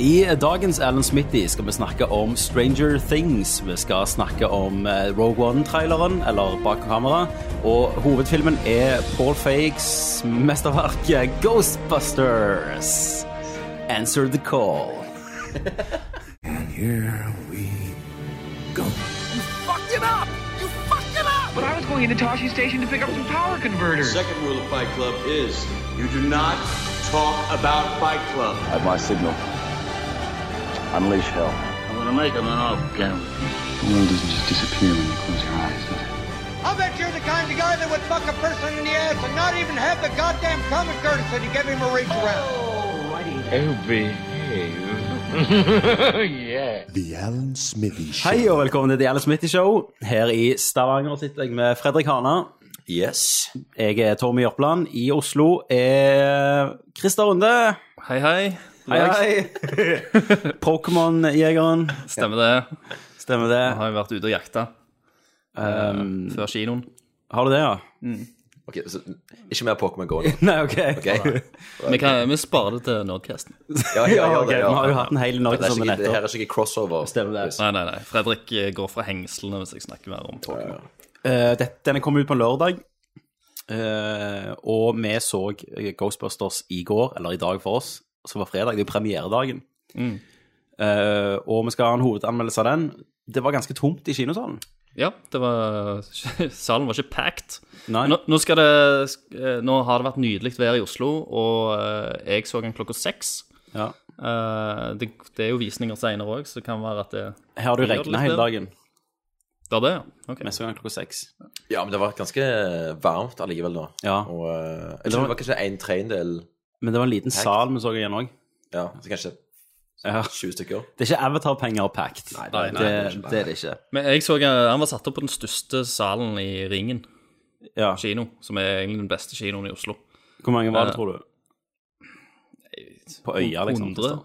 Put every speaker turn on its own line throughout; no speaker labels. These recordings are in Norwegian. I dagens Alan Smitty skal vi snakke om Stranger Things. Vi skal snakke om eh, Rogue One-traileren, eller bak kamera. Og hovedfilmen er Paul Fakes mesterverk eh, Ghostbusters. Answer the call.
But I was going into Toshi Station to pick up some power converters.
Second rule of Fight Club is you do not talk about Fight Club.
At my signal, unleash hell.
I'm gonna make him an offer, Cameron.
The world doesn't just disappear when you close your eyes, does it?
I bet you're the kind of guy that would fuck a person in the ass and not even have the goddamn common courtesy to give him a reach around.
The Alan Smithy Show.
Hei og velkommen til The Alan Smitty Show. Her i Stavanger sitter jeg med Fredrik Hana.
Yes.
Jeg er Tommy Jørpeland. I Oslo er Christer Runde.
Hei, hei.
Pokémon-jegeren.
Stemmer det.
Stemmer det.
Jeg har jo vært ute og jakta Eh,
Um,
før kinoen.
har du det, ja?
Ok, så Ikke mer Pokémon Go nå.
Nei, ok.
ok?
Vi, kan, vi sparer det til Nordcasten.
Ja, ja, ja,
Ja, ok,
det, ja.
Vi har jo hatt en hel
Det
Norge
er
som
ikke,
en
det her
etter.
er ikke crossover.
Stemmer det.
Nei, nei, nei. Fredrik eh, går fra hengslene hvis jeg snakker mer om Pokémon.
Eh, det- denne kom ut på lørdag, eh, og vi så eh, Ghostbusters i går, eller i dag for oss, som var fredag. Det er jo premieredagen.
Mm.
Eh, og vi skal ha en hovedanmeldelse av den. Det var ganske tomt i kinosalen.
Ja, det var Salen var ikke packed.
Nei.
Nå, nå, skal det, eh, nå har det vært nydelig vær i Oslo, og eh, jeg så den klokka seks.
Ja.
Eh, det, det er jo visninger senere òg, så det kan være at det
Her har du
Gjør det
regna
litt
hele
bedre.
dagen.
Det er det, ja. Ok.
Neste gang klokka seks.
Ja, men det har vært ganske varmt allikevel nå.
Ja.
Og, eh, jeg
Det
tror
var-
det var kanskje en tredjedel
Men det var en liten sal vi så igjen òg.
Ja, så kanskje
Ja.
20 stykker.
Det er ikke Avatar-penger packed. Nei,
nei,
det,
nei,
det er ikke
det,
det.
er det ikke.
Men jeg så eh, han var satt opp på den største salen i Ringen
Ja.
kino, som er egentlig den beste kinoen i Oslo.
Hvor mange var det, tror du? På øya, liksom.
100,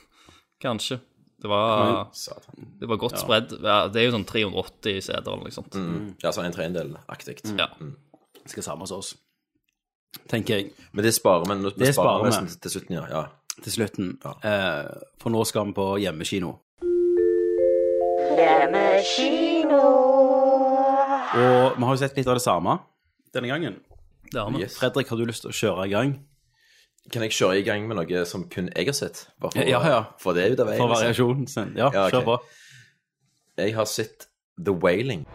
kanskje. Det var,
Satan.
det var godt spredd. Ja, det er jo sånn 380 seter eller noe sånt.
Mm,
Ja, så en tredjedel-aktig.
Ja.
Skal samme som oss. Tenker jeg.
Men det sparer vi. nå- Vi
Det sparer
sparer
vi.
nesten til slutten, ja. ja.
til slutten.
Ja.
Eh, for nå skal vi på hjemmekino. Og vi har jo sett litt av det samme denne gangen.
Det har vi.
Yes.
Fredrik, har du lyst til å kjøre i gang?
Kan jeg kjøre i gang med noe som kun jeg har sett? Bare for,
Ja, ja.
for det ut av veien.
For
liksom.
variasjonen sin. Ja,
Ja, ok.
kjør på.
Jeg har sett The Wailing.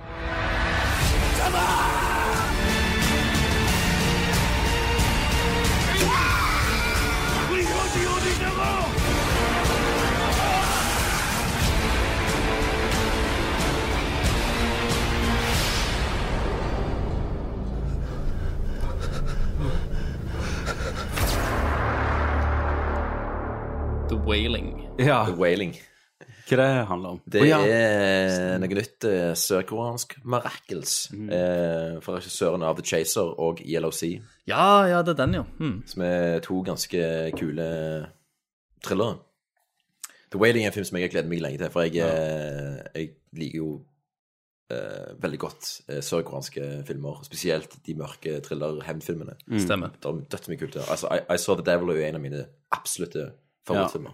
The Wailing.
Ja,
The Wailing.
hva det handler om?
Det
Å, ja.
er noe nytt eh, sørkoreansk Miracles
Mm.
eh, fra regissøren av The Chaser og E Yellow Sea,
Ja, ja, det er den, ja. Hmm.
som er to ganske kule thrillere. The Wailing er en film som jeg har gledet meg lenge til, for jeg, eh, jeg liker jo eh, veldig godt eh, sørkoreanske filmer, spesielt de mørke thriller-hevnfilmene.
Mm.
Stemmer.
Det er dødsmye kult der. Altså, I, I Saw The Devil er jo en av mine absolutte favorittfilmer.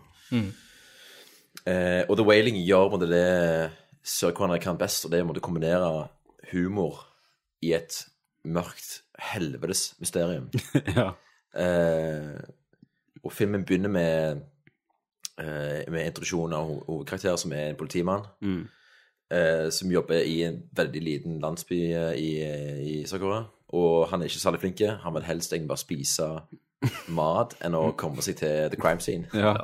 Eh, og The Wailing gjør på en måte det sørkoreanere kan best, og det er å måtte kombinere humor i et mørkt helvetes mysterium.
ja.
Eh, og filmen begynner med eh, Med introduksjon av ho- hovedkarakteren, som er en politimann.
Mm.
Eh, som jobber i en veldig liten landsby eh, i, i Sør-Korea. Og han er ikke særlig flink. Han vil helst egentlig bare spise mat enn å komme seg til the crime scene.
Ja.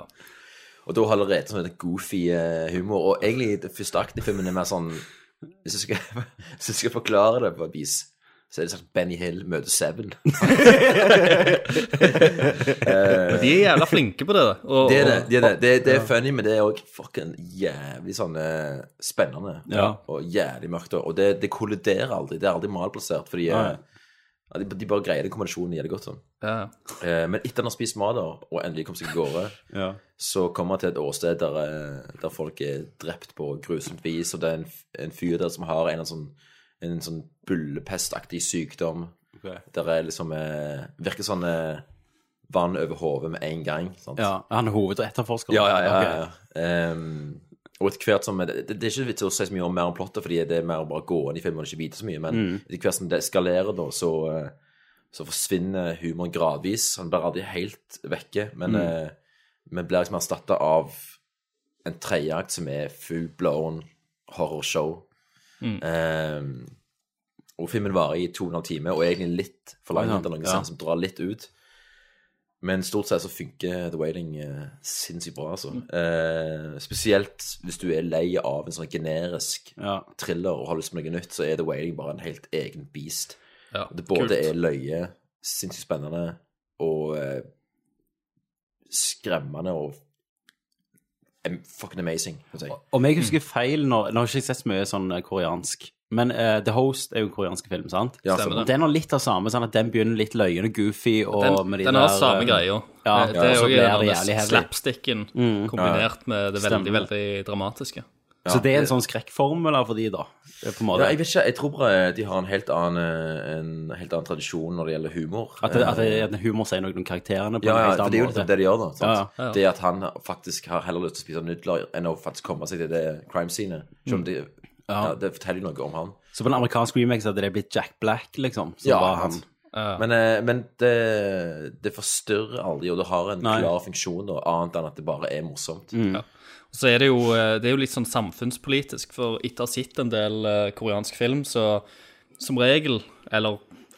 Og da har det rett og slett en goofy eh, humor. Og egentlig det første akten i filmen er mer sånn Hvis jeg skal, hvis jeg skal forklare det på et vis, så er det sånn Benny Hill møter Seven.
Eh.
Men de er jævla flinke på det. da. Og,
Det er det.
og-
Det er, det. Det, det er funny, men det er òg fucking jævlig sånn eh, spennende.
Ja.
Og jævlig mørkt. Og det, det kolliderer aldri. Det er aldri malplassert, fordi eh,
Nei.
ja, de, de bare greier den kombinasjonen jævlig godt. sånn.
Ja.
Eh, men etter han har spist mat da, og endelig kom seg av gårde,
Ja.
så kommer han til et åsted der, eh, der folk er drept på grusomt vis, og det er en, f- en fyr der som har en, eller annen sånn, en sånn bullepestaktig sykdom.
Ok.
Der er liksom eh, Virker sånn eh, vann over hodet med en gang. Sant?
Ja, han er hovedetterforskeren.
Ja, ja, ja.
Ok.
ja, ja. Ehm, og etter hvert som det, det er ikke vits i å si så mye om mer om plottet, fordi det er mer å bare gå inn i filmen og ikke vite så mye, men
Mm.
etter hvert som det eskalerer, da, så, eh, så forsvinner humoren gradvis. Han blir aldri helt vekke, men,
Mm.
eh, men blir liksom erstatta av en tredjeakt som er full blown horrorshow.
Mm.
Ehm, og filmen varer i to og en halv time, og egentlig litt for lang.
Ja,
Det er noen
ja.
scener som drar litt ut. Men stort sett så funker The Wailing eh, sinnssykt bra, altså.
Mm.
Eh, spesielt hvis du er lei av en sånn generisk
Ja.
thriller og har lyst på noe nytt, så er The Wailing bare en helt egen beast.
Ja,
Det både
kult.
er løye, sinnssykt spennende og eh, skremmende og em- fucking amazing, kan jeg si.
Om jeg husker feil nå, nå har jeg ikke sett så mye sånn eh, koreansk, men eh, The Host er jo en koreansk film, sant?
Ja, altså,
stemmer
så-
det.
Den har litt av samme, sånn at den begynner litt løyen og goofy. Og
Den,
med de
den har
der,
samme
eh,
greia.
ja,
det,
ja,
det er
så
jo
blir det
gjerne
jævlig heavy. Mm.
slapsticken kombinert med det veldig,
Stemmer.
veldig dramatiske.
Så det er en sånn skrekkformel da, for de, da. Det er På en måte.
Ja, jeg vet ikke, jeg tror bare de har en helt annen, eh, en helt annen tradisjon når det gjelder humor.
At, det, at, det, at humor sier noe om karakterene på
Ja,
en
ja,
helt
for det er jo
annen
nettopp
måte.
det de gjør, da. Sant?
Ja,
ja.
Det at han faktisk har heller lyst til å spise nudler enn å faktisk komme seg til det crime-scenet. Selv
Mm.
om det, ja. det forteller jo noe om han.
Så på en amerikansk remake så hadde det blitt Jack Black, liksom. Som
Ja,
var
han.
han.
Men, eh, men det, det forstyrrer aldri, og det har en
Nei.
klar funksjon, da, annet enn at det bare er morsomt.
Så er det jo, eh, det er jo litt sånn samfunnspolitisk, for etter å ha sett en del eh, koreansk film, så som regel, eller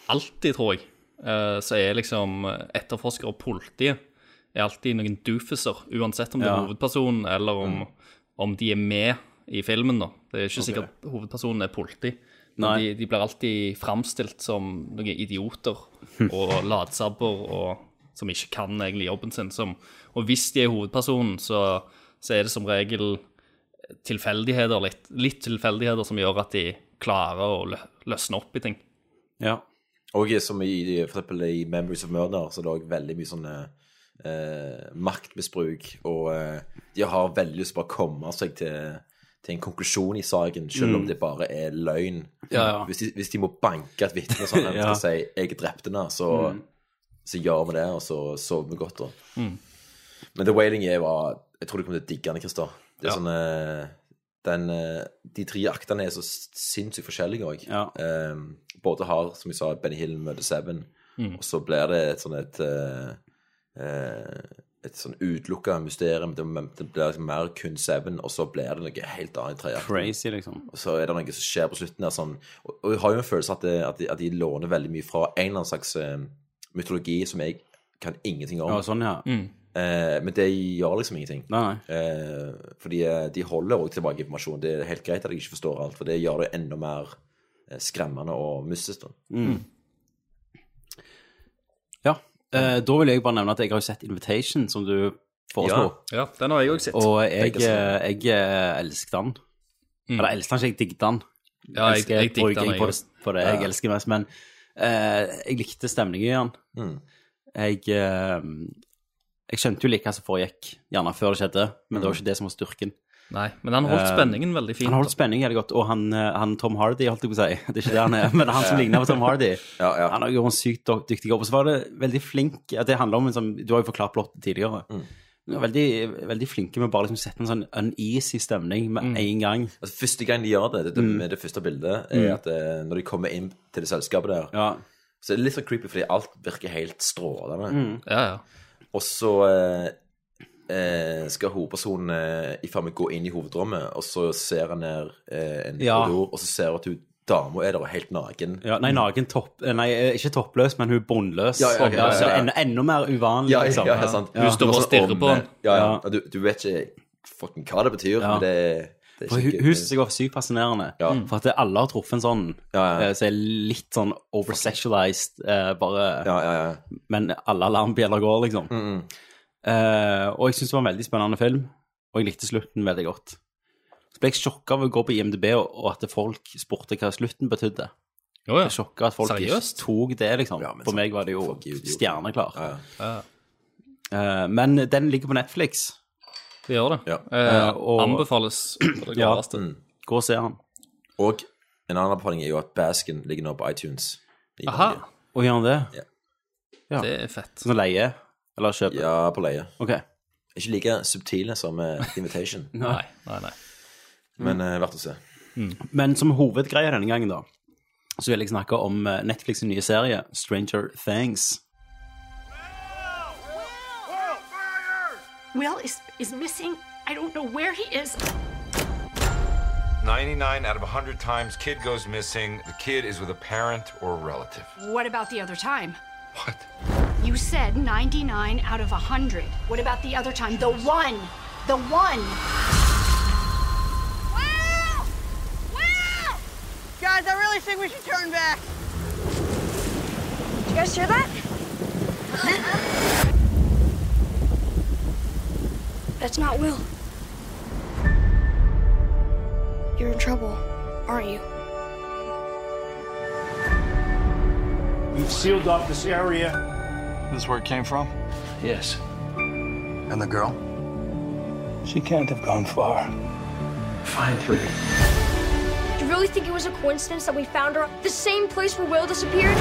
alltid, tror jeg, eh, så er liksom eh, etterforskere og politiet er alltid noen doofuser, uansett om det er
Ja.
hovedpersonen eller om, om de er med i filmen, da. Det er ikke sikkert hovedpersonen er politi. Men
Nei.
de, de blir alltid framstilt som noen idioter og latsabber og som ikke kan egentlig jobben sin. Som, og hvis de er hovedpersonen, så, så er det som regel tilfeldigheter, litt, litt tilfeldigheter som gjør at de klarer å lø løsne opp i ting.
Ja.
Og som i, for eksempel i Memories of Murder, så er det også veldig mye sånn eh, maktmisbruk, og eh, de har veldig lyst til å bare komme seg til, til en konklusjon i saken, selv om det bare er løgn.
Mm. Ja, ja.
Hvis, de, hvis de må banke et vitne og sånn,
Ja. Mm.
og si 'jeg drepte henne', så, så gjør vi det, og så sover vi godt da. Men The Wailing er var, jeg tror du kommer til å digge den, Christer. Det er
Ja.
sånn eh, den, eh, De tre aktene er så sinnssykt forskjellige òg.
Ja.
både har, som jeg sa, Benny Hill møter Seven,
Mm.
og så blir det et sånn et eh, eh, et sånn utelukka mysterium. Det det blir liksom mer kun Seven, og så blir det noe helt annet i tredje akt.
Crazy, liksom.
Og så er det noe som skjer på slutten der sånn Og, og jeg har jo en følelse at, det, at, de, at de låner veldig mye fra en eller annen slags eh, mytologi som jeg kan ingenting om.
Ja, sånn, ja.
Mm.
eh, men det gjør liksom ingenting.
Nei, nei.
Eh, fordi eh, de holder også tilbake informasjon. Det er helt greit at jeg ikke forstår alt, for det gjør det enda mer eh, skremmende og mystisk. da.
Ja. Eh, da vil jeg bare nevne at jeg har jo sett Invitation, som du foreslo.
Ja.
Ja, den har jeg òg sett.
Og jeg,
Begge
eh, jeg eh, elsket den.
Mm.
Eller elsket den ikke, jeg digget den.
ja, jeg,
elsker
jeg, jeg digger
bruking
den.
på
Jeg.
det, på det jeg elsker mest, men eh, jeg likte stemningen i den. Jeg, eh, jeg skjønte jo like hva som foregikk, gjerne før det skjedde, men det var ikke det som var styrken.
også. Nei, men han holdt spenningen veldig fint.
Han holdt spenning veldig godt, og han, eh, han Tom Hardy, holdt jeg på å si. Det er ikke det han er, men han som ligner på Tom Hardy.
Ja, ja.
Han har gjort en sykt do- dyktig jobb. Og så var det veldig flink at Det handler om en sånn, Du har jo forklart plottet tidligere. Men de var veldig, veldig flinke med å bare liksom sette en sånn uneasy stemning med
Mm.
en gang.
Altså, første gang de gjør det, det, det,
Mm.
med det første bildet, er at eh, når de kommer inn til det selskapet der,
Ja,
så er det litt så creepy fordi alt virker helt strålende.
Mm.
Ja, ja.
Og så eh, eh, skal hovedpersonen eh, i ferd med gå inn i hovedrommet, og så ser han ned eh, en
Ja.
korridor, og så ser hun at hun dama er der og er helt naken.
ja, nei, naken topp... Nei, eh, ikke toppløs, men hun er båndløs.
Mm. Ja, ja, ok, ja, ja, ja.
Så det er enda, enda mer uvanlig,
Ja,
liksom.
ja, ja, sant.
Hun står og
Sånn
stirrer
om,
på han.
eh, Ja, ja. Og Du, du vet ikke fucking hva det betyr, men det, det
For
er
hun
ikke
hun synes jeg var sykt fascinerende. For at det- alle har truffet en sånn
Ja, ja.
eh, som er litt sånn oversexualized, eh, bare
Ja, Mm, ja, ja.
men alle alarmbjeller går, liksom. Eh, og jeg syns det var en veldig spennende film, og jeg likte slutten veldig godt. Så ble jeg sjokka av å gå på IMDb og, og at folk spurte hva slutten betydde.
Jo,
Jeg er
ja.
sjokka at folk ikke
Seriøst?
tok det, liksom.
Ja, men
For
så-
meg var det jo
folk er jo idioter.
stjerneklar.
Ja,
Eh, men den ligger på Netflix.
Det gjør det.
Ja.
Eh,
og-
Anbefales på det
Ja.
klareste.
Gå og se den.
Og en annen anbefaling er jo at Basken ligger nå på iTunes. i
Aha,
Norge.
Og gjør han det?
Ja.
det er fett.
Sånn leie? Eller kjøper?
Ja, på leie.
Ok.
Ikke like subtile som eh, Invitation,
Nei, nei, nei.
men eh, verdt å se.
Men som hovedgreie denne gangen, da, så vil jeg snakke om eh, Netflix' sin nye serie, Stranger Things.
Will is, is missing. I don't know where he is.
99 out of 100 times, kid goes missing. The kid is with a parent or a relative.
What about the other time?
What?
You said 99 out of 100. What about the other time? The one! The one!
Wow! Wow! Guys, I really think we should turn back. Did you guys hear that?
That's not Will.
You're in trouble, aren't you?
We've sealed off this area.
This is where it came from?
Yes.
And the girl?
She can't have gone far. Find her.
Do you really think it was a coincidence that we found her the same place where Will disappeared?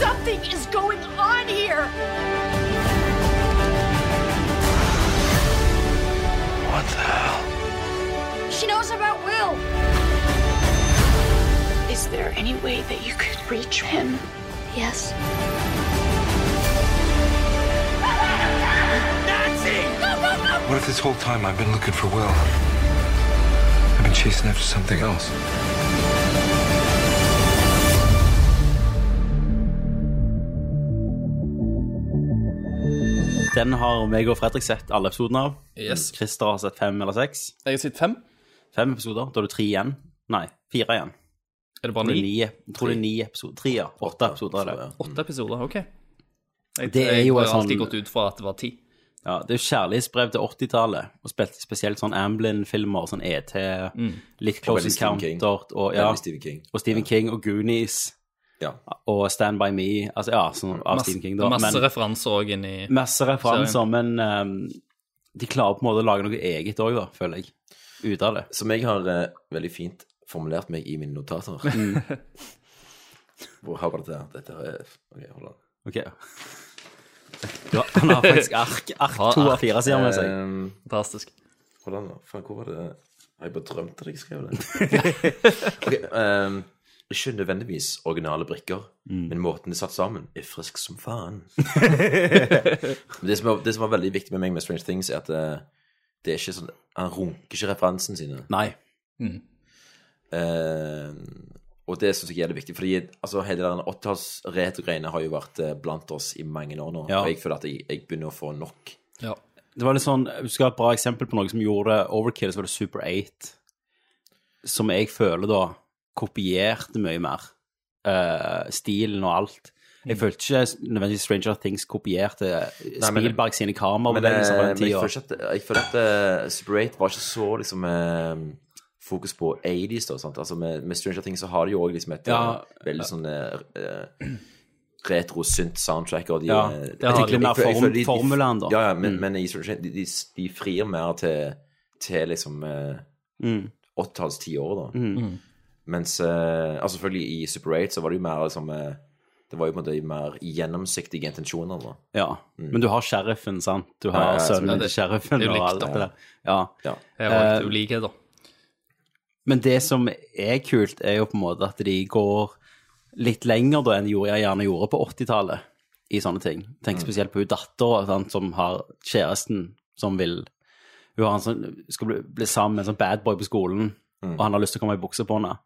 Something is going on here!
What the hell?
She knows about Will.
Is there any way that you could reach him?
Yes.
What if this whole time I've been looking for Will? I've been chasing after something else.
Den har meg og Fredrik sett alle episodene av.
Yes.
Christer har sett fem eller seks.
Jeg har sett fem.
Fem episoder. Da har du tre igjen. Nei, fire igjen.
Er det bare
Det er
ni?
ni, jeg tror det er ni episoder. Tre, ja. Åtte episoder er det.
Så, ja.
Åtte episoder, OK. Jeg,
Det er
jeg
jo
har
en
alltid
sånn-
gått ut fra at det var ti.
Ja, det er jo kjærlighetsbrev til 80-tallet, og spilte spesielt sånn Amblin-filmer, sånn ET, litt
Og
Close
Mm. veldig Stephen King.
Encounter, og, ja,
Veldig Stephen King.
og Stephen King, og Goonies,
Ja.
og Stand By Me, altså ja, sånn av
Masse,
Stephen King da.
masse
men-
referanser òg inn i
Masse referanser, men ehm, de klarer på en måte å lage noe eget òg, da, føler jeg. Ut av det.
Som jeg har eh, veldig fint formulert meg i mine notater. Hvor har vi dette? her? Dette her er Ok, hold an.
Ok. Du har, han har faktisk ark, ark eh, to av fire sider med seg.
Ehm,
Fantastisk.
Hold an, da. Faen, hvor var det Har jeg bare drømt at jeg skrev det? Ok, ehm, ikke nødvendigvis originale brikker, men måten det er satt sammen, er frisk som faen. men det som, var, det som var veldig viktig med meg med Strange Things, er at det, det er ikke sånn Han runker ikke referansene sine.
Nei.
Eh, og det syns jeg er det viktig, fordi altså, hele den 80-tallsretro-greiene har jo vært eh, blant oss i mange år nå.
Ja.
Og jeg føler at jeg, jeg begynner å få nok.
Ja.
Det var litt sånn, Du skal ha et bra eksempel på noe som gjorde det overkill, så var det Super 8. Som jeg føler da kopierte mye mer. eh, stilen og alt.
Mm.
Jeg følte ikke nødvendigvis Stranger Things kopierte
men-
Spielberg sine
Men, eh,
kamerabevegelser på den
men jeg
tida.
føler ikke at, jeg føler at eh, Super 8 var ikke så liksom eh, fokus på 80s, da. Sant? Altså, med, med Stranger Things så har de jo òg liksom et
Ja.
eh, veldig sånn eh, eh, retro synt soundtrack og de
Ja,
eh,
det
jeg
har
tenker-
litt mer
jeg føler- jeg føler de- de-
formelen, da. Mm.
Ja, ja, men, men i Stranger Things de, de, de frir mer til, til liksom eh,
Mm.
80-talls tiår, da. Mens eh, altså selvfølgelig i Super 8 så var det jo mer liksom eh, Det var jo på en måte mer gjennomsiktige intensjoner, da.
Ja, men du har sheriffen, sant? Du
Mm. Ja,
har
ja,
sønnen
selvfølgelig.
til sheriffen
Det er jo
og
likt,
alt
da.
dette der. Ja.
Ja.
Her var
Eh,
det ulikheter.
Men det som er kult, er jo på en måte at de går litt lenger da enn de gjorde- jeg gjerne gjorde på 80-tallet i sånne ting. Tenk spesielt på hun dattera sant, som har kjæresten som vil Hun har en sånn, skal bli, bli sammen med en sånn badboy på skolen, og han har lyst til å komme i bukse på henne.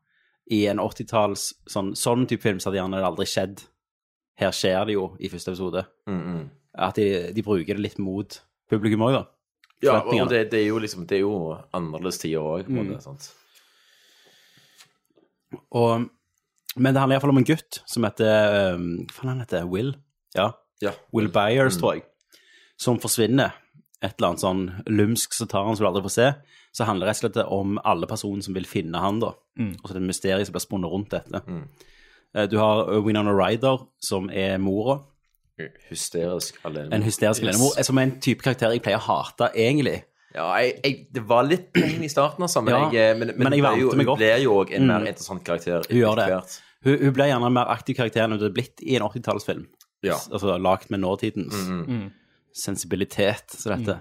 I en 80-talls sånn, sånn type film så hadde gjerne det aldri skjedd. Her skjer det jo i første episode.
Mm,
At de, de bruker det litt mot publikum òg, da.
Ja,
forventningene.
og det, det er jo liksom Det er jo annerledes tider òg, på en
Mm.
måte. sant?
Og, men det handler iallfall om en gutt som heter um, Hva faen han heter Will? Ja.
Ja.
Will Byers, tror jeg. Som forsvinner. Et eller annet sånn lumsk som tar han som du aldri får se. Så handler det rett og slett om alle personene som vil finne han, da. Og så er det et mysterium som blir spunnet rundt dette. Eh, Du har uh, Winona Ryder, som er mora.
Hysterisk alene.
En hysterisk alenemor. Som er en type karakter jeg pleier å hate, egentlig.
ja, jeg, jeg, det var litt peng i starten, altså,
Ja,
men, jeg, men,
men jeg
det er jo-
vante meg opp.
Hun blir jo òg en mer interessant karakter.
Hun gjør det.
etter hvert.
Hun, hun ble gjerne en mer aktiv karakter enn hun hadde blitt i en 80-tallsfilm. Ja. Altså lagd med nåtidens
Mm, mm. Mm.
sensibilitet, som dette.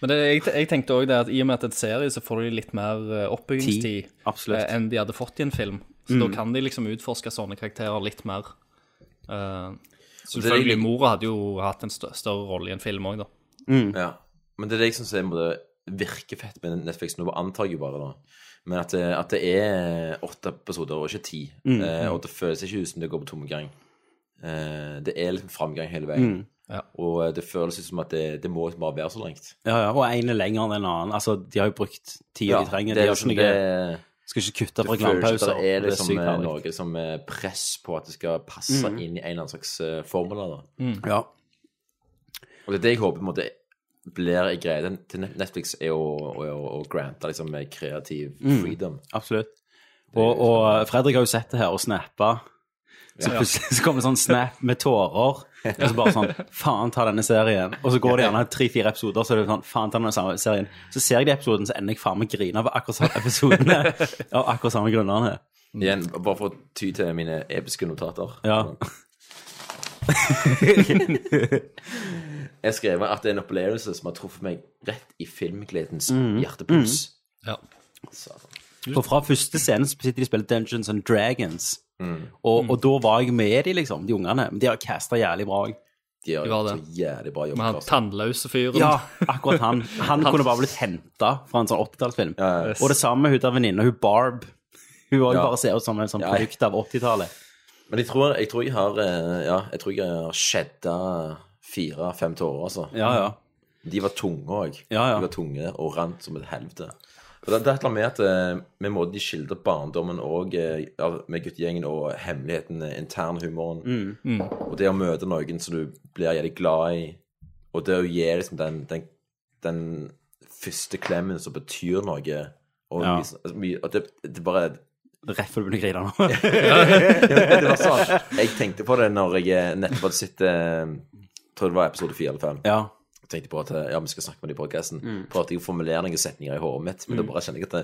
Men det, jeg, jeg tenkte også det at i og med at det er en serie, så får de litt mer eh, oppbyggingstid
Tid, absolutt.
eh, enn de hadde fått i en film. Så da
Mm.
kan de liksom utforske sånne karakterer litt mer. Eh,
det er
selvfølgelig,
litt-
mora hadde jo hatt en stø- større rolle i en film òg, da.
Mm.
Ja. Men det er det jeg syns virker fett med Netflix nå, antar jeg jo bare, da. Men at det, at det er eh, åtte episoder, og ikke ti.
Mm.
Eh, og det føles ikke ut som det går på tomgang. Eh, det er liksom framgang hele veien.
Mm.
Og eh, det føles ut som at det, det må bare være så langt.
Ja, ja, og en er lenger enn en annen. Altså, de har jo brukt tida
Ja,
de trenger.
det er
De har
liksom
ikke noe Skal ikke kutte
Det føles ikke
reklamepauser.
at det er
Det er
liksom
sykt
eh,
herlig.
noe som eh, press på at det skal passe
Mm.
inn i en eller annen slags eh, formel. Da.
Mm. Ja.
Og det er det jeg håper på en måte blir en greie den- til Net- Netflix, er å, å, å, å grante liksom eh, kreativ
Mm.
freedom.
Absolutt. Og, og eh, Fredrik har jo sett det her og snappa. Så
liksom- Ja.
plutselig så kommer det sånn snap med tårer. Og så bare sånn Faen, ta denne serien. Og så går det gjerne tre-fire episoder, så er det sånn Faen, ta denne samme serien. Så ser jeg de episoden, så ender jeg faen meg grine av akkurat samme episodene. Av akkurat samme grunnene.
Igjen, bare for å ty til mine episke notater.
Mm. Ja.
Jeg skrev at det er en opplevelse som har truffet meg rett i filmgledens
Mm.
hjertepuls.
Ja.
Satan.
For fra første scene så sitter de og spiller Dungeons and Dragons.
Mm.
Og, og da var jeg med de, liksom, de ungene. Men de har casta jævlig bra òg.
De har
var
gjort så jævlig bra jobb. altså.
Med han
Karsten.
tannløse fyren.
Ja, akkurat han. Han kunne bare blitt henta fra en sånn 80-tallsfilm. Og det samme med hun der venninna, hun Barb. Hun var jo
Ja.
bare ser ut som en sånn
Ja.
produkt av 80-tallet.
Men jeg tror jeg, tror jeg har eh, Ja, jeg tror jeg har shedda fire-fem tårer, altså.
Ja, ja.
De var tunge òg.
Ja, ja.
De var tunge og rant som et helvete. Og det, det er et eller annet med at eh, med måten de skildrer barndommen og eh, ja, med guttegjengen og hemmeligheten, eh, internhumoren
Mm.
Mm.
Og det å møte noen som du blir jævlig glad i, og det å gi liksom den, den, den første klemmen som betyr noe og
Ja.
mye sånn- altså, mye, og det, det bare
Reffer du begynner å grine nå?
det var sånn. Jeg tenkte på det når jeg nettopp hadde sett eh, Tror det var episode fire eller fem.
Ja.
Jeg tenkte på at eh, ja, vi skal snakke med dem i podkasten.
Mm.
Prøvde jeg å formulere noen setninger i hodet mitt, men da
Mm.
bare kjente jeg at det,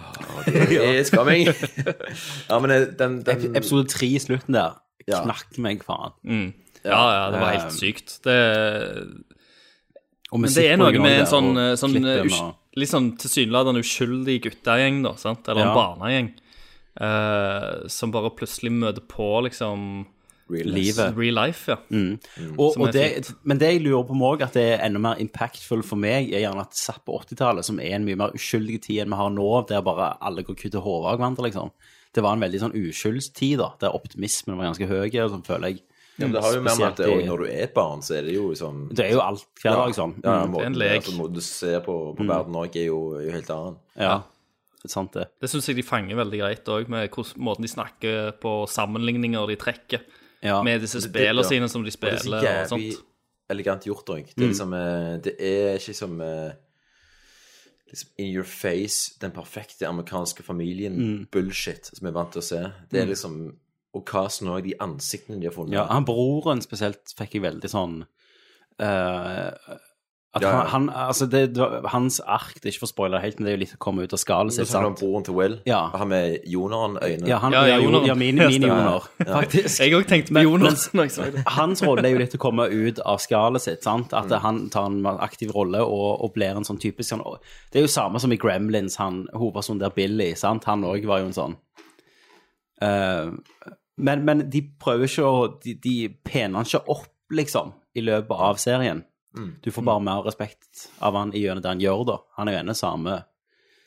Åh, det er skamming. ja, men eh, den, den
Ep- Episode tre i slutten der
Ja.
knakk meg, faen.
Mm. Ja, ja, det var helt
Eh,
sykt. Det
Og
Men det er noe
musikkbruken
med en
også
sånn,
der, og
sånn
klippen
usj-
og-
litt sånn tilsynelatende uskyldig guttegjeng, da, sant? eller en
Ja.
barnegjeng, eh, som bare plutselig møter på liksom
Real
life.
Real life, ja.
Mm. Og,
Som er
og det, men det jeg lurer på med også, at det er enda mer impactful for meg, er gjerne at Zapp på 80-tallet, som er en mye mer uskyldig tid enn vi har nå, der bare alle går kutt til hodet av hverandre, liksom. Det var en veldig sånn uskyldstid, da, der optimismen var ganske høy, og sånn føler jeg.
Ja, men det har jo mer med at det,
Spesielt i-
og når du er et barn, så er det jo sånn
Det er jo alt hver dag, sånn.
Ja,
Mm.
ja,
en
måten,
lek.
altså, måten du ser på, på verden òg, er jo, er jo helt annen.
Ja, det er sant det.
Det syns jeg de fanger veldig greit òg, med hvordan- måten de snakker på, sammenligninger de trekker
Ja.
med disse
Det- ja.
spillene sine som de
Og det er
spiller
så
og
jævlig
sånt.
Elegant gjort òg. Det, er
Mm.
liksom, eh, det er ikke som eh, liksom In your face, den perfekte amerikanske familien,
Mm.
bullshit, som vi er vant til å se. Det er liksom Og casten òg, de ansiktene de har funnet.
Ja, han broren spesielt fikk jeg veldig sånn eh, At
Ja, ja.
han, han Altså, det, det var- hans ark Det er ikke for å spoile det helt, men det er jo litt å komme ut av skallet
Så
sitt,
snakker du om
sant?
broren til Will.
Ja.
Og han med Jonaren-øyne.
Ja, han,
Ja,
ja,
ja,
ja,
Jonar.
mine, mine
Ja.
Jonar, faktisk.
Jeg òg tenkte på Jonas når jeg sa det.
Hans rolle er jo litt å komme ut av skalet sitt. sant? At han tar en aktiv rolle og, og blir en sånn typisk sånn, Det er jo samme som i Gremlins, han hovedpersonen der Billy. sant? Han òg var jo en sånn Eh, men, men de prøver ikke å De, de pener han ikke opp, liksom, i løpet av serien. Du får bare mer respekt av han i gjennom det han gjør, da. Han er jo ene samme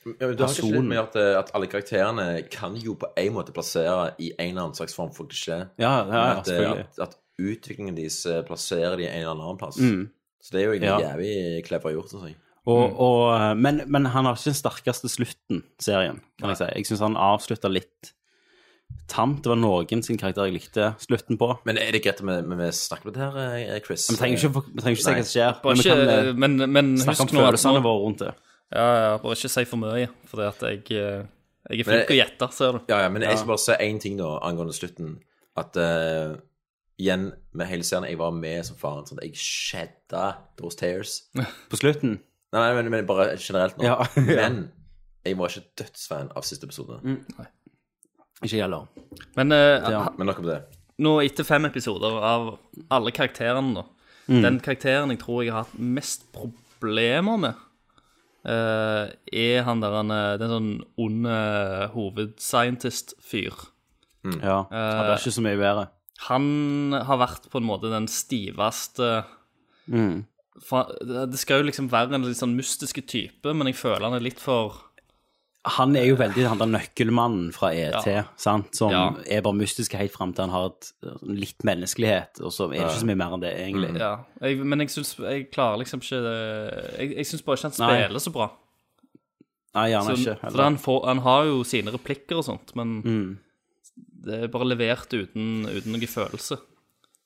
Ja, men du har ikke
Personen.
slitt med at, eh, at alle karakterene kan jo på en måte plassere i en eller annen slags form for klisjé.
Ja, ja,
Men
ja,
at, eh,
selvfølgelig.
at, at utviklingen deres eh, plasserer de i en eller annen plass.
Mm.
Så det er jo egentlig
Ja.
jævlig clever gjort. Sånn.
Og, og, men, men han har ikke den sterkeste slutten, serien, kan jeg si. Jeg syns han avslutta litt tamt. Det var noen sin karakter jeg likte slutten på.
Men er det greit om vi- om vi snakker om det her, eh, Chris?
Vi trenger ikke, vi trenger ikke si hva som skjer,
Bare
men vi kan
ikke,
eh,
men, men
snakke om
husk nå at
følelsene
nå
våre rundt det.
ja, ja, Bare ikke si for mye, for det at jeg, eh, jeg
Men-
er flink til å gjette, ser du.
Ja, ja, men jeg skal bare si én ting da angående slutten. At eh, igjen, med hele serien, jeg var med som faren. Sånn, at jeg shedda those tears.
På slutten
Nei, nei men, men bare generelt nå.
Ja, ja.
Men jeg var ikke
Mm.
dødsfan av siste episode.
Ikke gjelder.
Men eh,
Ja.
Men nok om det.
nå etter fem episoder av alle karakterene, da.
Mm.
Den karakteren jeg tror jeg har hatt mest problemer med, eh, er han der han eh, Den sånn onde eh, hovedscientist-fyr.
Mm. Ja, han blir ikke så mye bedre.
Han har vært på en måte den stiveste
Mm.
for, Det skal jo liksom være en litt sånn mystiske type, men jeg føler han er litt for
Han er jo veldig han der nøkkelmannen fra ET,
Ja.
sant? som
Ja.
er bare mystisk helt fram til han har et, eh, litt menneskelighet, og så er det ikke så mye mer enn det, egentlig.
Ja, jeg, Men jeg syns jeg klarer liksom ikke det Jeg, jeg syns bare ikke han
Nei.
spiller så bra.
Nei, gjerne
så,
ikke.
for han, får, han har jo sine replikker og sånt, men
Mm.
det er bare levert uten, uten noe følelse.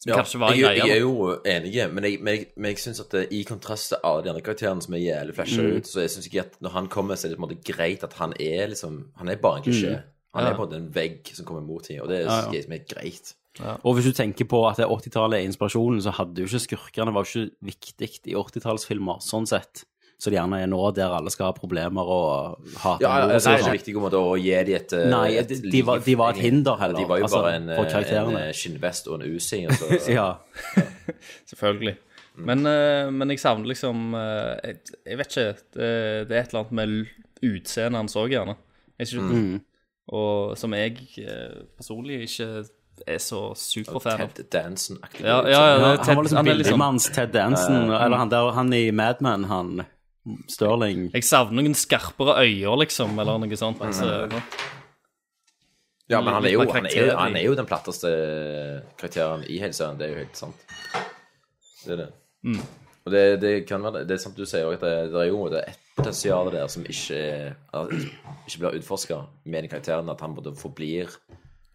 Som
Ja,
kanskje var en
jeg,
greie.
jeg er
da.
jo enig, men jeg, men jeg, men jeg syns at det, i kontrast til alle de andre karakterene som er jævlig flasha
Mm.
ut, så jeg syns ikke at når han kommer, så er det på en måte greit at han er liksom Han er bare en klisjé.
Mm.
Han
Ja.
er på en måte en vegg som kommer mot dem, og det
Ja, ja.
syns jeg som er greit.
Og hvis du tenker på at det 80-tallet er inspirasjonen, så hadde jo ikke skurkene var jo ikke viktig i 80-tallsfilmer, sånn sett. Så det gjerne er nå, der alle skal ha problemer og hate
Ja, ja,
noe,
det er
så-
ikke viktig på en måte å gi dem et eh,
sånn. Nei,
et
de- de var- de var et hinder heller,
De var jo
altså,
bare en,
for
eh,
karakterene.
en eh, skinnvest og en usi. og så-
Ja.
Selvfølgelig.
Mm.
Men, eh, men jeg savner liksom eh, jeg, jeg vet ikke. Det, det er et eller annet med l- utseendet hans òg, gjerne. Jeg synes,
Mm.
Og som jeg eh, personlig ikke er så superfan av.
Ted Danson-aktig.
Ja, ja, ja, det er Ted-
han var liksom
han er liksom-
billigmanns Ted Danson,
Ja, ja.
eller han, der, han i Mad Men, han Stirling.
Jeg savner noen skarpere øyne, liksom, eller noe sånt. Så-
Ja, men han er, jo,
Litt mer
han, er,
karakter i-
han er jo den platteste karakteren i hele serien. Det er jo helt sant. Det er det.
Mm.
Og det, det kan være det er sant du sier også, at det, det er jo det er et potensial der som ikke, er- altså, ikke blir utforska med den karakteren, at han både forblir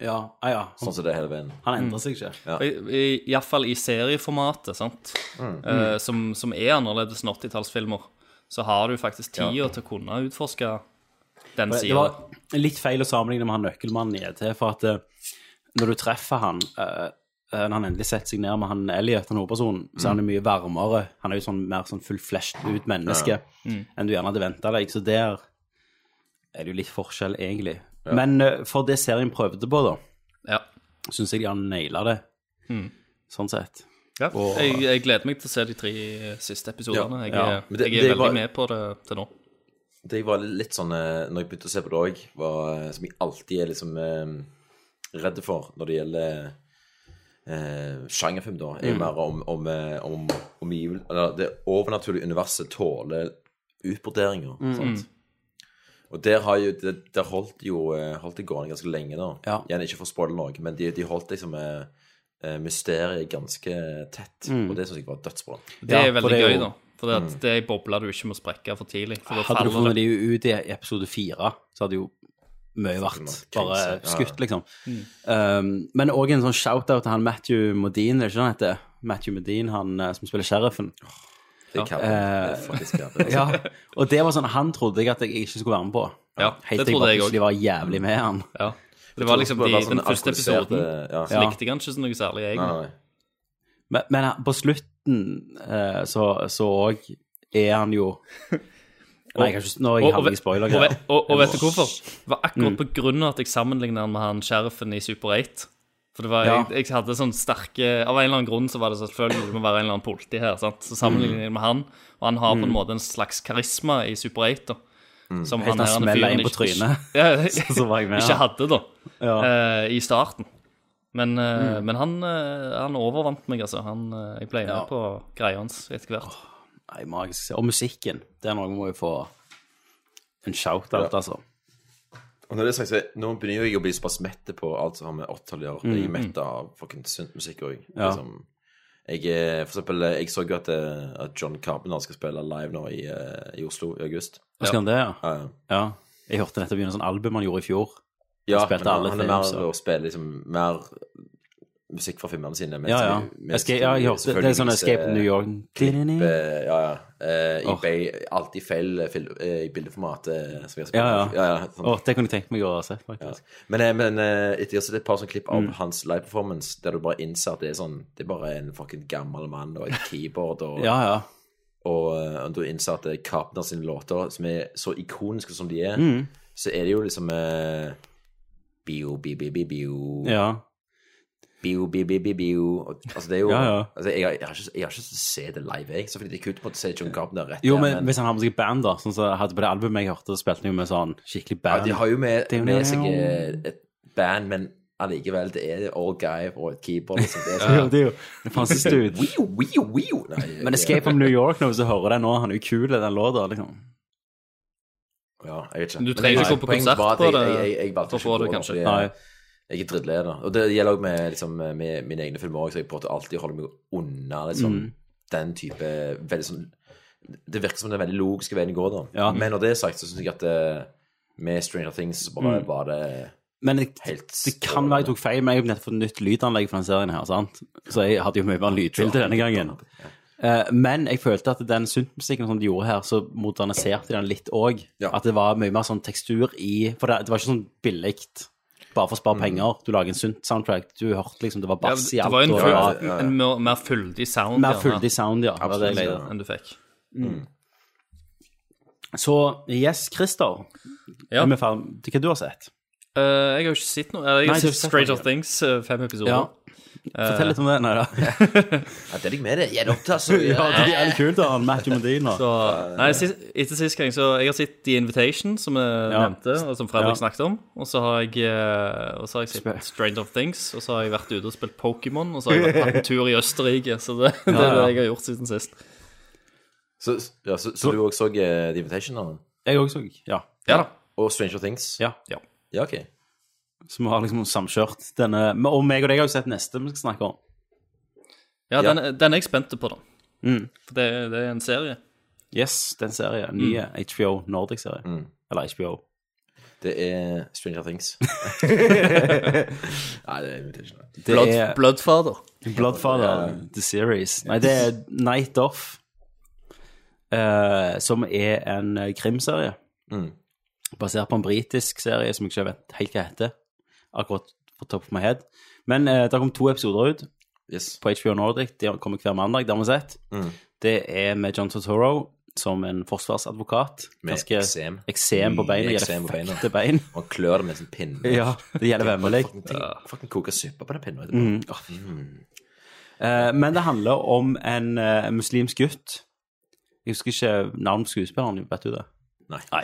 Ja, ah, ja.
sånn som det er hele veien.
Han endrer seg ikke.
Ja.
Iallfall i serieformatet, sant?
Mm.
Eh, som, som er annerledes enn 80-tallsfilmer. Så har du faktisk tida til å kunne utforske den
Det
sida.
var litt feil å sammenligne med han nøkkelmannen i ET, for at eh, når du treffer han eh, eh, Når han endelig setter seg ned med han Elliot, han hovedpersonen, så er han jo
Mm.
mye varmere. Han er jo sånn mer sånn full-fleshed ut menneske
Ja. Mm.
enn du gjerne hadde venta deg. Så der er det jo litt forskjell, egentlig. Men eh, for det serien prøvde på, da,
Ja.
syns jeg de har naila det,
Mm.
sånn sett.
Ja.
Og-
Jeg, jeg gleder meg til å se de tre siste episodene.
Ja.
Jeg,
Ja.
er-
Men det-
jeg er
det
veldig
var-
med på det til nå.
Det jeg var litt sånn eh, Når jeg begynte å se på det òg, som jeg alltid er liksom eh, redd for når det gjelder eh, sjangerfilm, da, er jo
Mm.
mer om, om, eh, om, omgivel- eller Det overnaturlige universet tåler utbroderinger.
Mm.
Sant? Og der, har jo, det, der holdt jo eh, holdt det gående ganske lenge, da.
Ja.
Igjen, ikke for å spoile noe, men de, de holdt liksom eh, eh, mysteriet ganske tett.
Mm.
Og det syns jeg var dødsbra.
Det
Ja,
er
for
veldig
det er
gøy,
jo-
da. For det,
Mm.
at det er ei boble du ikke må sprekke for tidlig. For da
Hadde du
faller
funnet
det.
de ut i episode fire, så hadde jo mye vært bare
Krise, ja.
skutt, liksom.
Mm.
Um, men òg en sånn shout-out til han Matthew Modine, er det ikke han heter? Matthew Modine, han eh, som spiller sheriffen.
Det er kappen. Det er
Eh,
faktisk kappen.
Ja, og det var sånn Han trodde jeg at jeg ikke skulle være med på.
Ja,
Helt
det
til jeg
trodde
bare
jeg
plutselig
òg.
var jævlig med han.
Ja. Det
Jeg
var
tror
liksom
det
de,
var sånn
den
alkoholiserte-
første episoden.
ja.
Så
Ja.
likte jeg han ikke så noe særlig,
Nei,
egentlig.
nei, nei.
Men, men han- på slutten eh, så så òg er han jo Nei, jeg kan ikke Nå er jeg
Og- og
havner
ve-
i spoiler Mm.
og, ve- og, og vet du hvorfor? Det var akkurat på grunn av at jeg sammenlignet han med han sheriffen i Super 8. For det var,
Ja.
jeg, jeg hadde sånn sterke Av en eller annen grunn så var det selvfølgelig det må være en eller annen politi her. Sant? Så
Mm.
sammenlignet jeg med han, og han har på en måte en slags karisma i Super 8. Da, som
Mm. Helt til han
her,
smeller
fyren
inn på
ikke-
trynet.
Ja,
Så- så var jeg med,
ikke
ja.
hadde, da.
Ja. Mm.
eh, I starten. Men, eh, men han, eh, han overvant meg, altså. Han, eh, jeg ble med
Ja.
på greia hans etter hvert.
Nei, magisk. Og musikken. Det er noe vi må jo få en shout-out,
Ja.
altså.
Og når det er sagt, så nå begynner jeg å bli såpass mette på alt som har med åttetall å gjøre. Jeg er mett av fucking sunt musikk òg.
Mm. Ja.
Liksom. Jeg, er- for eksempel, jeg så jo at, eh, at John Carpenter skal spille live nå i, eh, i Oslo i august. Eh,
Hva skal han det, ja?
Ja, ja.
ja. Jeg hørte nettopp gjennom sånn album han gjorde i fjor.
Ja,
Han spilte
men han,
alle
han er
themes,
mer
og-
å spille liksom mer musikk fra filmene sine. mens
Ja, ja.
Altså, vi- mens
Escape, ja, jeg
vi
hørte det. er
selvfølgelig
sånn
viser-
Escape to New York.
klipp, eh, ja, ja. Eh, i
Åh.
be- alltid feil eh, fil- eh, i bildeformat. eh, som vi har spilt.
Ja, ja.
ja, ja sånn.
Å, det kunne jeg tenkt meg å se,
Ja.
faktisk.
Men, eh, men eh, etter å ha sett et par sånne klipp av
Mm.
hans live performance, der du bare innser at det er sånn Det er bare en fucking gammel mann og et keyboard og
Ja, ja.
Og eh, du innser at det er Carpenter sine låter, som er så ikoniske som de er,
Mm.
så er det jo liksom eh, Bio, bio, bio, bio, bio.
ja.
Biu, biu, biu, biu, biu. Og, altså, det er jo
Ja, ja.
Altså, jeg, har- jeg, har ikke, jeg har ikke lyst til å se det live, jeg. Så fordi det er kult på å se John Carpenter rett
Jo,
der,
men hvis han har med seg band, da, sånn som jeg hadde på det albumet jeg hørte, spilte han jo med sånn skikkelig
ja,
band.
De har jo med, med seg eh, et band, men allikevel, det er all guy og et keyboard. Liksom. Det er
Ja, det er jo- det fantes ut.
Wio, wio, wio. Nei,
Men Escape from New York, når du hører den nå, han er jo kul, den låta, liksom.
Ja, jeg vet ikke.
Du
Men jeg-
trenger ikke gå på
poenget
konsert
var at
på
jeg-
det
Jeg, jeg, jeg valgte
for å
ikke
få
å gå
det,
der,
kanskje.
fordi Jeg, jeg er drittleder. Og det gjelder også med, liksom, med mine egne filmer også, så jeg prøver alltid å holde meg unna liksom,
Mm.
den type veldig sånn Det virker som den veldig logiske veien å gå, da.
Ja.
Men når det er sagt, så syns jeg at eh, med Stranger Things så bare
Mm.
var det
Men det,
Helt
det kan være jeg tok feil, men jeg har jo nettopp fått nytt lydanlegg for den serien her, sant? Så jeg hadde jo mye mer lydbilde denne gangen. Eh, Men jeg følte at den syntmusikken som de gjorde her, så moderniserte de den litt òg. At det var mye mer sånn tekstur i For det, det var ikke sånn billig bare for å spare penger. Du lager en synt-soundtrack, du hørte liksom det var
Ja,
bass i
det
alt.
var jo en,
og
full,
det var-
en mer, mer fyldig sound.
Mer
gjerne,
fyldig sound, ja. Det var det jeg
Absolutt,
lette.
enn du fikk.
Så yes, Christer.
Ja.
Er vi ferdig? Hva du har sett?
Eh, jeg har jo ikke sett noe. Jeg
Nei,
har
du har
sett
ikke sett
Stranger
noe.
Things, eh, fem episoder.
Ja. Fortell litt om det. Nei da.
Ja, det er jeg med det. Gjenoppta, så
Ja, det er litt kult, da. Matthew Medina.
Så, nei, sist, etter sist gang så Jeg har sett The Invitation, som jeg
Ja.
nevnte, og som Fredrik
Ja.
snakket om. Og så har jeg eh, Og så har jeg sett Stranger Things, og så har jeg vært ute og spilt Pokémon, og så har jeg vært på en tur i Østerrike. Så det, det er
ja.
det jeg har gjort siden sist.
Så, ja, så, så du òg så eh, The Invitation? da?
Jeg òg så. Ja.
Ja da.
Og Stranger Things?
Ja.
Ja.
Ja, OK.
Så vi har liksom samkjørt denne Og meg og deg har jo sett neste vi skal snakke om.
Ja.
Ja, Den, den er jeg spent på, da.
Mm.
For det, det er en serie.
Yes, den
Mm.
serien. Nye HBO Nordic-serie. Eller HBO.
Det er Stranger Things. Nei, det er Invitation. da.
Det
Blood,
er
Bloodfather.
Bloodfather, The Series. Nei, det er Night Off, eh, som er en eh, krimserie.
Mm.
Basert på en britisk serie som jeg ikke vet helt hva heter. Akkurat på top of my head. Men eh, det kom to episoder ut
Yes.
på HBO Nordic. De kommer hver mandag, det har vi sett.
Mm.
Det er med John Totoro som en forsvarsadvokat.
Med
Ganske-
eksem.
Eksem på beina.
Mye
Gjelder
eksem på beina.
fette bein.
Man klør det med en sånn pinne.
Ja, det gjelder vemmelig.
Fucking, ting, fucking koker suppe på den pinnen. vet du.
Mm. Åh, fy faen. Eh, men det handler om en eh, muslimsk gutt. Jeg husker ikke navnet på skuespilleren, vet du det?
Nei.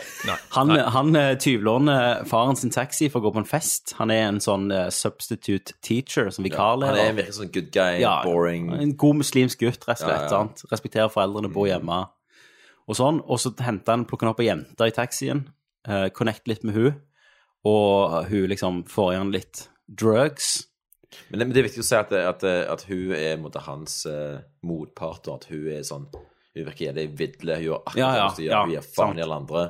Han, han eh, tyvlåner faren sin taxi for å gå på en fest. Han er en sånn eh, substitute teacher, som
Han er
vikarlærer.
virker sånn good guy,
Ja,
boring
En god muslimsk gutt, rett og slett.
Ja, Mm. ja.
Sant? Respekterer foreldrene, bor hjemme og sånn. Og så henter han, plukker han opp ei jente i taxien, uh, connect litt med hun, og hun liksom får igjen litt drugs.
Men det, men det er viktig å si at, at, at hun er på en måte, hans eh, motpart, og at hun er sånn Hun virker jævlig vidle, hun gjør akkurat
Ja, ja,
det hun gjør, hun
ja,
gir faen
sant.
i alle andre.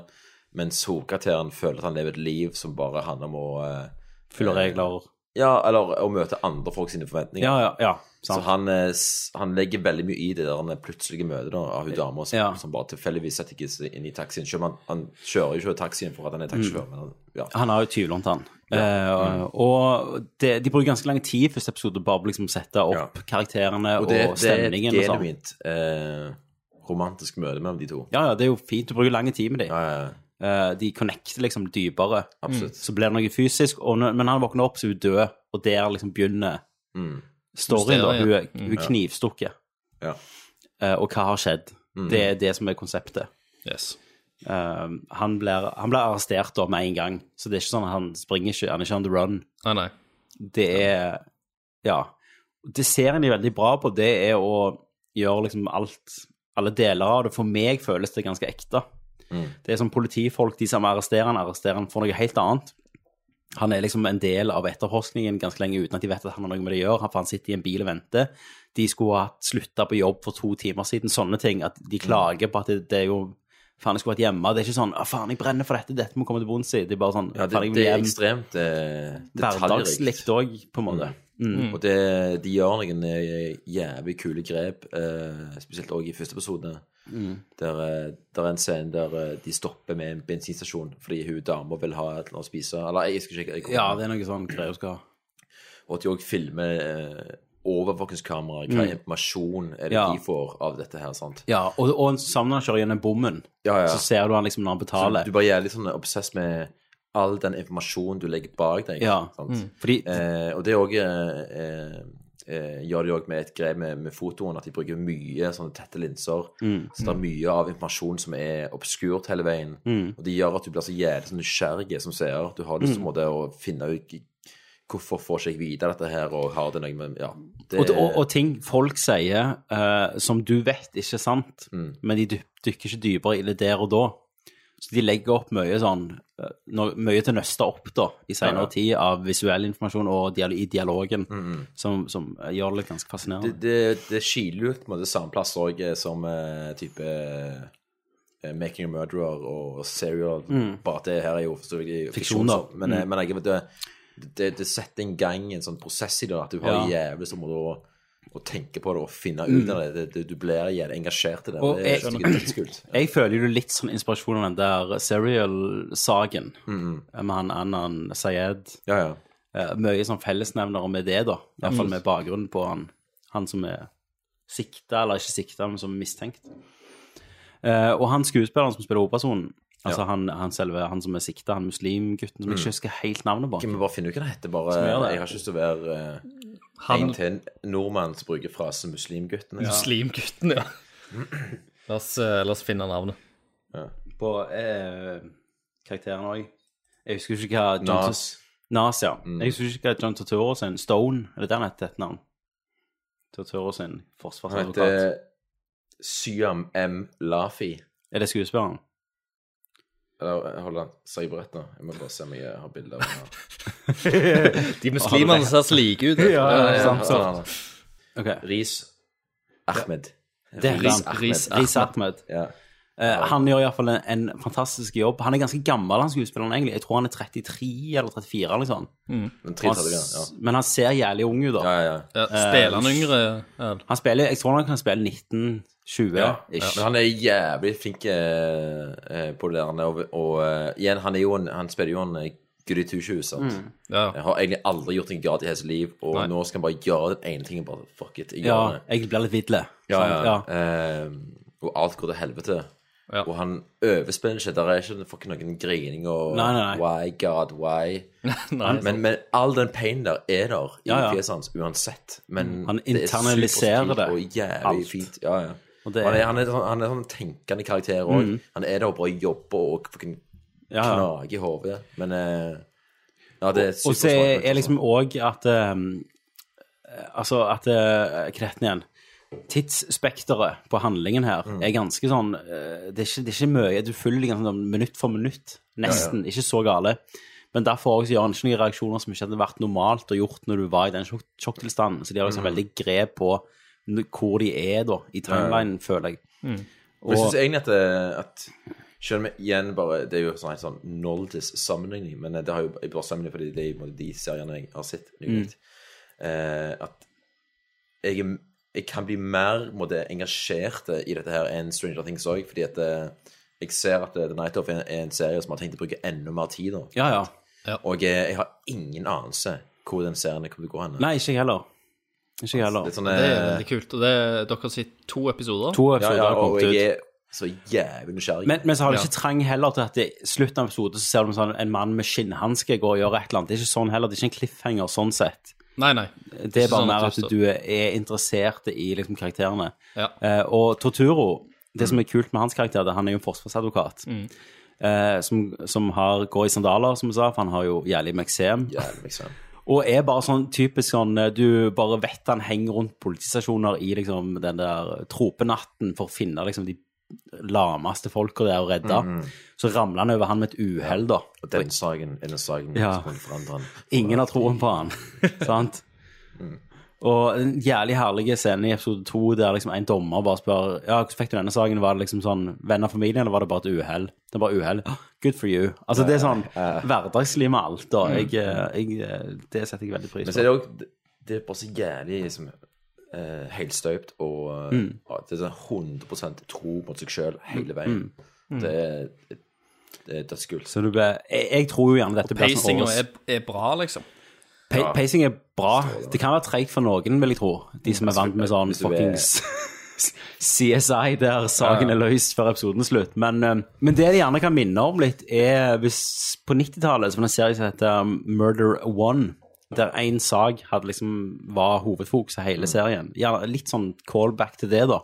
Mens hovedkarakteren føler at han lever et liv som bare handler om å eh,
Fulle regler.
Ja, eller å møte andre folk sine forventninger.
Ja, ja, ja.
Så
Sant.
han, eh, s- han legger veldig mye i det der han plutselige møtet da, av hun dama som,
Ja.
som bare tilfeldigvis setter ikke seg inn i taxien. Selv om han, han kjører jo ikke taxien for at han er taxisjåfør, men han, ja.
Han har jo tyvlånt han. Eh, Og det, de bruker ganske lang tid i første episode bare på liksom å sette opp karakterene og,
Og det, det er et
stemningen. og sånn.
genuint eh, romantisk møte mellom de to.
Ja, ja, det er jo fint. Du bruker lang tid med dem.
Ja, ja, ja.
Eh, de connecter liksom dypere.
Absolutt.
Så blir det noe fysisk, og når, men han våkner opp, så er hun død, og der liksom begynner storyen. da,
Mysteriet.
Hun er, hun er knivstukket,
Mm. Ja. Mm.
Eh, og hva har skjedd? Det er det som er konseptet.
Yes.
Eh, han, blir, han blir arrestert da med en gang, så det er ikke sånn at han springer ikke, han er ikke on the run.
Nei, nei.
det er Ja. Det serien er veldig bra på, det er å gjøre liksom alt Alle deler av det. For meg føles det ganske ekte.
Mm.
Det er som politifolk, de som arresterer han, arresterer han for noe helt annet. Han er liksom en del av etterforskningen ganske lenge uten at de vet at han har noe med det å gjøre. Han- For han sitter i en bil og venter. De skulle ha slutta på jobb for to timer siden. Sånne ting. At
Mm.
de klager på at det, det er jo Faen, jeg skulle vært hjemme. Det er ikke sånn Å, faen, jeg brenner for dette. Dette må komme til bunns i. Det er bare sånn
Ja, det,
faen, jeg vil
det er
hjem.
ekstremt eh, detaljrikt. Mm.
Hverdagslikt òg, på en måte.
Og det, de gjør noen eh, jævlig kule grep, eh, spesielt også i første episode.
Mm.
Der, eh, der er en scene der eh, de stopper med en bensinstasjon fordi hun dama vil ha et eller annet å spise. Eller jeg husker ikke. Jeg kommer-
Ja, det er noe sånn greier du skal ha.
Og at de òg filmer eh, overvåkingskamera, hva informasjon er
Mm.
det
Ja.
de får av dette her. sant?
Ja, og, og sammen når han kjører gjennom bommen,
Ja, ja.
så ser du han liksom når han
Så
betaler.
du bare er litt sånn obsess med all den informasjonen du legger bak deg.
Ja.
Sant?
Mm. Fordi-
Eh, og det òg eh, eh, gjør de òg med et grep med, med fotoen, at de bruker mye sånne tette linser.
Mm.
Så det er mye av informasjon som er obskurt hele veien.
Mm.
Og det gjør at du blir så jævlig sånn nysgjerrig som seer. Du har lyst til
Mm.
på en måte å finne ut hvorfor får ikke jeg vite dette her, og har det noe med Ja. Det,
Og, og, og ting folk sier eh, som du vet ikke er sant,
Mm.
men de dyp- dykker ikke dypere i det der og da. Så de legger opp mye sånn eh, no- Mye til å nøste opp da, i
Ja, ja.
senere tid av visuell informasjon og dial i dialogen,
Mm, mm.
som, som eh, gjør det litt ganske
det,
fascinerende.
det, det skiler ut på en måte samme plass òg som eh, type eh, Making a Murderer og Serial.
Mm.
Bare at det her er jo forstår jeg,
Fiksjon, da.
sånn. Men, eh,
Mm.
men jeg, det, det, det setter en gang en sånn prosess i det, at du har jævlig som å, å tenke på det og finne ut av det. det, det du blir jævlig engasjert i det.
Mm. Og
det
jeg-
er sikkert dødskult.
Jeg føler jo litt sånn inspirasjon av den der Serial-saken
Mm.
med han Annan Sayed.
Ja, ja.
Eh, Mye sånn fellesnevnere med det, da. Iallfall
Mm.
med bakgrunnen på han, han som er sikta, eller ikke sikta, men som er mistenkt. Eh, og han skuespilleren som spiller hovedpersonen, altså han, han selve, han som er sikta, han muslimgutten som jeg
Mm.
ikke husker helt navnet på
Kan vi bare finne ut hva det heter? Bare,
Skal vi gjøre det?
jeg har ikke lyst til å være eh,
Han-
en til en nordmann som bruker frasen 'muslimguttene'.
Muslimgutten, ja. La oss, eh, la oss finne navnet.
På eh, karakteren òg. Jeg husker ikke hva John
Nas.
Nas, ja.
Mm.
Jeg husker ikke hva John Tortoro sin Stone, er det der han heter et navn? Tortoro sin
Han
forsvarsadvokat.
heter Syam M. Lafi.
Er det skuespilleren?
Eller, hold an, sa jeg på rett nå? Jeg må bare se om jeg har bilde av han her.
De muslimene ser slike ut. vet du.
Ja, Sånn,
Det er
ja,
sånn,
sant,
ja.
sant.
Han,
Ok.
Riz Ahmed.
Det er
Riz
han.
Ahmed.
Riz Ahmed. Riz Ahmed.
Ja.
Eh, han gjør iallfall en, en fantastisk jobb. Han er ganske gammel, han skuespilleren, egentlig. Jeg tror han er 33 eller 34, eller noe sånt.
Den
Han
tredje,
s-
ja.
Men han ser jævlig ung ut, da.
Ja, ja, ja.
Ja,
Eh,
Spiller han yngre? Ja.
Han spiller, jeg tror han kan spille 1920
Ja,
ish.
Men han er jævlig flink eh, eh, på det der. han er, Og, og eh, igjen, han, er jo en, han spiller jo en eh, Goody Two-Shoes, sant?
Ja.
Jeg har egentlig aldri gjort en grad i hele sitt liv, og
Nei.
nå skal han bare gjøre den ene tingen. Bare fuck it. Jeg
Ja,
gjør det.
jeg Sånn, blir litt vidle.
Ja,
sant?
ja. Eh, og alt går til helvete.
Ja.
Og han overspiller ikke. Der er ikke fucking noen grining og
Nei, nei, nei.
Why, God, why?
Nei,
men, men all den painen der er der i
Ja, ja.
fjeset hans uansett. Men
Han
det er
internaliserer
superstilt
det.
Og jævlig
Alt.
fint. Ja, ja.
Og det er- Mm.
han, er, han, er, sånn- han er sånn tenkende karakter òg. Han er der og bare jobber og fucking
Ja, ja.
knager i hodet. Men eh, ja, det er
Og så
supersmart,
er liksom òg at ehm, Altså at eh, Hva heter den igjen? Tidsspekteret på handlingen her
Mm.
er ganske sånn eh, det, er ikke, det er ikke mye. Du følger liksom sånn minutt for minutt. Nesten. Ikke så gale. Men derfor også gjør han ikke noen reaksjoner som ikke hadde vært normalt og gjort når du var i den sjokk- sjokktilstanden. Så de har liksom
Mm.
veldig grep på n- hvor de er da, i timelinen, føler jeg.
Men jeg syns egentlig at, eh, at Selv om jeg- igjen bare Det er jo sånn, sånn Noldis-sammenligning, men eh, det har jo jeg bare sammenligning fordi det er jo de seriene jeg har sett nylig.
Mm.
Eh, at jeg, er- jeg kan bli mer på en måte, engasjert i dette her enn Stranger Things òg, fordi at eh, jeg ser at eh, The Night Off er, er en serie som har tenkt å bruke enda mer tid nå.
Ja, ja.
Og eh, jeg har ingen anelse hvor den serien kommer til å gå hen.
Nei, ikke jeg heller. Ikke jeg heller.
Litt sånn,
Det er
eh,
veldig kult. Og det, dere har sett to episoder.
To
ja,
episoder
ja,
har
og
kommet ut.
jeg er så jævlig nysgjerrig.
Men, men så har det
Ja.
ikke trang heller til at i slutten av episoden så ser du sånn, en mann med skinnhanske gå og gjøre et eller annet. Det er ikke sånn heller. Det er ikke en cliffhanger sånn sett.
Nei, nei.
Det er
Ikke
bare
sånn
mer
at
at
du
du er interessert i liksom, karakterene.
Ja.
Eh, og Torturo, det som er kult med hans karakter, det er at han er jo en forsvarsadvokat.
Mm.
Eh, som, som har, går i sandaler, som vi sa, for han har jo jævlig meksem.
Jævlig, liksom.
Og er bare sånn typisk sånn eh, Du bare vet han henger rundt politistasjoner i liksom den der tropenatten for å finne liksom de lameste folka der og redde.
Mm,
Så ramler han over han med et uhell, da.
Og den saken er den saken
Ja.
som kommer forandre han.
Ingen har troen på han, sant?
Mm.
Og en jævlig herlig scene i episode to der liksom en dommer bare spør ja, hvordan fikk du denne saken. Var det liksom sånn venn av familien, eller var det bare et uhell? Det er bare uhell. «Åh, Good for you. Altså, det er sånn hverdagslig med alt, da. Jeg, eh, jeg, eh, det setter jeg veldig pris
Mm. Men
på.
så er det òg Det er bare så jævlig liksom, eh, helstøpt og eh,
Mm.
at Det er sånn 100 tro mot seg sjøl hele veien. Det er, det er dødskult.
Mm. Så du ble, jeg, jeg tror jo gjerne dette blir sånn
Pacinga
årets-
er, er bra, liksom.
Pa- Pacing er bra. Det kan være treigt for noen, vil jeg tro. De som er vant med sånn
Hvis du er-
fuckings CSI der saken er løst før episoden er slutt. Men, eh, men det de gjerne kan minne om litt, er hvis på 90-tallet så var det en serie som heter um, Murder One. Der én sak hadde liksom, var hovedfokus i
Mm.
hele serien. Gjerne litt sånn callback til det, da.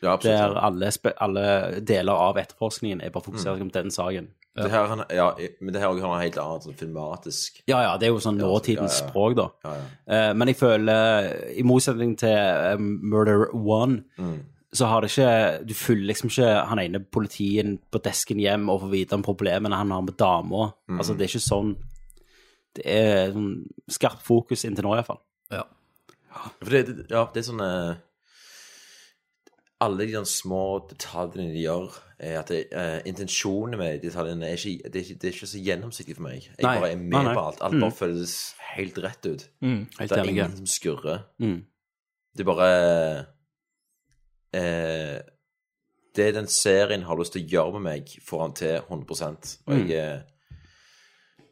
der alle, spe- alle deler av etterforskningen er bare fokusert
Mm.
om den saken.
Det her, han- ja, men det her har han helt annet sånn filmatisk
Ja, ja, det er jo sånn nåtidens
ja, ja.
språk, da. Eh, men jeg føler, i motsetning til eh, Murder One,
Mm.
så har det ikke Du følger liksom ikke han ene politien på desken hjem og får vite om problemene han har med dama.
Mm.
Altså, det er ikke sånn Det er sånn skarpt fokus inntil nå, iallfall.
Ja.
For det, det- ja, det er sånn eh, Alle de der små detaljene de gjør, er at det, eh, intensjonen med detaljene er ikke, det er ikke, det er ikke så gjennomsiktig for meg. Jeg
Nei.
bare er med
Nei, nei.
på alt. Alt
Mm.
bare føles helt rett ut.
Mm. Helt
Det er
enig.
ingen som skurrer.
Mm.
Det er bare eh, Det den serien har lyst til å gjøre med meg, får han til 100 Og
Mm.
jeg er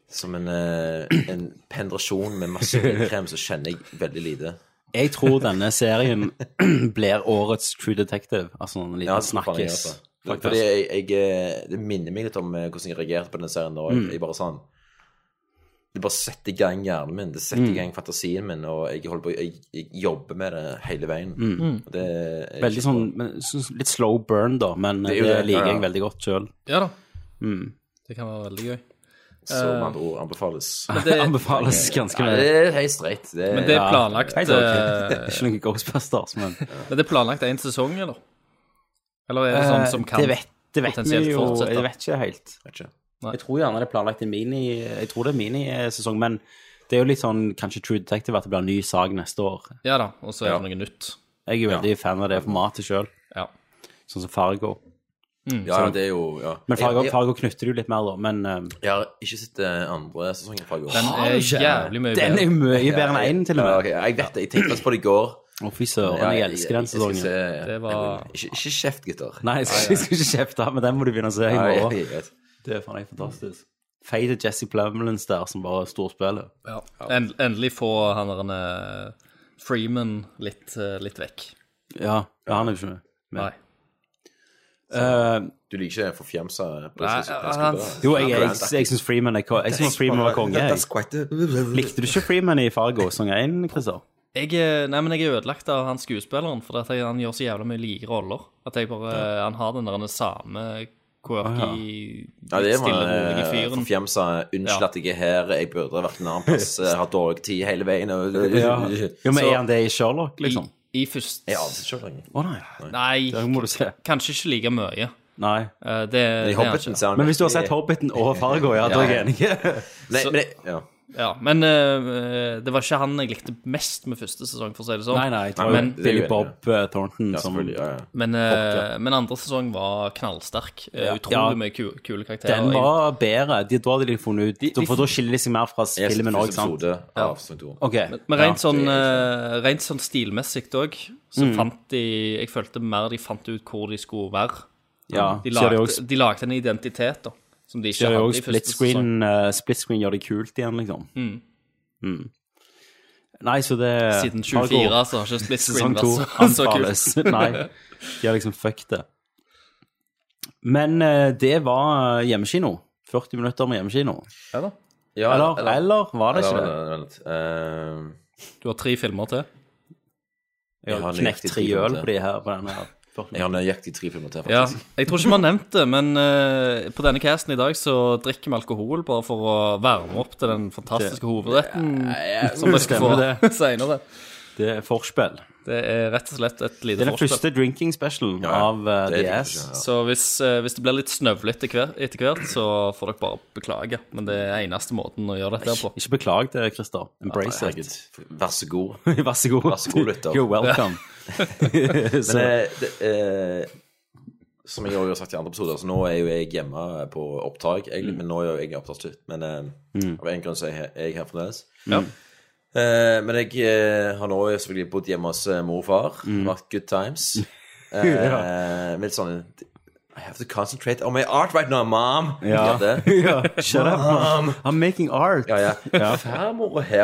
som en, eh, en penetrasjon med masse krem, så kjenner jeg veldig lite.
Jeg tror denne serien blir årets True Detective. Altså en liten
Ja, faen, jeg
snakkis.
gjør det.
faktisk.
Fordi jeg, jeg, eh, det minner meg litt om eh, hvordan jeg reagerte på den serien da. Jeg,
Mm.
jeg bare sånn Det bare setter i gang hjernen min, det setter i
Mm.
gang fantasien min, og jeg, holder på, jeg, jeg jobber med det hele veien.
Mm.
Og det er
Veldig sånn men, så- litt slow burn, da, men eh,
Det
det,
er jo det,
liker
ja, ja.
jeg veldig godt sjøl.
Ja da.
Mm.
Det kan være veldig gøy.
Så med
Eh,
andre ord anbefales.
Men det-
Anbefales ganske
Ja, det er helt streit. Det,
Men det er
Ja.
planlagt,
Helt ok.
eh,
Ikke noen Ghostbusters, men
Men det er planlagt én sesong, eller? Eller er det sånn som kan
Eh, Det vet, det vet vi
potensielt
jo
fortsette?
Jeg vet ikke helt.
Vet ikke.
Jeg tror gjerne det er planlagt en mini Jeg tror det er minisesong, men det er jo litt sånn kanskje True Detective at det blir en ny sag neste år.
Ja da, og så er det noe nytt.
Jeg er jo veldig fan av det formatet sjøl,
Ja.
sånn som Fargo.
Ja, det er jo ja.
Sånn. Men Fargo,
jeg, jeg,
Fargo knytter det jo litt mer, da. Men eh,
jeg har ikke sett eh, andre sesongen av Fargo.
Den er jævlig mye
den er jo
bedre.
mye bedre enn én, til og
Ja,
med.
ok, jeg vet det. Jeg tenkte faktisk på det i går.
Å, fy søren, jeg elsker den
jeg skal
sesongen.
se-
Det var-
Ikke, ikke kjeft, gutter.
Nei, jeg skal, jeg skal ikke kjefte, men den må du begynne å se i
Nei, jeg
morgen.
vet.
Det er faen meg fantastisk. Mm. Fade Jesse Plumlins der, som bare storspiller.
Ja. En, endelig få han der eh, Freeman litt, eh, litt vekk.
Ja, han er jo ikke med.
Nei.
Eh,
Du liker ikke forfjamsa
Nei, han-
Jo, jeg, jeg, jeg, syns Freeman, er ko- jeg synes Freeman var konge. Jeg. Likte du ikke Freeman i Fargo sang 1, Christer?
Jeg, er- nei, men jeg er ødelagt av han skuespilleren, for at jeg, han gjør så jævla mye like roller. At jeg bare, Han har den der den samme quirky,
Ja, det
litt
er
stille,
eh,
rolige
man
fyren.
forfjamsa. Unnskyld at jeg er her, jeg burde vært en annen plass, jeg har dårlig tid hele veien. og-
Jo, men
Så-
er han det i Sherlock,
I,
liksom?
i først...
Jeg aner ikke lenger.
Å nei.
Nei,
Det må du se.
kanskje ikke like mye.
Nei.
I
Eh, det, det er han ikke.
Hobbiten ser han
Men hvis du har sett Hobbiten
virkelig-
og Fargo, ja, da er jeg enig.
Nei, men det, ja.
Ja, men eh, det var ikke han jeg likte mest med første sesong, for å si det sånn.
Nei, nei, jeg tror
men-
det er jo Bob eh, Thornton
ja,
som
selvfølgelig. Ja, ja.
Men, eh, men andre sesong var knallsterk. Eh, Utrolig
Ja.
mye ku, kule karakterer.
Den var bedre. De, da hadde de funnet ut
de-
For da skiller de seg mer fra
Jeg har sett
filmen òg,
første
sant?
episode av sesong to.
OK.
Men rent,
ja. Mm.
sånn, eh, rent sånn stilmessig òg, så fant de Jeg følte mer de fant ut hvor de skulle være.
Ja.
De
så gjør
lagde,
de også-
de lagde en identitet da, som de
så
ikke
gjør de også
hadde i første
split
sesong.
screen, eh, split screen gjør det kult igjen, liksom. Mm. Nei, så det
Siden
Fargo-
24 så har ikke split
eh, Sesong
screen
to
vært så, så
anbefales.
kult.
Nei, de har liksom fucked det. Men eh, det var hjemmekino. 40 minutter med hjemmekino.
Ja,
Eller, eller, var det ikke det?
Eller, vent, eh,
Du har tre filmer til.
Jeg har
nøyaktig
knekt tre
ti minutter.
øl på, de her, på denne her. 40
Jeg har nøyaktig tre filmer til,
Ja,
faktisk.
jeg tror ikke vi har nevnt det, men eh, på denne casten i dag så drikker vi alkohol bare for å varme opp til den fantastiske hovedretten som vi skal
Stemmer
få senere.
Det er forspill.
Det er rett og slett et
Det
lite
er den
forspill.
første drinking specialen
Ja, ja.
av eh,
Det er
The
det
Ass.
første, ja.
Så hvis, eh, hvis det blir litt snøvlig etter hver- etter hvert, så får dere bare beklage. Men det er eneste måten å gjøre dette her på.
Ikke beklag det, Christer. Embrace
Herregud,
it.
vær så god.
Vær så god.
Vær så god, lytter.
You're welcome.
Men
så,
eh, det, eh, som jeg også har sagt i andre episoder, så nå er jo jeg hjemme på opptak. egentlig,
Mm.
Men nå er jo jeg opptaksslutt. Men eh, av en grunn så er jeg, er jeg her fremdeles. Eh, men jeg eh, har nå selvfølgelig bodd hjemme hos eh, mor og far.
Mm.
Vært good times. Eh, Men litt sånn I have to concentrate on my art right now, mom.
ja.
Ja, det.
ja. Shut up,
Ah,
mom. I'm making art.
Ja, ja. Farmor og her.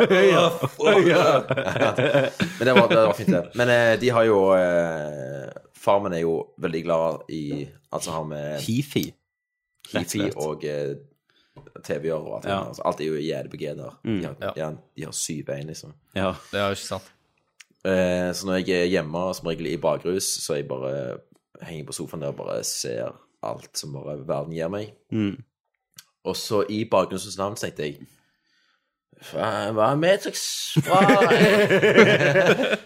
Men det var, det var fint, det. Men eh, de har jo eh, Far min er jo veldig glad i alt som har med
Hifi. Rett og
Hifi
slett.
og eh, TV-er og alt. det
Ja.
der. Altså, alt er jo i EDBG der.
Mm.
De har,
Ja.
ja, de har syv bein, liksom.
Ja.
Det er jo ikke sant.
Eh, så når jeg er hjemme, som regel i bakrus, så jeg bare henger på sofaen der og bare ser alt som bare verden gir meg.
Mm.
Og så i bakgrunnens navn så tenkte jeg Hva hva er Matrix fra?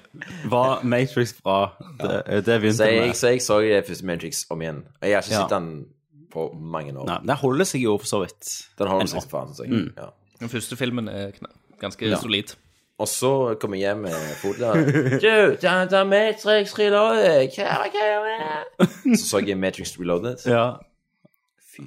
Var Matrix bra? Det, eh, det begynte
Så jeg,
med.
så jeg så det første Matrix om igjen. Jeg har ikke
Ja.
sett den på mange år.
Nei, den holder seg jo for så vidt.
Den holder
En
seg
opp.
for faen, synes jeg.
Mm.
Ja.
Den første filmen er kna- ganske
Ja.
solid.
Og så kom jeg hjem med Foda. Du, den der Matrix Reloaded, hva er det, hva er det? Så så jeg Matrix Reloaded.
Ja.
Fy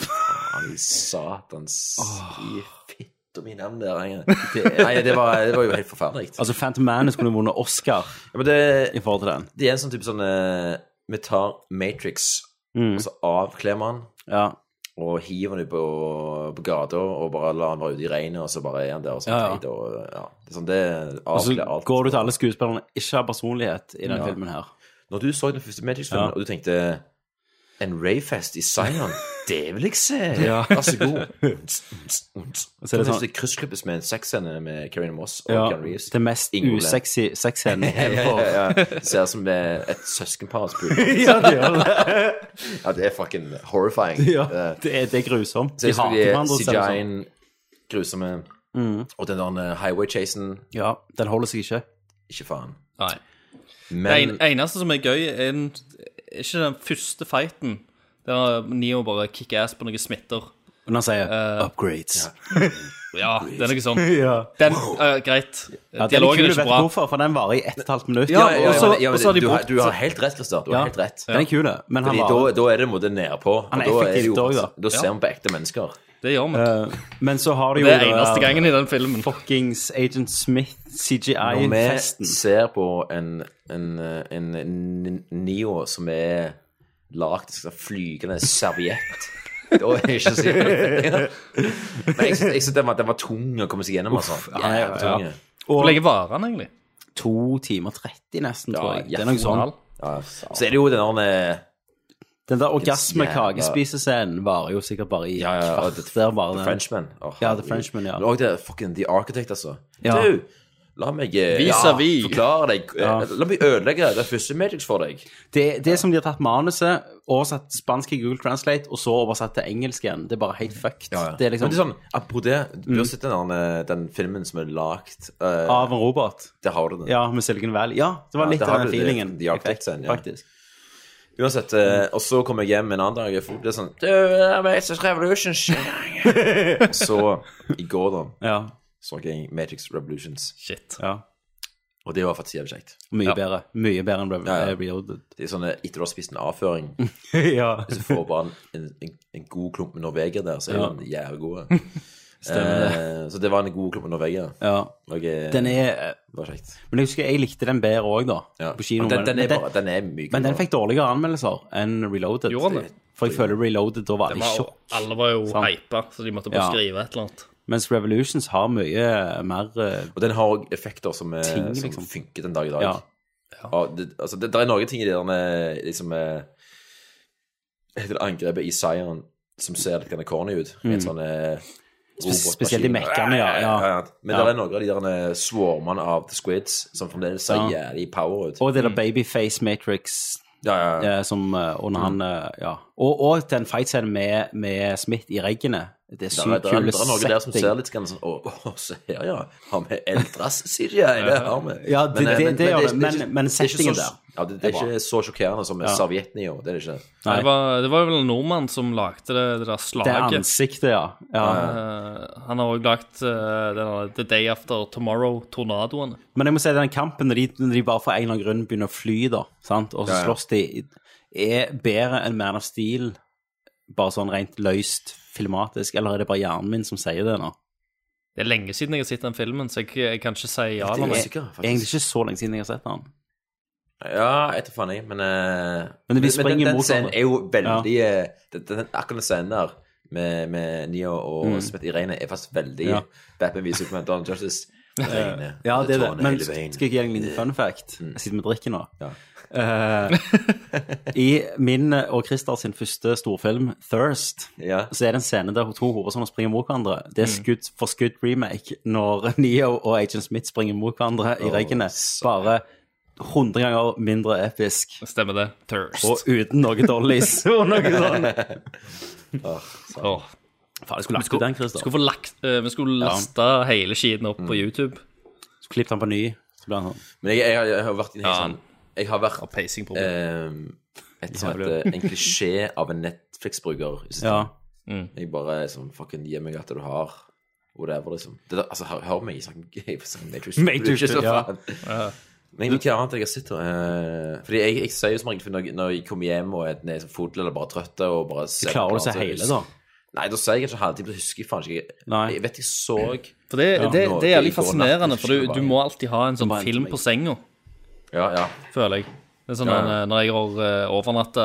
faen, satans i fitta mi navn der. jeg. Det, nei, det var, det var jo helt forferdelig.
Altså, Phantom Manus kunne vunnet Oscar
Ja, men det,
i forhold til den.
det er en sånn type sånn eh, Vi tar Matrix,
Mm.
og så avkler man den.
Ja.
og hiver den ut på, på gata og bare lar den være ute i regnet, og så bare er han der og sånn
Ja, ja.
teit og ja. Det er sånn det
Og så
avkler alt.
går du til alle skuespillerne ikke har personlighet i den
Ja.
filmen her.
Når du så den første Matrix-filmen,
Ja.
og du tenkte en rave-fest i Zion, det vil jeg se!
Ja.
Vær så god. Og
så er det sånn-
det kryssklippes med en sexscene med Karina Moss og
Ja,
Keanu Reeves.
det mest
Ingen problem.
usexy sexscenen.
Ja, ja, ja. Ser ut som eh, et søskenpar som puler.
ja, det gjør det.
Ja, det er fucking horrifying.
Ja,
Eh,
det, er, det er grusomt.
Så jeg
De hater hverandre. Mm.
husker
selv og sånn.
CGI-en grusomme, og den der highway-chasen
Ja, den holder seg ikke.
Ikke faen.
Nei. Det
Men
en- eneste som er gøy, er den, er ikke den første fighten der Neo bare kicker ass på noen smitter.
Men han sier
Eh,
'upgrades'.
Ja, det er noe sånn.
Ja.
Den, eh, greit.
Ja, den er
Dialogen
kul,
er
du
ikke
vet
bra.
hvorfor, for den varer i ett og et halvt minutt.
Ja,
Ja, ja, ja,
og så-
men- ja, men
og så har de
du, har,
brukt-
du har helt rett, Christer. Du har
Ja.
helt rett.
Den er kul, men han
Fordi
varer.
da, da er det en måte nedpå. og
Han er
da
effektiv
det jo-
dog, da.
Da ser
Ja.
man på ekte mennesker.
Det gjør vi.
Eh, Men så har de jo
Det er
det
eneste
der
gangen i den filmen.
Fuckings Agent Smith,
Når
CGI-festen.
vi ser på en, en, en, en Neo som er lagd av flygende serviett Da er det ikke så Men jeg syns- jeg syns den, var- den var tung å komme seg gjennom, altså.
ja, ja,
Jævlig
ja.
tung.
Hvor
Og
lenge varer den egentlig?
to timer 30 nesten, tror jeg.
ja,
Det er noe
to og
sånn.
en halv. Ja. Så er det jo den der eh, med-
Den der
Jævla-
orgasme-kakespisescenen varer jo sikkert bare i
Ja, ja, og
kvart.
The-
Der var
The
den.
Frenchman. Åh,
Ja, The
herregud.
Frenchman, ja.
Men også det fucking The Architect, altså.
Ja.
Du, la meg eh,
Vis-a-vis.
forklare deg eh,
Ja.
La meg ødelegge det første Matrix for deg.
Det, det som de har tatt manuset, oversatt til spansk i Google Translate, og så oversatt til engelsk igjen, det er bare helt fucked. Det er liksom Mm.
Men det er sånn, Apropos det, du har sett den, der, eh, den filmen som er eh, lagd
av en robot.
Det har du den.
Ah. Ja, med Silicon Valley. Ja, det var
Ja,
litt
det
av
har
den
du det,
feelingen.
The Architect-scenen, ja.
Faktisk.
Uansett,
Mm.
eh, og så kommer jeg hjem en annen dag, og folk blir sånn Du, det er Matrix Revolutions. så i går, da,
Ja.
så jeg Matrix Revolutions,
Shit.
ja.
og det var faktisk jævlig kjekt.
Mye bedre. Mye bedre enn Re-
Ja, ja.
eh, Reloaded.
Det er sånn eh, etter du har spist en avføring
ja.
Så får bare en, en, en- en god klump med Norvegia der, så er
Ja.
den jævlig god. Eh, så det var en god klump med Norvegia.
ja.
Og, eh,
Den er
det var kjekt.
Men jeg husker jeg likte den bedre òg, da.
Ja.
På kino.
Men den, den, er
men
bare, den er myk.
men den fikk dårligere anmeldelser enn Reloaded.
Gjorde den det?
For jeg føler Reloaded da var
Det
det
var,
sjokk.
alle var jo
Sant.
hypa, så de måtte bare
Ja.
skrive et eller annet.
Mens Revolutions har mye mer eh,
Og den har også effekter som, eh,
Ting, liksom.
som funker den dag i dag.
Ja.
Og det, altså, det, det er noen ting i det der med liksom, eh, Heter det angrepet i Zion som ser litt grann corny ut. Helt sånn eh, robotmaskin.
Mm. Spesielt de mekkene, ja. ja.
Men
Ja.
det er noen av de der eh, swarmene av The Squids som fremdeles ser
Ja.
jævlig power ut.
Og
Mm.
det der Babyface Matrix
Ja, ja, ja.
eh, som eh, Og
Mm.
når han eh, Ja. Og, og den fightscenen med, med Smith i reggene. Det er
Det er,
sykt
det er,
kule
det er noe der som ser
setting.
litt grann sånn Å, å, se her, ja. Har vi Eldras CGI? Det har vi.
Ja, det-
eh,
det- det gjør det,
ikke-
men-
ikke-
men
det er ikke
settingen
så-
der
Ja, det, det er
er bra.
ikke så sjokkerende som
Ja.
Servietten i år. Det er det ikke.
Nei.
Det var, det var vel en nordmann som lagde det, det der
Det er
slaget.
ansiktet, ja. ja.
Eh, han har også lagt eh, den der The Day After Tomorrow-tornadoene.
Men jeg må si den kampen når de, når de bare for en eller annen grunn begynner å fly, da, sant? og så
Ja, ja.
slåss de, er bedre enn Man of Steel bare sånn rent løst filmatisk, eller er det bare hjernen min som sier det nå?
Det er lenge siden jeg har sett den filmen, så jeg, jeg kan ikke si ja
Det
eller
er
nei.
usikker, faktisk.
Egentlig ikke så lenge siden jeg har sett den.
Ja, etter faen jeg, men eh,
Men de springer
den, den
mot
scenen
hverandre.
er jo veldig eh, den, den, Akkurat den scenen der med, med Neo og Smith i regnet er faktisk veldig
Mm. Ja.
Batman viser Superman Donald Justice. Regnet,
Ja, det er det.
tårner
Men
hele
skal
veien. Mm.
jeg gi deg en liten fun fact? Jeg sitter med drikken nå.
Ja.
Eh, I min og Christer sin første storfilm, 'Thirst', så er det en scene der to hovedpersoner springer mot hverandre. Det er
Mm.
skudd for skudd remake når Neo og Agent Smith springer mot hverandre i
Åh,
regnet. Bare 100 ganger mindre episk.
Stemmer det. Thirst.
Og uten noe dollies og noe sånt.
Åh.
Faen, jeg skulle
Vi
lagt ut den, Christer.
Skulle få lagt, eh, vi skulle
Ja. Mm.
lasta hele skiten opp på YouTube.
Så klippet han på ny. Så ble han sånn.
Men jeg, jeg, har- jeg har vært i en helt
Ja.
sånn Jeg har vært eh, et som heter en klisjé av en Netflix-bruker. i sitt
Ja.
liv. Jeg bare er sånn Fucken, gi meg at du har whatever, liksom. Det, der- altså, hør, hør meg i sånn Matrix.
Matrix, ja.
faen. Men hva annet jeg har sett da? Eh, Fordi jeg, jeg sier jo som regel for når, jeg- når jeg kommer hjem og er nede som fotel eller bare trøtt og bare ser
klarer
på
du å se
plater,
hele,
husker-
da?
Nei, da sier jeg kanskje halvtime, så husker jeg faen ikke. Jeg, jeg vet jeg så
For det,
Ja.
det, det er
Norge i
litt
går natt,
fascinerende,
husker
for
jeg
du,
bare.
du må alltid ha en sånn
bare en
film
til meg.
på senga,
Ja, ja.
føler jeg. Det er sånn
Ja,
at,
ja.
eh, Når jeg har eh, overnatta,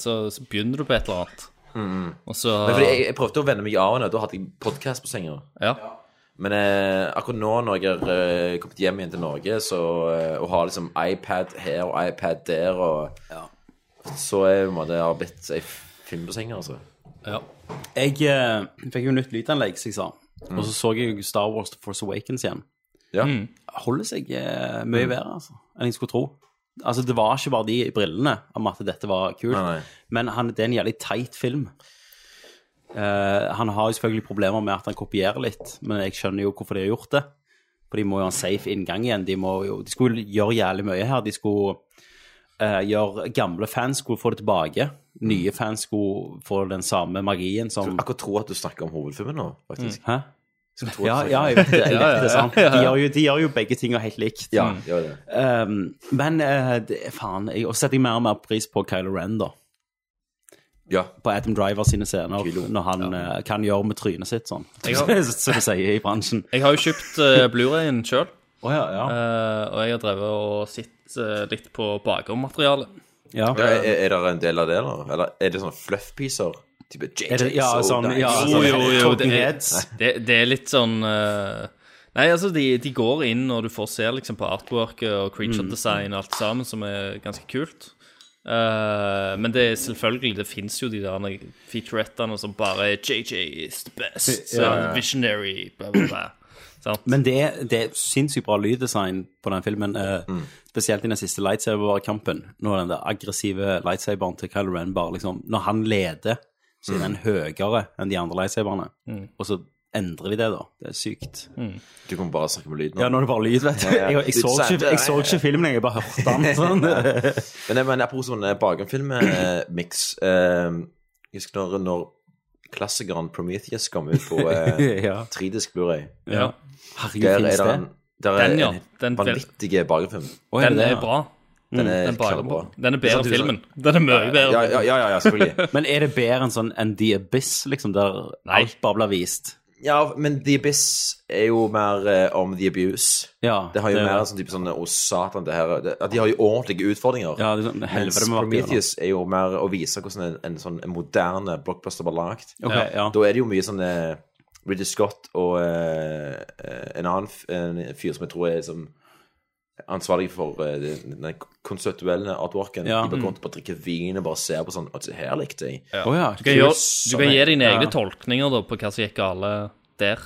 så, så begynner du på et eller annet. Og så
Mm-hmm. Men
Ah.
fordi jeg, jeg prøvde å vende meg av henne. Da hadde jeg podkast på senga.
Ja.
Men eh, akkurat nå når jeg har eh, kommet hjem igjen til Norge så, eh, og har liksom iPad her og iPad der og Så er på en måte har blitt ei film på senga, altså.
Jeg eh, fikk jo nytt lydanlegg, som jeg sa.
Mm.
Og så så jeg jo Star Wars The Force Awakens igjen.
Ja.
Mm. Holder seg eh, mye
Mm.
bedre altså, enn jeg skulle tro. Altså, Det var ikke bare de i brillene om at dette var kult,
Nei, nei.
men han, det er en jævlig teit film. Eh, han har jo selvfølgelig problemer med at han kopierer litt, men jeg skjønner jo hvorfor de har gjort det. For de må jo ha en safe inngang igjen. De, må jo, de skulle gjøre jævlig mye her. De skulle eh, gjøre Gamle fans skulle få det tilbake. Nye fans skulle få den samme magien som
Jeg akkurat tror at du snakker om hovedfilmen nå, faktisk.
Hæ?
Skulle tro
Mm.
at
Ja,
du-
ja, jeg vet det. Jeg
Ja,
vet det,
ja,
sant?
ja, ja.
De, gjør jo, de gjør jo begge tinga helt likt.
Ja, de gjør det.
Um, men eh, det, faen, jeg og setter jeg mer og mer pris på Kylo Ren, da.
Ja.
På Adam Driver sine scener, når han eh, kan gjøre med trynet sitt sånn.
Jeg
Som
har-
de sier i bransjen. Eh,
Jeg har jo kjøpt uh, Blu-rayen sjøl.
ja.
og jeg har drevet og sett eh, litt på bakommaterialet.
Ja.
Ja, er, er det en del av det, da? Eller er det sånne fluff-piecer? Type JJ,
Er det- ja,
so
sånn-
nice.
ja,
Jo, jo, jo. Det er,
Heads.
det, det er litt sånn eh, Nei, altså, de, de går inn når du får se liksom, på artworket og creature
Mm.
design og alt sammen, som er ganske kult. Eh, men det er selvfølgelig, det fins jo de der featurettene som bare er JJ is the best,
Ja, ja, ja.
eh, visionary, bla, bla, bla. Sant?
Men det, det er sinnssykt bra lyddesign på den filmen. eh, Spesielt i den siste lightsaber-kampen. Når den der aggressive lightsaberen til Kylo Ren bare liksom Når han leder, så er den høyere enn de andre lightsaberne.
Mm.
Og så endrer de det, da. Det er sykt.
Du kan bare snakke med lyd nå.
Ja, nå er det bare lyd, vet du.
Ja, ja.
Jeg, jeg, så, ikke, jeg så ikke filmen, jeg bare hørte den. Sånn.
Men, men apropos sånn bakenfilm-mix Jeg eh, husker når, når klassikeren Prometheus kom ut på eh,
Ja.
tridisk Blu-ray.
Ja. Herregud,
Der er
finnes det?
en- Der er
Den, ja.
en
Den-
vanvittig bakenfilm.
Oi, er det
Den
det,
er
ja?
bra. Mm,
Den er
Den bare-
knallbra.
den er
Det
bedre
sånn
enn
du sa-
filmen. Den er mye bedre.
Ja, ja, ja, ja, ja selvfølgelig.
Men er det bedre enn sånn enn The Abyss, liksom, der alt bare blir vist?
Ja, men The Abyss er jo mer eh, om The Abuse.
Ja,
det har jo
det er
mer
det.
sånn type sånn Å, satan, det her det, at De har jo ordentlige utfordringer.
Ja, det er sånn,
Mens
helvete med hva de gjør, da.
Prometheus er jo mer å vise hvordan en, en sånn en moderne blockbuster var lagd.
Ok, ja.
Da er det jo mye sånn eh, Ridley Scott og eh, eh, en annen f- en fyr som jeg tror er som ansvarlig for eh, den den konseptuelle artworken.
Ja.
De bare
Mm.
kommer til å bare drikke vin og bare ser på sånn Å, så her likte jeg.
Ja.
Å ja,
du, kan
kult.
gjøre, du kan gi dine egne
Ja.
tolkninger da, på hva som gikk gale der.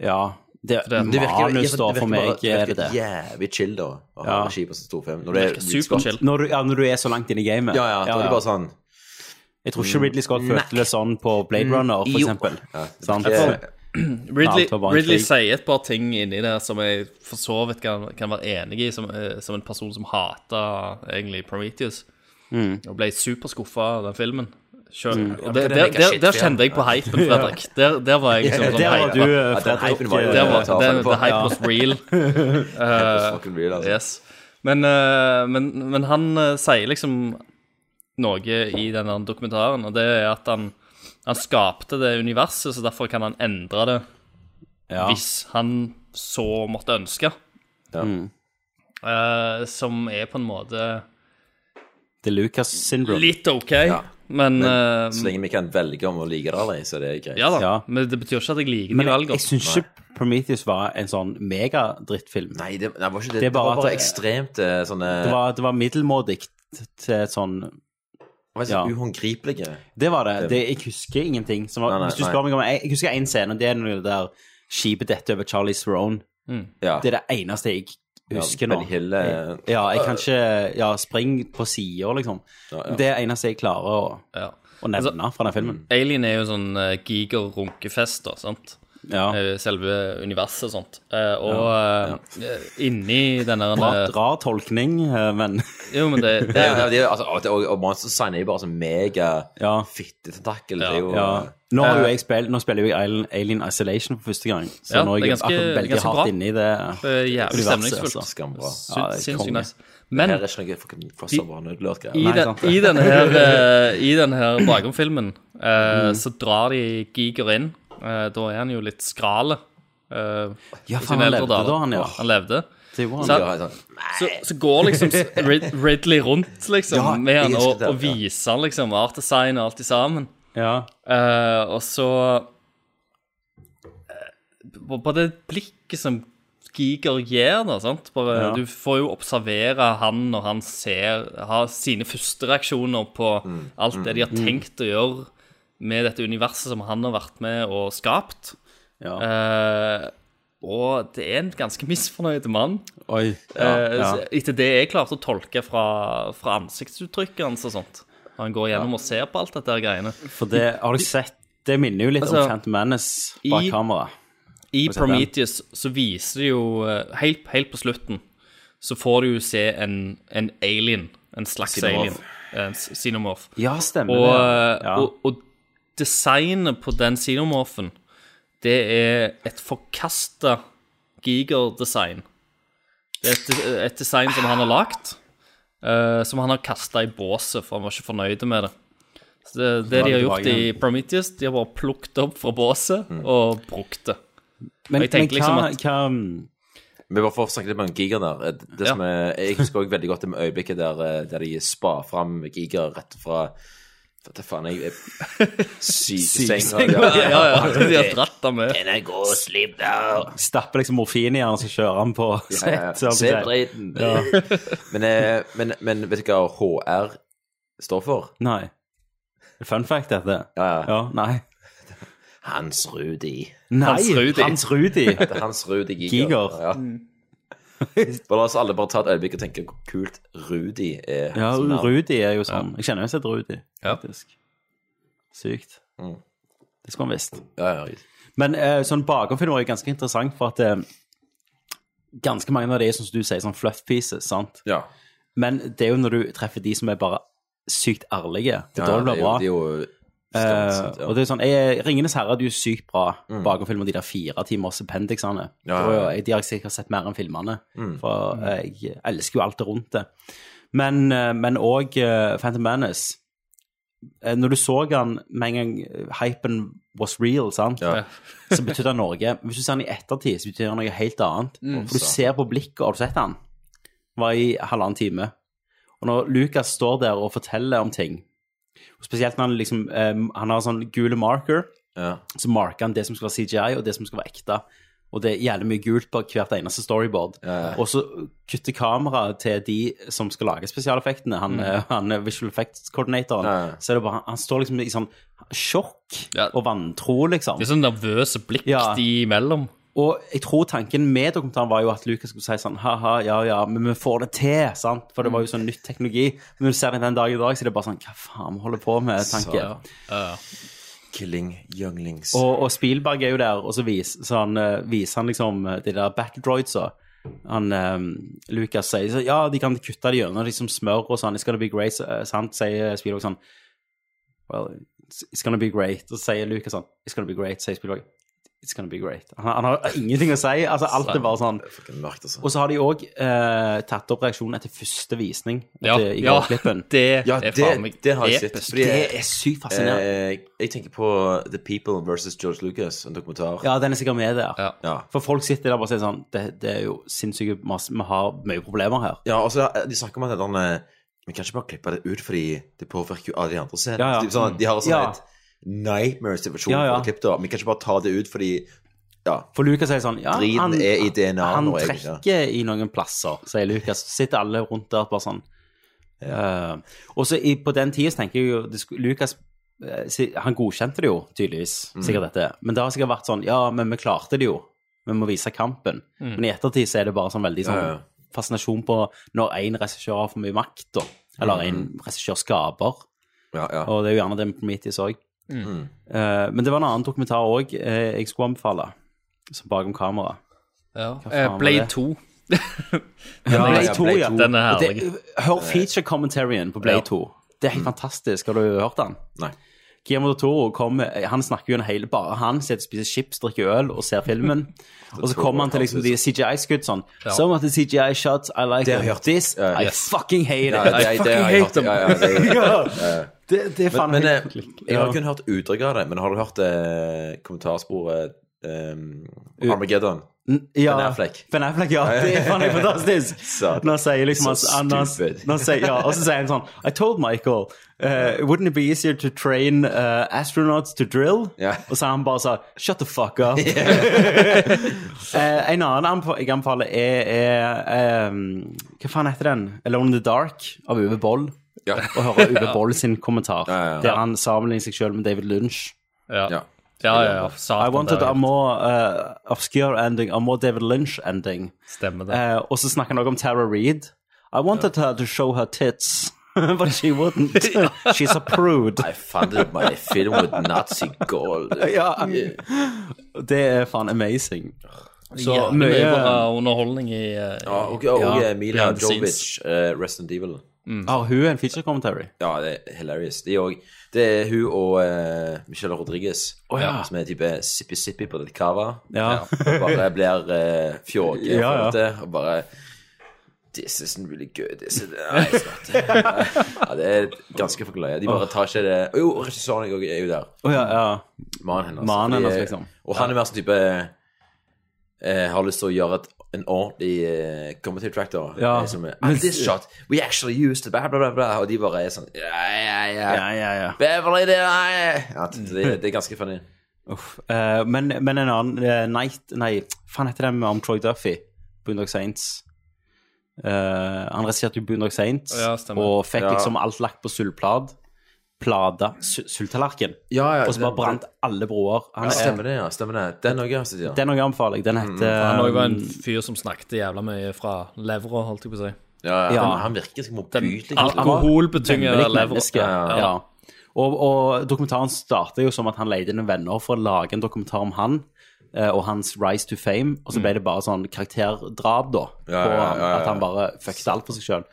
Ja. Det,
For det-
det virker, manus,
virker-
da,
virker
for
bare-
meg, er det det.
virker jævlig chill, da, å ha
Ja.
regi på en sånn stor film.
Det
Når det er
virker
Ridley Scott.
superchill. Når, du- ja, når du er så langt inn i gamet.
Ja, ja, da er det bare sånn
Jeg tror ikke Ridley Scott
Nei.
følte det sånn på Blade Runner, for
Jo.
eksempel.
Ja, det
Sant?
virker-
Ja,
Ridley,
alt var bare en
Ridley
krig.
sier et par ting inni der som jeg for så vidt kan, kan være enig i, som, eh, som en person som hater egentlig Prometheus.
Mm.
Og ble superskuffa av den filmen. Selv.
Mm.
Og der,
Ja, det er
der,
like
der,
shit, ja.
der kjente jeg på hypen, Fredrik. Der, der var jeg liksom
Ja,
sånn
der var
hype.
du, eh,
Ja, den
Fredrik,
hypen var-
eh,
Der var,
ta for
den, the
det på.
hype was real. Eh,
altså.
Yes. Men, eh, men, men han eh, sier liksom noe i denne dokumentaren, og det er at han, han skapte det universet, så derfor kan han endre det
Ja.
hvis han så måtte ønske.
Mm.
Eh, som er på en måte
Det er Lucas syndrome.
litt OK. men, eh,
så lenge vi kan velge om å like det eller ei, så er det greit.
Ja da, men det betyr ikke at jeg liker de
Men jeg,
valgene.
jeg syns ikke Prometheus var en sånn megadrittfilm.
Nei, det, var ikke det.
Det
Det
er
var
bare
bare
at-
ekstremt eh, sånne
Det var, det var middelmådig til et sånn
var så uhåndgripelige.
Det var det. det. Jeg husker ingenting. Som var,
Nei, nei,
hvis du
nei.
spør meg om Jeg, jeg husker én scene, og det er når det der skipet detter over Charlie Theron.
Mm.
Ja.
Det er det eneste jeg husker
Ja,
nå.
Ben Hill, eh,
ja, jeg kan ikke Ja, spring på sida, liksom.
ja. Altså,
Det er det eneste jeg klarer å,
Ja.
å nevne fra den filmen.
Alien er jo en sånn eh, giger runkefest, da, sant?
mm.
Ja.
Eh, Selve universet og sånt. Eh, og eh, inni den der
Rar, rar tolkning, eh, men
Jo, men det, det
Ja,
er
ja, de, altså, og- og, og Monster Sign er jo bare sånn mega
Ja.
fittetentakkel. Det er jo
ja. Nå, har jo jeg spilt, nå spiller jo jeg Alien, Alien Isolation for første gang, så
Ja,
nå er
det er
jeg
ganske-
akkurat veldig
ganske bra.
hardt inne i det.
det er jævlig
Universet,
stemningsfullt.
altså.
skambra.
Sy-
Ja, det er
Sinnssykt
konge.
nice. Men
Her er ikke noe fucking crossover nødlørt
i,
greier.
Nei,
den,
sant.
i denne her, eh, i den her bakgrunnsfilmen
Mm.
eh, så drar de giger inn. Eh, da er han jo litt skral. eh,
Ja,
i
faen,
sine
han
eldre
levde
dager.
da, han, ja.
Han levde.
Det var han.
Så-
Ja, sånn.
Så, så går liksom Rid- Ridley rundt liksom
Ja,
med
jeg
han
elsker
og,
det,
og
ja.
viser han liksom art design og alt i sammen.
Ja.
Eh, og så eh, på- På det blikket som Giger gir, da, sant Bare,
Ja.
Du får jo observere han når han ser Har sine første reaksjoner på
Mm.
alt det de har tenkt å gjøre med dette universet som han har vært med og skapt.
ja.
Eh, og det er en ganske misfornøyd mann.
Oi. Ja,
Eh,
ja.
så Etter det jeg klarte å tolke fra, fra ansiktsuttrykket hans og sånt. Når han går gjennom og ser på alt dette her greiene.
For det har du sett Det minner jo litt
Altså,
om Phantom Menace bak
i-
kamera.
I
sett den?
Prometheus så viser de jo eh, helt, helt på slutten så får du jo se en, en alien. En slags
Xenomorph.
alien. En s- xenomorph.
Ja, stemmer
Og, eh,
det. Ja.
og, og designet på den xenomorphen, det er et forkasta gigerdesign. Det er et, et design som han har lagd, eh, som han har kasta i båset, for han var ikke fornøyd med det. Så det, det de har gjort i Prometheus, de har bare plukket opp fra båset
Mm.
og brukt det.
Men,
jeg tenkte
men hva, mm,
liksom at-
hva
Vi bare får snakke litt om Giger der. Eh, Det
Ja.
som er, jeg husker også veldig godt det med øyeblikket der, eh, der de spa fram Giger rett fra Hva faen jeg jeg- Sykesenga.
Ja,
ja.
ja, ja. De har dratt det med.
Can I go sleep now?
Stapper liksom morfin i han, så kjører han på
Ja, ja, ja.
sett, så han
Se
sier-
driten. men, eh, men, men vet du hva HR står for?
Nei. Fun fact, dette.
Ja, ja.
nei.
Hans Rudi.
nei.
Hans Rudi.
Hans Rudi.
Det er Hans Rudi Giger.
Giger.
Ja. Bare la oss alle bare ta et øyeblikk og tenke hvor kult Rudi er.
Ja,
som navn.
Rudi er jo sånn. Jeg kjenner jo sett Rudi, faktisk. Sykt.
Mm.
Det skulle han visst.
Ja, ja.
Men eh, sånn bakomfilm var jo ganske interessant, for at eh, ganske mange av de er, som du sier, sånn fluff pieces, sant?
ja.
Men det er jo når du treffer de som er bare sykt ærlige, det er
Ja,
da det blir bra.
er jo- det er jo
Eh,
stunt, ja. Mm.
og det er sånn, jeg, Ringenes herre er jo sykt bra bakomfilm, og de der fire timers appendixene.
Ja, Mm.
Det var
ja,
jo- De har jeg sikkert sett mer enn filmene, for eh, jeg elsker jo alt det rundt det. Men eh, men òg Phantom Menace. Eh, Når du så han med en gang eh, hypen was real, sant?
Ja.
så betydde han Norge. Hvis du ser han i ettertid, så betyr han noe helt annet.
Mm.
For du ser på blikket, har du sett han? Var i halvannen time. Og når Lucas står der og forteller om ting, og spesielt når han liksom eh, Han har sånn gule marker,
Ja.
så marker han det som skal være CGI, og det som skal være ekte. Og det er jævlig mye gult på hvert eneste storyboard. Og så kutter kameraet til de som skal lage spesialeffektene. Han, eh, han er visual effects-koordinatoren.
Mm. Ja, ja.
Så er det bare Han står liksom i sånn sjokk
Ja.
og vantro, liksom.
Det er sånn nervøse blikk
Ja.
de imellom.
Og jeg tror tanken med dokumentaren var jo at Lucas skulle si sånn ha-ha, ja ja, men vi får det til, sant? For det var jo
Mm.
sånn nytt teknologi. Men når du ser det den dag i dag, så er det bare sånn hva faen vi holder på med, tanke.
Så, ja. Killing younglings.
og, og Spielberg er jo der, og så, vis, så han, eh, viser han liksom eh, de der backdroidsa. Han, eh, Lucas sier så, ja, de kan kutte det gjennom liksom smør og sånn, it's gonna be great, så, eh, sant? Sier Spielberg sånn, well, it's it's gonna be great. Og så sier Lucas sånn, it's gonna be great, sier Spielberg. It's gonna be great. Han, han har ingenting å si. altså Alt er bare sånn
Fucking mørkt, altså.
Og så har de òg eh, tatt opp reaksjonen etter første visning.
Ja,
etter, i
ja
klippen.
det
ja,
er faen meg
det, det har jeg sett.
episk.
Fordi jeg-
Det er sykt fascinerende.
eh, jeg tenker på The People versus George Lucas, en dokumentar.
ja, den er sikkert med der.
Ja.
Ja.
For folk sitter der og bare sier sånn Det, det er jo sinnssykt masse Vi har mye problemer her.
altså, Ja, og så eh, de snakker om at den eh, Vi kan ikke bare klippe det ut, fordi det påvirker jo alle de andre scenene.
Ja, ja.
Typ Sånn, de har sånn
Ja.
et nightmare-situasjon
Ja, ja.
for å klippe det. Vi kan ikke bare ta det ut fordi ja,
For Lucas er sånn ja,
Driten er i DNA
Han
nå, jeg, ja.
trekker i noen plasser, sier Lucas. Så sitter alle rundt der bare sånn. Eh, og så i- på den tida så tenker jeg jo det skulle- Lucas eh, si- han godkjente det jo tydeligvis,
Mm.
sikkert dette. Men det har sikkert vært sånn Ja, men vi klarte det jo. Vi må vise kampen.
Mm.
Men i ettertid så er det bare sånn veldig sånn
Ja, ja.
fascinasjon på når én regissør har for mye makt, da. Eller en regissør skaper. Og det er jo gjerne det med Prometheus òg.
Mm.
Eh, men det var en annen dokumentar òg eh, jeg skulle anbefale, som bakom kamera.
Ja.
Hva faen
Eh,
var
Blade
det?
2.
Ja,
Den er-
Blade 2, ja.
Den er
Og
herlig.
det- Hør feature commentarien på Blade
Ja.
2. Det er helt fantastisk. Har du hørt den?
Nei.
Guillermo del Toro kommer, han snakker jo en hele bare han sitter og spiser chips, drikker øl og ser filmen. og så kommer han til liksom de CGI-skudd sånn.
Ja.
Some of the CGI shots I like
Det har jeg
them.
hørt.
This
Ja,
I
yes.
fucking hate it.
Ja, det-
I
det- det
fucking
har jeg hørt.
hate them.
Ja, ja, det-
Ja.
ja.
Det- det er faen
men, men,
helt
eh,
klikk.
Jeg har
Ja.
kun hørt utdrag av det, men har du hørt eh, kommentarsporet eh, Armageddon?
Ja,
Ben Affleck.
Ben Affleck, ja. Det er faen meg fantastisk.
Satan.
Når han sier liksom
Så
han- han-
stupid.
når han sier- ja, Og så sier han sånn I told Michael, uh, wouldn't it be easier to train uh, astronauts to drill? Og så har han bare sa Shut the fuck up. Eh, en annen anbef- jeg anbefaler er, er ehm, Hva faen heter den? Alone in the Dark av Uwe Boll.
Ja.
Å høre Uwe Boll sin kommentar,
ja.
der han sammenligner seg selv med David Lynch.
Ja, ja, ja. ja. Satan,
I wanted
det
a
er-
more uh, obscure ending, a more David Lynch ending.
Stemmer det.
Eh, og så snakker han også om Tara Reid. I wanted her to show her tits, but she wouldn't. She's a prude.
I funded my film with Nazi gold.
ja, det er faen amazing.
Så mye bra underholdning i eh,
Ja, og,
i-
og
ja,
Emilia
behind the scenes.
Jovic, eh, Resident Evil.
Har Ah, hun en feature commentary?
Ja, det er hilarious. De òg. Det er hun og eh, Michelle Rodriguez,
Å, ja.
som er type sippi-sippi på det cava.
Ja.
Og bare blir uh, fjåge
Ja, ja.
for det, og bare This isn't really good, is it? Nei, it's not. ja, det er ganske for gløye. De bare tar ikke det Å, Jo, regissøren også er jo der.
Å ja, ja.
Mannen hennes.
Mannen
Fordi- eh,
hennes, liksom.
Og han er mer sånn type eh, Har lyst til å gjøre et, en ordentlig eh, comedy track, da.
Ja.
Eh, Som er
Men-
And this shot we actually used to blah, blah, blah, blah. Og de bare er sånn Ja, ja, ja.
Ja, ja, ja.
Beverly, det er ja, det, det er ganske funny.
Uff. Eh, men, men en annen eh, Night Nei, faen heter den om Troy Duffy? Boondock Saints. Eh, han regisserte jo Boondock Saints
Ja, stemmer.
og fikk
Ja.
liksom alt lagt på sølvplad. Plada, su- sølvtallerken.
Ja, ja,
og så
den-
bare brant alle broer.
Ja, stemmer det, ja. Stemmer det. Den òg, ja. så sier han.
Den òg anbefaler jeg. Den heter
Han var jo
um,
en fyr som snakket jævla mye fra levra, holdt jeg på å si.
Ja, ja,
Ja.
Han, han virker som motbydelig.
Alkoholbetynget
Vemmelig
lever.
menneske,
Ja, ja.
Ja. Og, og dokumentaren starter jo som at han leide inn venner for å lage en dokumentar om han eh, og hans rise to fame, og så ble det bare sånn karakterdrap, da.
Ja,
på
ja, ja,
han,
ja, ja.
At han bare fucket alt for seg sjøl.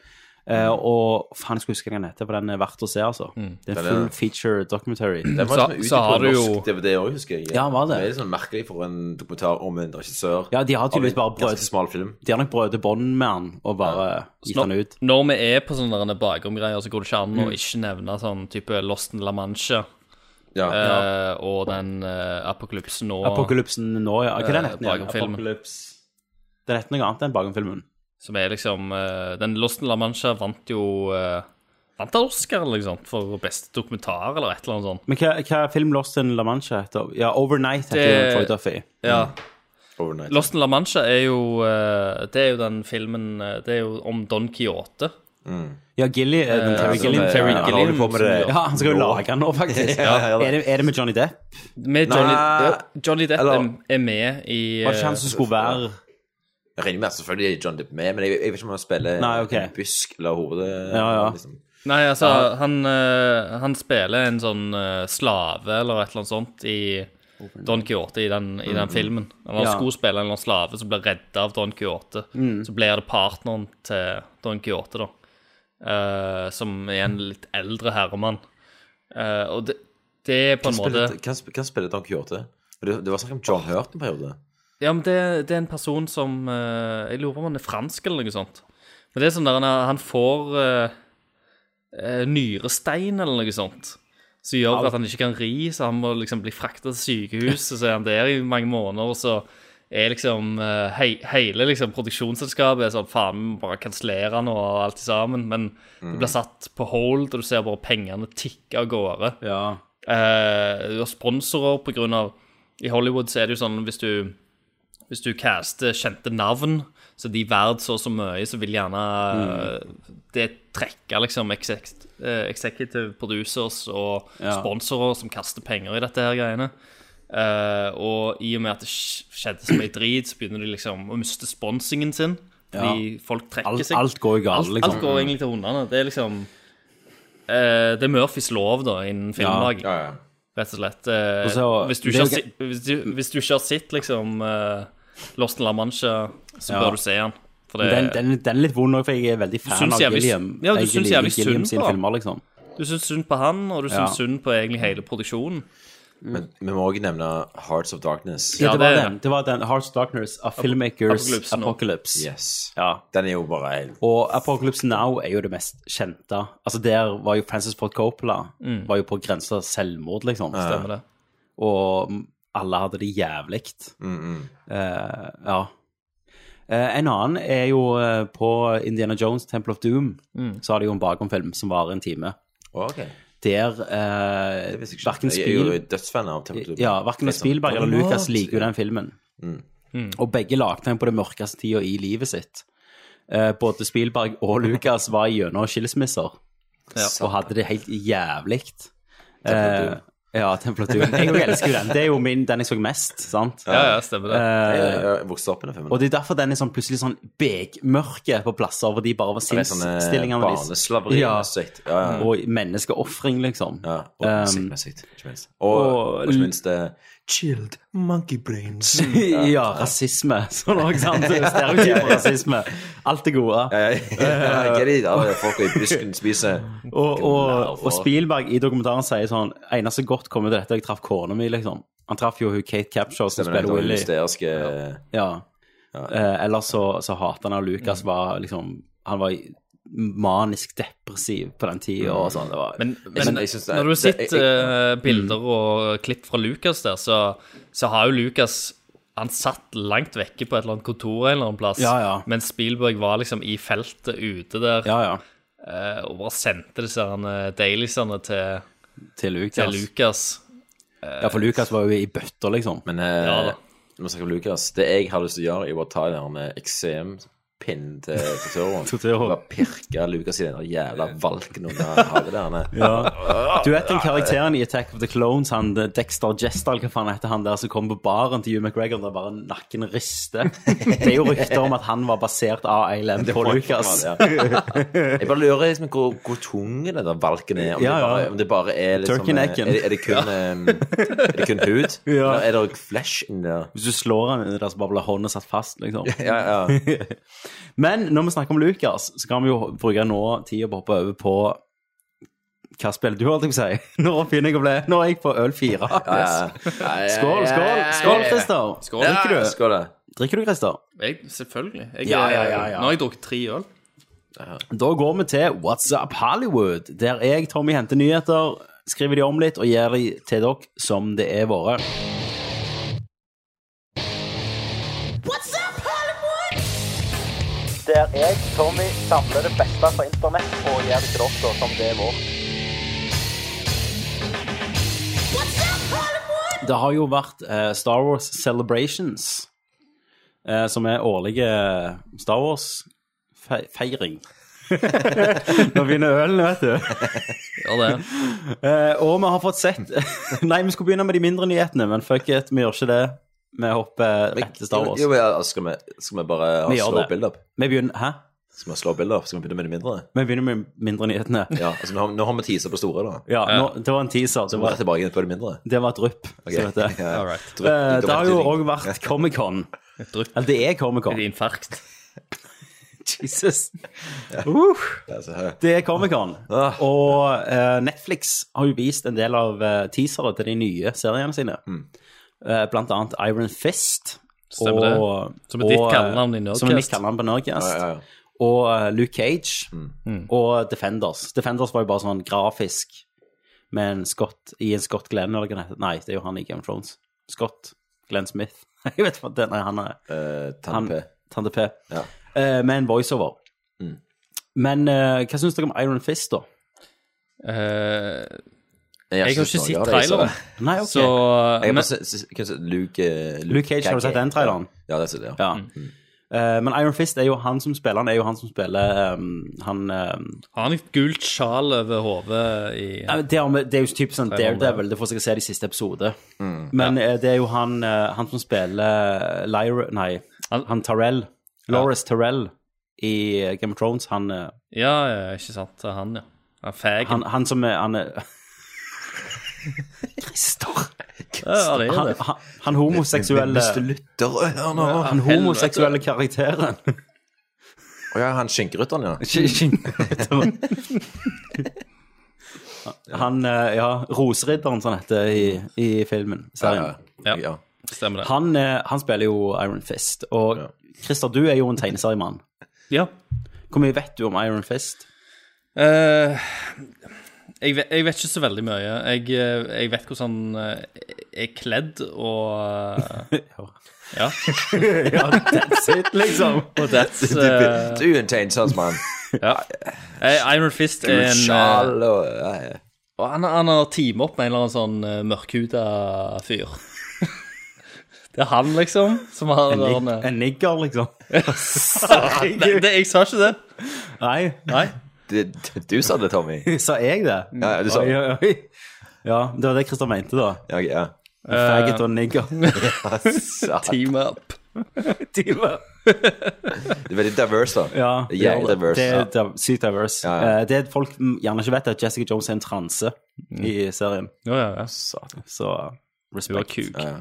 og faen, jeg skulle huske hva den heter, for den er verdt å se, altså. Det er en
Den er-
full feature documentary.
Den var
Så-
liksom ute
så har
på
du jo-
norsk DVD òg, husker jeg.
Ja, var det.
Det er litt sånn merkelig for en dokumentar om en regissør.
Ja, de har tydeligvis bare brød-
Ganske smal film.
De har nok brødet bånd med han og bare gitt han ut.
Når vi er på sånne der bakromgreier, så går det ikke an å
Mm.
ikke nevne sånn type Lost in La Mancha.
Ja,
eh,
ja.
Og den eh, apokalypsen nå.
Apokalypsen nå, ja. Hva er den
Eh,
heter den?
Bagenfilmen.
Apokalypse Den heter noe annet enn Bagenfilmen.
Som er liksom eh, Den Lost in La Mancha vant jo eh, Vant av Oscar eller noe sånt for beste dokumentar eller et eller annet sånt.
Men hva, hva film Lost in La Mancha heter? Ja, Overnight heter
Det-
jo Troy Duffy.
Ja.
Overnight.
Mm. Lost in La Mancha er jo eh, Det er jo den filmen eh, Det er jo om Don Quijote.
Ja, Gilly, eh, den
Eh,
Terry
som,
Gilliam.
eh, Terry han holder Gilliam på med
som
det
gjør- Ja, han skal jo
nå.
lage den nå, faktisk.
Ja, ja, det-
er, det, er det med Johnny Depp?
Med
Nei.
Johnny, Johnny Depp
Eller-
er- er med i
Var det ikke han som skulle være
Jeg regner med at selvfølgelig er John Depp med, men jeg, jeg vet ikke om han spiller
Nei, ok.
en bysk eller hovedet.
Ja, ja.
Liksom.
Nei, altså,
Ja.
han, eh, han spiller en sånn eh, slave eller et eller annet sånt i Don Quijote i den, i den
Mhm.
filmen. Han
Ja.
skulle spille en eller annen slave som blir redda av Don Quijote.
Mm.
Så blir det partneren til Don Quijote, da, eh, som er en litt eldre herremann. Eh, og det, det er på
Hvem
en
spiller,
måte
hvem, sp- hvem spiller Don Quijote? Det, det var snakk om John Hurt en periode.
Ja, men det, det er en person som eh, Jeg lurer på om han er fransk eller noe sånt. Men det er sånn der han, er- han får eh, eh, nyrestein eller noe sånt. Som gjør
Au.
at han ikke kan ri, så han må liksom bli frakta til sykehuset. Så er han der i mange måneder, og så er liksom eh, hei, Hele liksom, produksjonsselskapet er sånn faen, vi må bare kansellere nå og alt sammen. Men det blir satt på hold, og du ser bare pengene tikke av gårde. Eh, du har sponsorer på grunn av I Hollywood så er det jo sånn hvis du hvis du caster kjente navn, så de er verdt så og så mye, så vil gjerne
Mm.
eh, det trekke liksom exec- eh, executive producers og
Ja.
sponsorer som kaster penger i dette her greiene. Eh, og i og med at det sk- skjedde så mye drit, så begynner de liksom å miste sponsingen sin. Fordi
Ja.
folk trekker
Alt-
seg.
alt går i galt,
Alt,
liksom.
alt går egentlig til hundene. Det er liksom eh, Det er Murphys lov, da, innen filmlag. Rett og slett. Eh,
Og så-
hvis, du
det er jo
ikke har si- hvis, du, hvis du ikke har sett liksom eh, Lost in La Mancha, så
Ja.
bør du se den. For det,
Men Den, den, den er litt vond òg, for jeg er veldig
Du
fan
syns
av
jævlig-
Gilliam.
ja, du
Jeg
syns
liker
jævlig synd
Gilliam sine
på han.
filmer, liksom.
Du syns synd på han, og du
Ja.
syns synd på egentlig hele produksjonen.
Mm.
Men vi må også nevne Hearts of Darkness.
Ja, det var den. Det var den Hearts of Darkness av Filmmakers
Apocalypse
Apocalypse.
Now. Yes. Den er jo bare helt
Og Apocalypse Now er jo det mest kjente. Altså Der var jo Francis Ford Coppola
Mm.
Var jo på grensa til selvmord, liksom.
Stemmer
det.
Og alle hadde det jævlig.
Mm,
Eh, ja. Eh, en annen er jo eh, på Indiana Jones, Temple of Doom.
Mm.
Så har de jo en bakomfilm som varer en time.
Ok.
Der eh, hverken
Jeg er jo
Spiel...
dødsfan av Temple Doom.
Ja, hverken
Liksom.
Spielberg eller Lucas liker jo den filmen.
Mm.
Og begge lagde den på det mørkeste tida i livet sitt. Eh, både Spielberg og Lucas var gjennom skilsmisser.
Ja.
Og hadde det helt jævlig.
Temple of Doom.
Eh, ja, Temple of Doom. Jeg også elsker jo den. Det er jo min, den jeg så mest, sant?
Ja,
ja, stemmer det.
Eh,
Jeg, jeg vokste opp med den filmen.
og det er derfor den er sånn plutselig sånn begmørke på plasser hvor de bare var
Det er sånne
sinnsstillingene
barneslaveri,
Ja.
sykt. Ja, ja.
Og menneskeofring, liksom.
og
Um,
musikkmessig, ikke minst. Og, og,
og-
ikke minst eh,
Chilled monkey brains.
ja, rasisme. Sånn òg, sant? Stereotyp rasisme. Alt det gode.
Ja, Get it? Alle folk i busken spiser
Og, og, og Spielberg i dokumentaren sier sånn Eneste godt kom ut av dette, jeg traff kona mi, liksom. Han traff jo hun Kate Capshaw som
Stemmer det,
spiller
det var
Willy.
hysteriske
Ja. Eh, ellers så, så hatet han at
Mm.
Lucas var liksom Han var manisk depressiv på den
Mm.
tida og sånn. Det var
Men, men når du har sett eh, bilder og klipp fra Lucas der, så, så har jo Lucas Han satt langt vekke på et eller annet kontor en eller annen plass,
Ja, ja.
mens Spielberg var liksom i feltet ute der
Ja, ja.
eh, og bare sendte disse her, eh, dailiesene til,
til Lucas.
Til Lucas.
Ja, for Lucas var jo i bøtter, liksom.
Men eh,
Ja, da.
når vi snakker om Lucas Det jeg har lyst til å gjøre, er å bare ta den der eh, eksempinnen til Totoroen. Bare pirke Lucas i den der jævla
Eh,
valken under havet der. nede.
Ja. Du vet den karakteren i Attack of the Clones, han eh, Dexter Jestal, hva faen heter han der som kom på baren til Hugh McGregor der bare nakken rister? Det er jo rykter om at han var basert av Eilem
Det
på
var-
Lucas.
Ja. Jeg bare lurer liksom hvor, hvor tung den der valken er. ehm, Om,
Ja,
Det,
ja.
bare, om det bare er liksom
Turkey necken.
Er, det- er, det kun, em, er det kun hud? Eller er det også flesh inni der?
Hvis du slår han inni der, så bare blir hånda satt fast, liksom.
Ja, ja.
Men når vi snakker om Lucas, så kan vi jo bruke nå tida på å hoppe over på hva spiller du, holdt jeg på å si? Nå begynner jeg å bli Nå er jeg på øl fire.
Ja, ja. Ja, ja,
Skål,
ja, ja,
skål.
ja,
Skål,
ja.
Christer.
Skål.
Drikker
Ja,
du?
skål, da.
Drikker du, Christer?
Jeg, selvfølgelig. Jeg,
Ja, ja, ja, ja.
Nå har jeg drukket tre øl.
Da går vi til What's Up Hollywood, der jeg, Tommy, henter nyheter, skriver de om litt og gir de til dere som det er våre.
What's up, Hollywood?
Der jeg, Tommy, samler det beste fra internett og gir det til dere som det er vårt. Det har jo vært eh, Star Wars Celebrations, eh, som er årlige Star Wars-feiring. Nå begynner ølen, vet du.
Ja, det.
Eh, og vi har fått sett Nei, vi skulle begynne med de mindre nyhetene, men fuck it, vi gjør ikke det. Vi hopper rett til Star Wars.
Jo, men, ja, altså, skal, vi, skal vi bare ha
Vi gjør
slow
det.
build-up?
Vi begynner, hæ?
Skal vi ha slow build-up? Skal vi begynne med de mindre?
Vi begynner med mindre nyhetene.
Ja, altså, nå, har- nå har vi teaser på store, da.
Ja, nå, det var en teaser.
Så
Det
må vi
var,
rett tilbake på de mindre.
det var et drypp.
Ok.
så vet jeg.
Ja, all right.
Eh,
Du
det
vet- du
har
vet
jo
ting.
òg vært Comic-Con. Eller det er Comic-Con. Et
infarkt.
Jesus. Uh, det er Comic-Con.
Ah.
Og eh, Netflix har jo vist en del av eh, teasere til de nye seriene sine.
Mm.
Eh, blant annet Iron Fist.
Stemmer det. Som er ditt
og, eh,
kallenavn i Nerdcast.
Som er mitt kallenavn på Nerdcast.
Ja, ja, ja.
Og eh, Luke Cage.
Mm.
Mm.
Og Defenders. Defenders var jo bare sånn grafisk med en Scott i en Scott Glenn, eller hva det heter. Nei, det er jo han i Game of Thrones. Scott Glenn Smith. Jeg vet hva den er. Han er
Eh, Tante P.
Tante P.
Ja.
Eh, med en voiceover.
Mm.
Men eh, hva syns dere om Iron Fist, da?
Jeg har ikke
synes
sett
noe av det, jeg så
traileren.
det.
Nei, ok.
Så-
Jeg har
men-
bare se- se- kanskje Luke, eh,
Luke Cage, har du sett den traileren?
Ja, det er det, ja.
Ja.
Mm.
Eh, men Iron Fist er jo han som spiller han, er jo han som spiller ehm, han ehm,
Har han et gult sjal over hodet i
ja, men det, er, jo- det er jo typisk sånn
Traileren,
Daredevil, det får sikkert se det i siste episode. Men eh, det er jo han, eh, han som spiller eh, Lyra Nei, han, Tarell. Loris Tarell i eh, Game of Thrones. Han, eh,
Ja, ja, ikke sant. Det er han, ja. Han er fegen.
han, han som er han, er-
ja, det er
han,
det.
han, han homoseksuelle
Hvis du lytter, hør nå.
Han homoseksuelle karakteren.
Å ja, han skinkerytteren, ja.
Sk- skinkerytteren. Han, eh, ja, Roseridderen, som han heter i, i filmen. Serien.
Ja, stemmer det.
Han, eh, han spiller jo Iron Fist. Og Christer, du er jo en tegneseriemann.
Ja.
Hvor mye vet du om Iron Fist?
Eh, jeg, vet, jeg vet ikke så veldig mye. Jeg, eh, jeg vet hvordan han eh, er kledd og eh, Ja. sånn,
ja, that's it, liksom.
Og that's
Du-
eh,
Du er en tegneseriemann.
ja. Eh, Iron Fist er en eh,
Sjal og ja, ja.
og han, han har teamet opp med en eller annen sånn eh, mørkhuda fyr. det er han, liksom, som har
En, nig
han, eh,
en nigger, liksom.
Satan, det, det, jeg sa ikke det.
Nei,
Nei.
Du- Du sa det, Tommy.
sa jeg det?
Ja, du sa
Oi,
det.
oi, oi. Ja, det var det Christer mente, da.
Ja, ja.
Eh,
Faggot og nigger.
Satan.
Team up.
Timer.
Det er veldig diverse, da.
Ja,
det er jævlig diverse.
Det
Ja.
er div- sykt diverse.
Ja, ja.
Eh, Det folk mm, gjerne ikke vet, er at Jessica Jones er en transe
Mm.
i serien.
Ja, ja, ja.
Satan.
Så
Hun har
respekt.
kuk.
Ja, ja.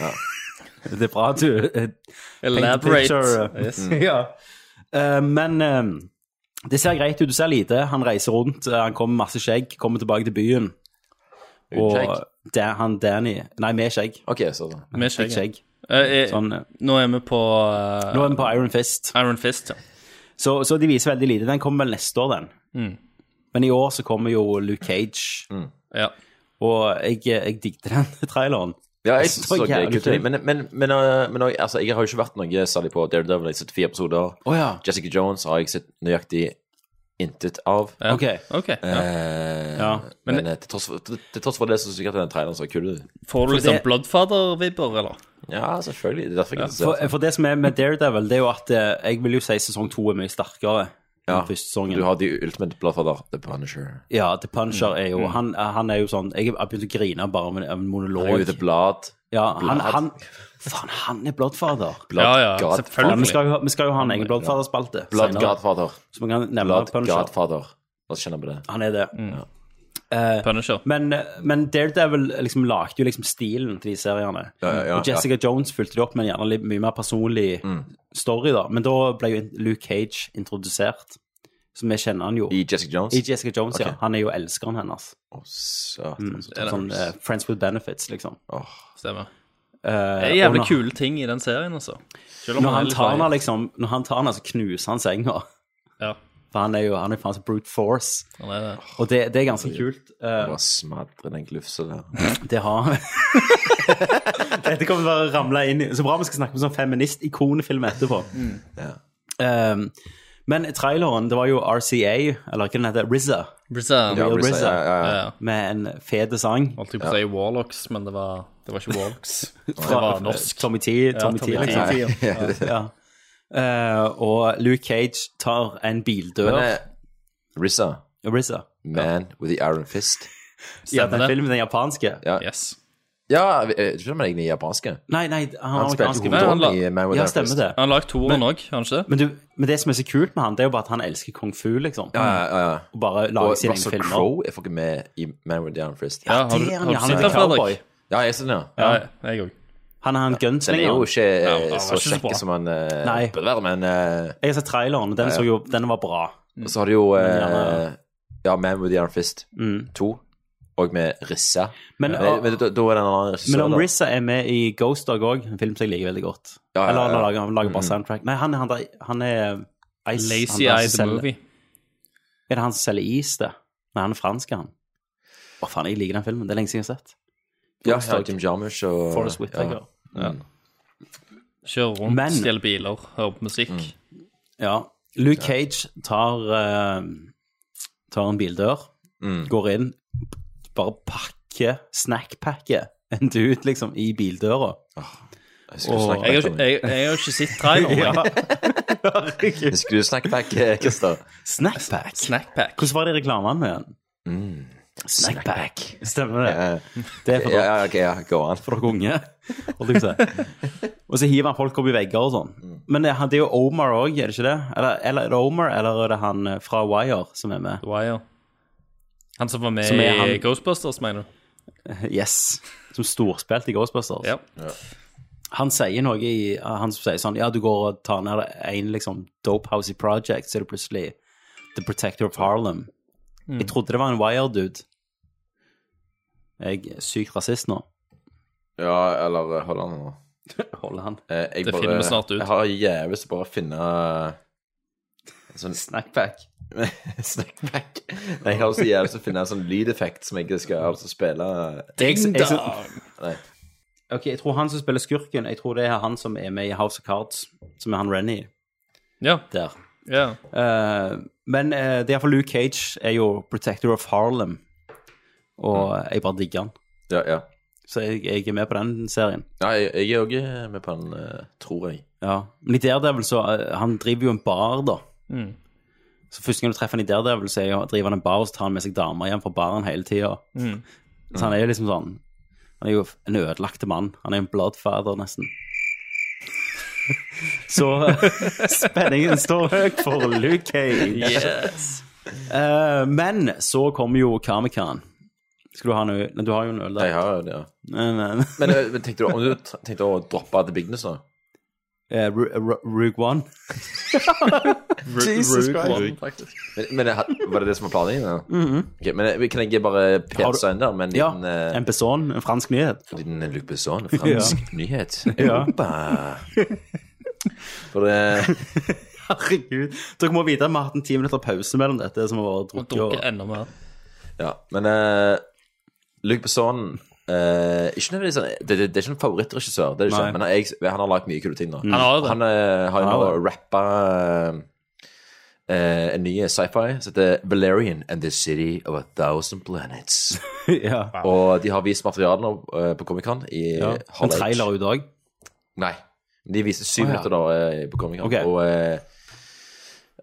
Ja.
Det er bra at du eh, paint the
Elaborate.
picture. Mm.
Yes.
ja. Eh, Men eh, det ser greit ut. Du ser lite. Han reiser rundt, eh, han kommer med masse skjegg, kommer tilbake til byen.
Uten
Og
skjegg?
da- han Danny Nei, med skjegg.
OK, så da.
Med skjegg.
Fikk skjegg.
Eh, eh,
Sånn, eh,
Nå er vi på eh,
Nå er vi på Iron Fist.
Iron Fist, ja.
Så, så de viser veldig lite. Den kommer vel neste år, den. Men i år så kommer jo Luke Cage.
ja.
Og jeg, eh, jeg digget den traileren.
Ja, jeg
Jeg
synes
så
det er
jævlig
kult.
kult.
Men, men, men, øh, men også, altså, jeg har jo ikke vært noe særlig på Daredevil. Jeg har sett fire episoder.
Å ja.
Jessica Jones har jeg sett nøyaktig intet av.
ja.
Ok.
Ok, ja.
Eh,
Ja,
Men, eh, til, tross for, til, til tross for det, så synes jeg at den traileren så kul ut.
For
Får du liksom
det-
Bloodfather-vibber, eller?
Ja, selvfølgelig. Det er derfor jeg ikke
For, for det som er med Daredevil, det er jo at eh, jeg vil jo si sesong to er mye sterkere
Ja,
enn første sesongen.
Du har The Ultimate Bloodfather, The Punisher.
Ja, The Puncher er jo han, han er jo sånn Jeg har begynt å grine bare med en monolog.
Og The Blood.
ja, han, han Faen, han er Bloodfather.
Blood
Ja, ja,
God-
Ja, vi,
selvfølgelig.
skal jo, vi skal jo ha en egen Bloodfather-spalte.
Blood
senere,
Godfather.
Så vi kan nevne
Blood
Punisher.
Godfather. La oss kjenne på det.
Han er det.
Punisher.
Men, men Daredevil liksom lagde jo liksom stilen til de seriene.
Ja, ja, ja,
og Jessica Jones fulgte det opp med en gjerne litt mye mer personlig story, da. Men da ble jo Luke Cage introdusert, som vi kjenner han jo.
I Jessica Jones.
I Jessica Jones,
Ok.
ja. Han er jo elskeren hennes.
Å, satan. så tøft.
Sånn eh, Friends with benefits, liksom.
Åh.
Stemmer.
Eh,
Det er
og
jævlig
når-
kule ting i den serien, altså. Selv om
Når han
er litt
tar henne,
vei-
liksom, når han tar henne, så knuser han senga.
Ja,
For han er jo han er faen så brute force.
han er det.
Og det, det er ganske kult. Eh,
Bare smadre den glufsa der.
Det har Dette kommer bare å ramle inn i Så bra vi skal snakke om sånn feminist-ikonefilm etterpå.
Ja.
Um, men traileren, det var jo RCA, eller hva den heter, RZA,
Brizan.
Ja,
Ja,
Real
Brisa,
RZA,
ja, ja, ja.
ja.
med en fete sang.
Holdt jeg på å si Warlocks, men det var, det var ikke Warlocks. Det
fra-
var norsk.
Tommy T. Tommy T,
Tommy T,
liksom.
ja.
Ja. Uh, og Luke Cage tar en bildør.
Men eh, Rissa,
RZA.
Man with the Iron Fist.
Ja, den
det.
filmen, den japanske.
Ja,
Yes.
ja eh, jeg vet ikke om han egentlig er japansk.
Nei, nei, han, var
Han spilte
amerikansk.
han la-
hovedrollen i Man with the
Ja,
Iron Fist.
stemmer det.
Han har lagd toeren òg, har han ikke det?
Men, du, men det som er så kult med han, det er jo bare at han elsker kung fu, liksom.
Ja, ja, ja.
Og bare
Og
lager sine egne
Russell
filmer.
Crowe er fucking med i Man with the Iron Fist.
Ja, har du,
det er han,
har
ja, han
du sett
er
den, Fredrik?
cowboy.
Ja, jeg ser den, ja.
Ja, jeg òg.
Han er han
Den er jo
gunslinger.
ikke eh,
den var
så
ikke så
kjekk
bra.
som han eh,
Nei.
bør være, men eh,
Jeg har sett traileren, og den, så jo, den var bra.
så har du jo eh,
Mm. gjerne- Mm.
Ja, Man with the Iron Fist 2, og med Rissa.
Men, ah,
Men, men da, da er det en annen regissør.
Men om
da.
RZA er med i Ghost Dog òg, en film som jeg liker veldig godt
Ja, ja, ja. Mm.
Eller han lager, han lager bare soundtrack. Nei, han, er- han, er- han er um, Ice. han der som
Lazy Eye The
selger-
Movie.
Er det han som selger is, det? Nei, han er fransk, han. Å, faen, jeg liker den filmen. Det er lenge siden jeg har sett.
Ja,
Forrest
ja,
Whitaker.
Jim Jarmusch og
Forrest Whittaker.
Ja.
Kjører rundt,
Men- Mm.
stjeler biler, hører på musikk.
Ja. Luke Cage tar, eh, tar en bildør, går inn, bare pakker, snackpakker en dude liksom i bildøra.
skulle
Og-
snakke
Jeg har, ikke- jeg, jeg har ikke sett
Oh
traileren.
Jeg skulle snackpack, eh, Christer.
Snackpack?
Snackpack.
Hvordan var det i reklamen med den? Snackpack. Stemmer det.
Eh,
Det er for
Ja, ja, ok, ja, gå an.
for dere unge. holdt jeg på å si. Og så hiver han folk opp i vegger og sånn. Men det, er han- det er jo Omar òg, er det ikke det? Eller, eller er det Omar, eller er det han eh, fra Wire som er med?
Wire. Han som var med
Som er
i
han-
Ghostbusters, mener du?
Yes. Som storspilte i Ghostbusters.
Ja.
Han sier noe i Han som sier sånn Ja, du går og tar ned en liksom dopehousey project, så er det plutselig The Protector of Harlem. Jeg trodde det var en Wire-dude. Jeg er sykt rasist nå.
Ja, eller eh, hold an nå.
Holder han.
Eh, jeg
Det
bare-
finner vi snart ut.
Jeg har jævlig lyst til bare å finne eh, en sånn
Snackpack.
Snackpack. Nei, jeg har også jævlig lyst til å finne en sånn lydeffekt som jeg skal altså spille
Jeg- jeg- jeg-
Nei.
Ok, jeg tror han som spiller skurken, jeg tror det er han som er med i House of Cards, som er han Rennie
Ja.
der.
ja.
Eh, men eh, det er iallfall Luke Cage er jo protector of Harlem, og jeg bare digger han.
Ja, ja.
Så jeg, jeg er med på den serien.
ja jeg, jeg er òg med på den, eh, tror jeg.
Ja. Men i Daredevil så eh, Han driver jo en bar, da.
Mm.
Så første gang du treffer han i Daredevil, så er jo, driver han en bar og så tar han med seg damer hjem fra baren hele tida.
Mm.
Så han er jo liksom sånn Han er jo en ødelagte mann. Han er en bloodfather, nesten. Så eh, spenningen står høyt for Luke Cage.
Yes.
Eh, men så kommer jo Comic-Con. Skal du ha en øl? Nei, Du har jo en øl der.
Jeg har jo det, ja.
Nei, nei.
Men eh, men tenkte du om du t- tenkte å droppe The Bigness nå?
Eh, Ru- Ru- Rogue One.
Jesus Christ. Men, men det, var det det som var planen din? da?
Mhm.
Ok, men eh, kan jeg bare pese inn der med en
Ja,
liten eh,
en beson, en fransk nyhet.
En liten Luc Besson, sånn. fransk nyhet.
Ja.
Europa. For det
Herregud. Dere må vite at vi har hatt en ti minutter pause mellom dette som har vært
Og
drukket.
drukker
og-
enda mer.
Ja, men eh, Luc Besson eh, ikke nødvendigvis, det, det, det er ikke en favorittregissør, det er det ikke,
Nei.
men jeg, han har lagd mye kule ting nå.
Han har det.
Han eh, har jo
Han
nå
har
rappa eh, en ny sci-fi som heter Valerian and the City of a Thousand Planets.
ja.
Og de har vist materialet nå eh, på Comic-Con i
ja. En
Hall H.
trailer ut òg.
Nei. De viser syv
Å, ja.
minutter da eh, på Comic Con.
Ok.
Og eh,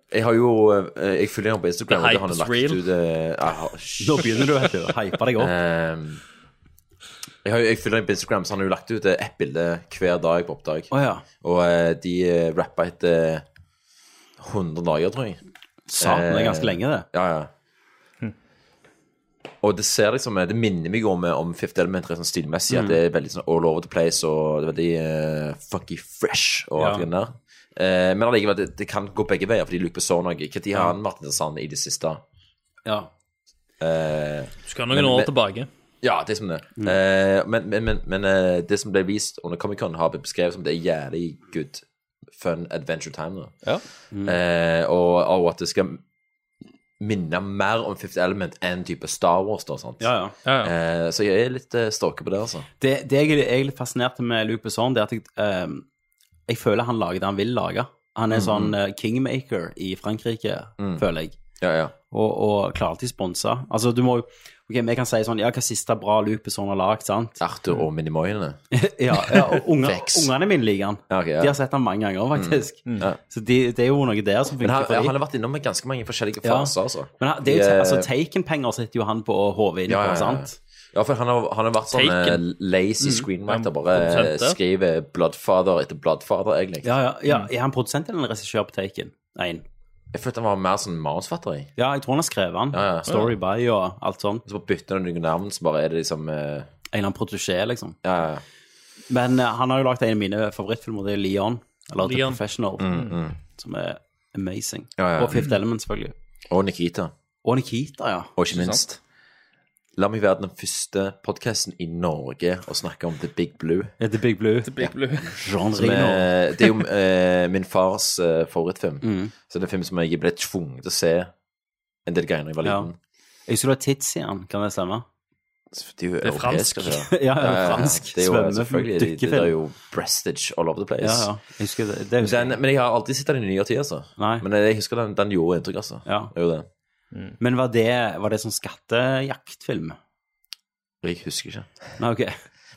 jeg har jo eh, Jeg følger ham på Instagram.
The
og det har han
hype
lagt
is real.
ut eh, jeg har-
Da begynner du vet du, å hype deg opp.
Ehm, jeg, har, jo- jeg følger ham på Instagram, så han har jo lagt ut eh, ett bilde hver dag på oppdrag.
Å ja.
Og eh, de eh, rappa etter 100 dager, tror jeg.
Satan, det er ganske
Eh,
lenge, det.
Ja, ja. Og det ser liksom, det minner meg om, om Fifth Element rett sånn stilmessig, at det er veldig sånn all over the place, og det er veldig eh, funky fresh og
Ja.
alt det der. Eh, men allikevel, det, det kan gå begge veier, fordi Luke Besson og Når har han vært interessant i det siste?
Ja.
Eh,
Du skal noen
Men-
år
men-
tilbake.
ja, det er som det.
Mm.
Eh, men men, men, men eh, det som ble vist under Comic-Con, har blitt beskrevet som det er jævlig good fun adventure time. Da.
Ja.
Eh, og, og at det skal minne mer om Fifth Element enn type Star Wars. Da, sant?
ja, ja.
Ja, ja.
Eh, så jeg er litt uh, stoke på det, altså.
Det, det jeg er- jeg er litt fascinert med Luke Besson, det er at jeg, eh, jeg føler han lager det han vil lage. Han er sånn eh, kingmaker i Frankrike, føler jeg.
Ja, ja.
og, og klarer alltid å sponse. Altså, du må jo Ok, vi kan si sånn Ja, hva siste bra Luke Besson har lagd, sant?
Arthur og Minimoyene.
ja, ja, og unger,
Vex.
ungene mine liker han.
Ja, ok, ja. Mm.
De har sett han mange ganger, faktisk. Så de, det er jo noe der som
Men
funker
han,
for dem.
han har vært innom ganske mange forskjellige
Ja.
faser, altså.
Men han, det er jo,
De,
te- altså,
eh,
Taken-penger sitter jo han på å håve inn
Ja,
på,
ja, ja.
sant?
Ja, for han har, han har vært sånn eh,
Taken.
lazy screenwriter.
Mm.
Bare eh,
Ja, produsent, ja.
skriver Bloodfather etter Bloodfather, egentlig.
Ja, ja, ja. Mm. Er han produsent eller en regissør på Taken? Én.
Jeg følte han var mer sånn manusfatter i.
Ja, jeg tror han har skrevet han.
Ja, ja.
Story by og alt sånn.
Og så bare bytter han noen navn, så bare er det liksom eh,
En eller annen protosjé, liksom.
Ja, ja.
Men eh, han har jo lagd en av mine favorittfilmer, det er Leon. Eller
Leon.
The Professional. Som er amazing.
Ja, Mm, ja.
Og Fifth Element, selvfølgelig.
Og Nikita.
Og Nikita, ja.
Og ikke minst La meg være den første podkasten i Norge å snakke om The Big Blue.
Ja, The Big Blue.
Big Blue.
Jean
Som
Reno.
er, det er jo eh, min fars eh, favorittfilm.
Mm.
Så det er en film som jeg ble tvunget til å se en del ganger da jeg var
Ja.
liten.
Jeg husker det var Tits i han, kan det stemme?
De er jo
Det er fransk.
europeiske, altså. det
Ja,
der.
ja, fransk
Det er jo eh,
svømme-
selvfølgelig det- Det er
dykkefilm.
jo breastage all over the place.
Ja, ja.
den, men jeg har aldri sett den i nyere tid, altså. Men jeg husker den, den gjorde inntrykk, altså. Det er jo det.
Men var det, var det sånn skattejaktfilm?
Jeg husker ikke.
Nei, ok.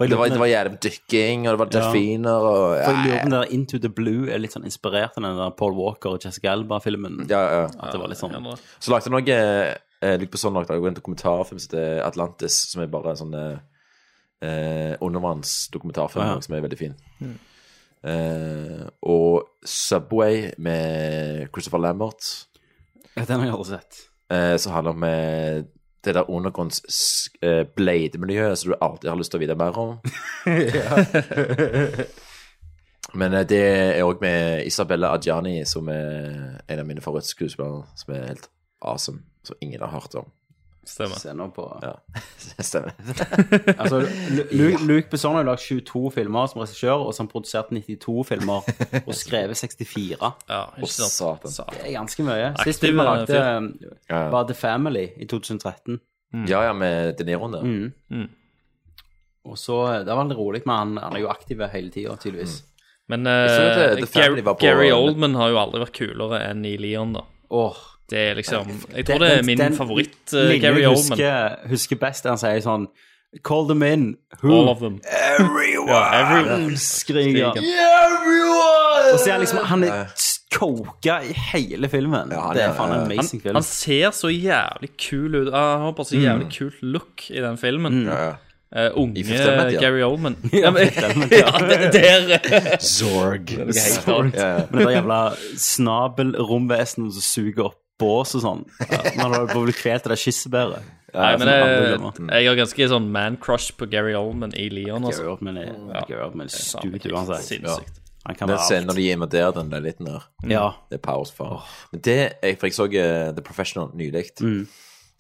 Det var, det var jævlig dykking, og det var delfiner og
For jeg lurer på om det der Into the Blue er litt sånn inspirert av den der Paul Walker og Jessica Alba-filmen.
Ja, ja.
At det var litt sånn
Så lagde han også eh, Luke Besson lagde også en dokumentarfilm som heter Atlantis, som er bare en sånn eh, eh, undervannsdokumentarfilm
Ja.
som er veldig fin.
Mm.
Eh, og Subway med Christopher Lambert,
Ja, Den har jeg aldri sett.
eh, som handler om eh, det der undergrunns s- eh, blademiljøet som du alltid har lyst til å vite mer om. Men eh, det er òg med Isabella Adjani, som er en av mine favorittskuespillere, som er helt awesome, som ingen har hørt om.
Stemmer.
Se nå på
Ja, stemmer.
altså, Lu- Lu- Luke Besson har jo lagd 22 filmer som regissør, og så har han produsert 92 filmer og skrevet 64.
Ja,
Å, satan.
Det er Eh, ganske mye.
Aktiv,
Sist
eh,
film han lagde, eh,
fyr. Ja, ja.
var The Family i 2013.
Ja, ja, med De Niroen der.
Mm. Og så Det var veldig rolig med han. Han er jo aktiv hele tida, tydeligvis.
Mm. Men
Jeg så at, eh, The
eh, Gary,
Family var på-
Gary Oldman har jo aldri vært kulere enn i Leon, da. Det er liksom Jeg tror det er min favoritt, eh,
lille
Gary Oldman.
Husker, husker best han sier sånn Call them in. Who?
All of them.
Everyone!
Ja, everyone.
Skriker han.
Skriker.
Og så er han liksom Han er coka i hele filmen. det er faen en amazing
han,
film.
han ser så jævlig kul ut. Ah, han har bare så
Mm.
jævlig kult look i den filmen. Eh, unge
I Fifth Element, ja.
Gary Oldman.
Ja,
Ja, men-
Fifth Element,
ja,
ja.
det- der
Zorg.
Det er noe helt
Zorg.
annet. Ja, ja.
Men det der jævla snabelromvesenet som suger opp bås og sånn. Man har jo blitt kvelt av det kyssebæret.
Nei, men
Som aldri
jeg,
glemmer.
jeg har ganske sånn man-crush på Gary Oldman i Leon. Altså.
Gary Oldman er, Gary Oldman er stupid uansett.
Sinnssykt.
Han kan
Den
være
Mm. scenen
alt.
når de invaderer den leiligheten der.
Ja.
Det er powers far. Men det jeg, For jeg så eh, The Professional nylig,
Mm.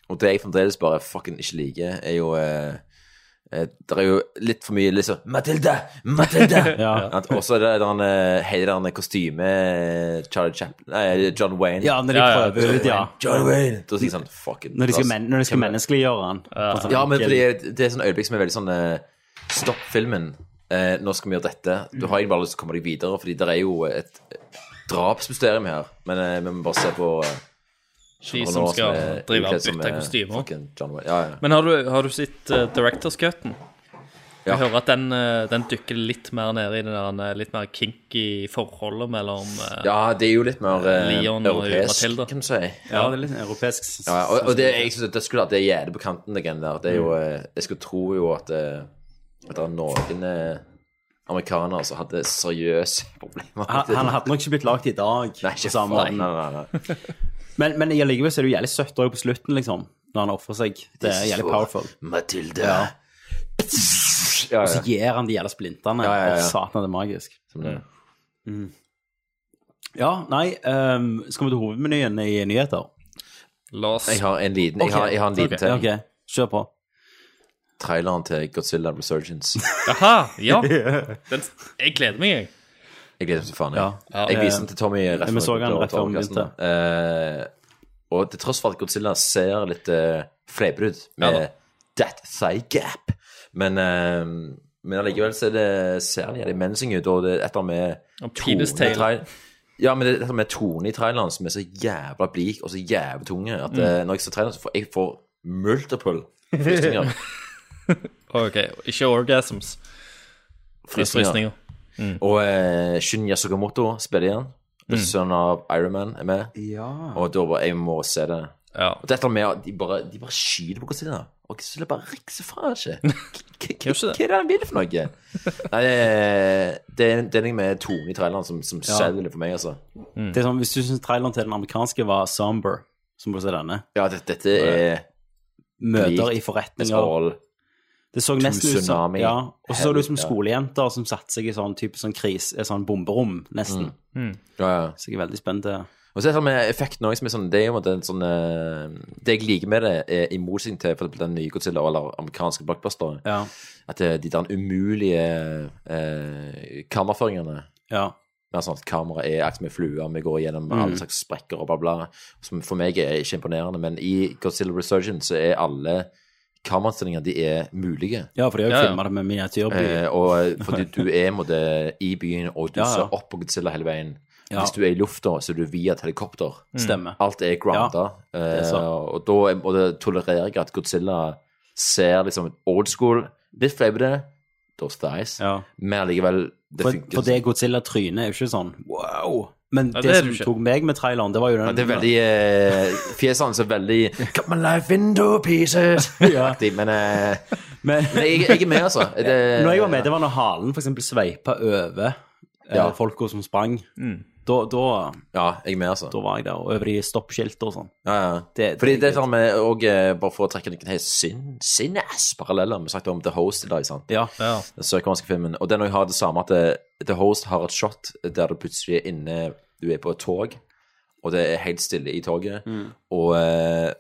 og det jeg fremdeles bare fucking ikke liker, er jo eh, eh, Det er jo litt for mye liksom Matilda! Matilda!
Ja.
At- Og så er det den, eh, hele den kostyme eh, Charlie Chaplin Nei, John Wayne.
Ja, når de Ja, ja. prøver ut, ja.
John Wayne! Da sier jeg sånn fucking
Når de skal, men, når de skal menneskeliggjøre han. På sånn
ja, men
enkel-
fordi det er sånn øyeblikk som er veldig sånn eh, Stopp filmen. Eh, nå skal vi gjøre dette. Du har egentlig bare lyst til å komme deg videre, fordi det er jo et eh, drapsmysterium her. Men eh, vi må bare se på eh,
De
Sean
som
Connery
skal
er
drive og
ukledd som,
bytte
eh,
kostymer.
fucking John Wayne. Ja, ja.
Men har du, har du sett eh, Director's Cut-en?
Ja.
Jeg hører at den, eh, den dykker litt mer ned i det der eh, litt mer kinky forholdet mellom eh,
ja, det er jo litt mer eh,
Leon og
europeisk,
Matilda.
kan du si.
Ja, det er litt europeisk. s-
Ja, og, og det, jeg synes at det skulle at det er jævlig på kanten, det greiene der. Det er jo,
Mm.
eh, jeg skulle tro jo at, eh, at det er noen eh, amerikanere som hadde seriøse problemer.
Han, han hadde nok ikke blitt lagd i dag. Nei, ikke
Nei, nei, nei, nei.
Men, men i allikevel så er det jo jævlig søtt også på slutten, liksom. Når han ofrer seg. Det er jævlig
Så,
powerful.
Matilda.
Ja.
ja.
Og så gir han de jævla splintene.
Ja, ja, ja.
Og Satan, det er magisk.
Som det.
Mm. Ja, nei ehm, Skal vi til hovedmenyen i nyheter?
La oss
Jeg har en liten, jeg har, jeg har en liten ting.
Ok, ok. Kjør på.
Traileren til Godzilla Resurgence.
Aha, ja. Den, jeg gleder meg, jeg.
Jeg gleder meg til faen.
Ja.
Jeg,
Ja.
jeg viste den til Tommy
Eh,
rett
vi så
før
den rett før vi
podcasten. Eh, og til tross for at Godzilla ser litt uh, fleipete ut med
Ja da.
that thigh gap, men, eh, men allikevel så er det, ser han jævlig menacing ut, og det er et eller annet med
Og penis
tone i
tail.
trail- Ja, men det er et eller annet med tone i traileren som er så jævla blik og så jævla tunge at
Mm.
eh, når jeg ser traileren, så får jeg får multiple frysninger.
OK, ikke orgasms. Frysninger. Mm.
Og eh, Shinya Sakamoto spiller igjen. Regissøren av Iron Man er med.
Ja.
Og da bare Jeg må se det.
Ja.
Og dette med at de bare, de bare skyter på Godzilla. Og Godzilla bare rikser fra seg. K- k- Hva er det han vil for noe? Nei, det er, det er det er noe med tonen i traileren som, som
Ja.
selger det for meg, altså.
Det er sånn, Hvis du syns traileren til den amerikanske var somber, så må du se denne.
Ja, det, dette er
Møter
Lik,
i forretninger.
Esmeralda.
Det så nesten ut som,
Tsunami.
ja, og så så det ut som
Helvete.
skolejenter som satte seg i sånn type sånn kris, eh, sånn bomberom, nesten.
Mm.
Ja, ja.
Så jeg er veldig spent. eh.
Og så er det sånn med effekten også, som er sånn, det er jo en måte en sånn eh, Det jeg liker med det, er i motsetning til for eksempel den nye Godzilla eller amerikanske blockbuster,
Ja.
at eh, de der umulige eh, kameraføringene
Ja.
Mer sånn at kameraet er akkurat som en flue, vi går gjennom
Mm.
alle slags sprekker og bla, bla. Som for meg er ikke imponerende, men i Godzilla Resurgence så er alle kamerainnstillinger, de er mulige.
Ja, for de har jo
Ja, ja.
filmet det med miniatyrby.
Eh, og fordi du er i en måte, i byen, og du
Ja, ja.
ser opp på Godzilla hele veien.
Ja.
Hvis du er i lufta, så er du via et helikopter.
Mm. Stemmer.
Alt er grounda.
det er
eh,
sant.
og da er- og det tolererer jeg at Godzilla ser liksom old school Litt flau på det, those thighs, men allikevel det
for,
funker. sånn.
for det Godzilla-trynet er jo ikke sånn wow. Men
Ja,
det,
det er
som
det ikke.
tok meg med traileren, det var jo den
Ja, det er veldig eh, Fjesene så veldig Cut my life into pieces! aktig, Men, eh, men jeg, jeg er med, altså. Det,
Når jeg var med, det var når halen for eksempel sveipa over ja.
Ja.
folka som sprang.
Mm.
Da, da,
ja, jeg med, altså.
da var jeg der, og over de stoppskiltene og sånn.
Ja, ja. Fordi det er sånn med, og eh, bare for å trekke noen helt sin, sinnes paralleller, vi snakket om The Host i dag, sant?
Ja.
Den sørkoreanske filmen. Og den også har det samme at eh, The Host har et shot der du plutselig er inne, du er på et tog, og det er helt stille i toget,
Mm.
og eh,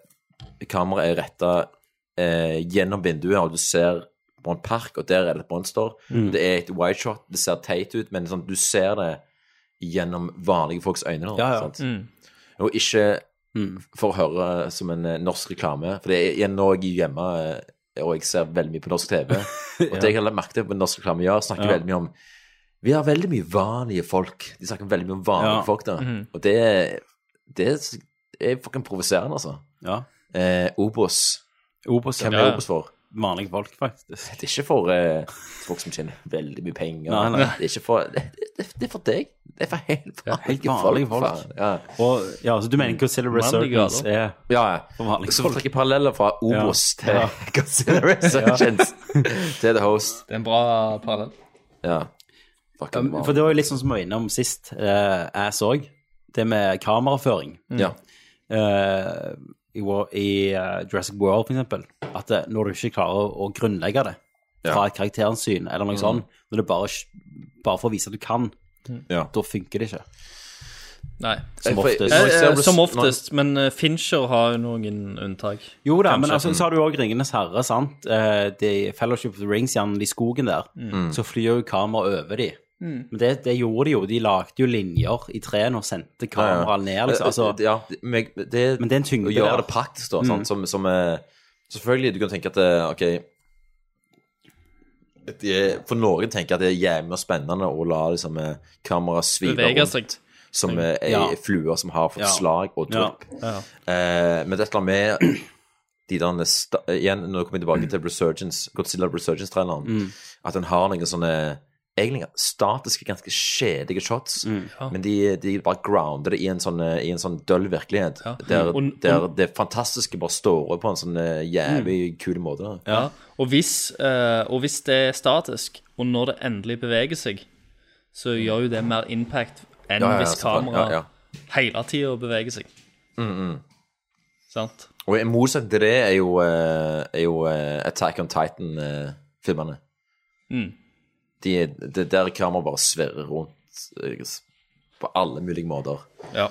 kameraet er rettet eh, gjennom vinduet, og du ser på en park, og der er det et monster.
Mm.
Det er et wide shot, det ser teit ut, men sånn, du ser det gjennom vanlige folks øyne. nå,
Ja, ja.
Sant?
Mm.
Og ikke
Mm.
for å høre som en eh, norsk reklame. For det er igjen nå jeg er hjemme, eh, og jeg ser veldig mye på norsk TV. Og det jeg har lagt merke til på norsk reklame, ja, snakker
Ja.
veldig mye om Vi har veldig mye vanlige folk. De snakker veldig mye om
Ja.
vanlige folk der.
Mhm.
Og det, det er fucking provoserende, altså.
Ja.
Eh, Obos.
Obos,
Hvem
ja.
er
Ja, ja.
Obos for?
Vanlige folk, faktisk.
Det er ikke for eh, folk som tjener veldig mye penger.
Nei, nei.
Det er ikke for det, det, det er for deg. Det er for helt vanlige,
Helt vanlige folk.
faen. Ja.
Og, ja, så du mener Godzilla Resurgence
Vanlige
er
Ja, ja.
for vanlige
Så vi
folk?
trekker paralleller fra Obos
Ja.
til
Ja.
Godzilla Resurgence til The Host.
Det er en bra parallell.
Ja.
Ja,
Fucking
men- For
bra.
det var jo litt sånn som vi var innom sist, eh, jeg så, det med kameraføring.
Ja.
Eh, I wa- i eh, Jurassic World, for eksempel. At eh, når du ikke klarer å, å grunnlegge det fra et karakterens syn, eller noe
Mhm.
sånt, når det bare, bare for å vise at du kan,
Ja.
da funker det ikke.
Nei.
Som oftest.
Eh, eh, som oftest, men eh, Fincher har jo noen unntak.
Jo da, men
Kanskje.
altså, så har du jo òg Ringenes herre, sant. Eh, de Fellowship of the Rings, gjerne i skogen der.
Mm.
Så flyr jo kamera over de.
Mm.
Men det, det gjorde de jo. De lagde jo linjer i trærne og sendte kameraet
Eh,
ned, liksom. Altså,
ja, men det,
men det er en tyngde
å gjøre
der.
det praktisk, da.
Mm.
sant, Som, som eh, Selvfølgelig, du kan tenke at eh, OK det er, For Norge tenker jeg at det er jævlig spennende å la liksom, eh, kamera svive
Beveger seg.
som eh, ei
Ja.
flue som har fått
Ja.
slag og
Ja.
drypp.
Ja.
Eh, men det er et eller annet med de der sta- Igjen, nå kommer jeg tilbake til Resurgence, Godzilla Resurgence-traileren.
Mm.
At den har noen sånne egentlig statiske, ganske kjedelige shots.
Mm.
Men de, de bare grounder det i en sånn, eh, i en sånn døll virkelighet. Der,
Og-
der
og-
det fantastiske bare står over på en sånn eh, jævlig kul måte.
Ja. Og, hvis, eh, og hvis det er statisk, og når det endelig beveger seg, så gjør jo det mer impact
Mm.
enn
Ja, ja, ja,
hvis
så klart.
kameraet
Ja, Mm,
hele tida beveger seg. Sant?
Og i motsetning til det er jo, eh, er jo eh, Attack on Titan-filmene.
Mm.
de, det der kameraet bare sverrer rundt eh, s- på alle mulige måter.
Ja.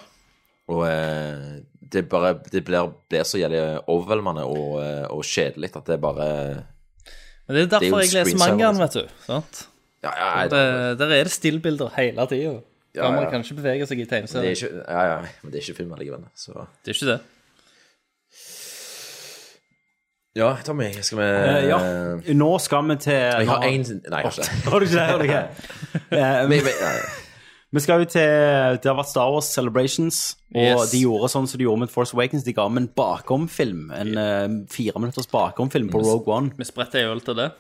Og eh, det, bare, det blir, blir så jævlig overveldende og, eh, og kjedelig at det bare
Men det er derfor
jo
jeg leser
screensaver, altså.
mangaen, vet du. Sant?
Ja, ja,
Og det,
eh,
der er det stillbilder hele tida.
Ja,
Kameraet
ja.
kan ikke bevege seg i
Men det er
tegneserien.
ikke, ja, ja, men det er ikke film allikevel. Så
Det er ikke det.
ja, Tommy, skal vi
Eh, ja. Nå skal vi til
Jeg har én Nei, kanskje.
Har du ikke det? Har du ikke det? Eh,
Men- men- ja, ja.
Vi skal jo til Det har vært Star Wars Celebrations, og
Yes.
de gjorde sånn som de gjorde med Force Awakens. De ga meg en bakomfilm. En eh, fire minutters bakomfilm på Rogue One.
Vi spretter ei øl til det.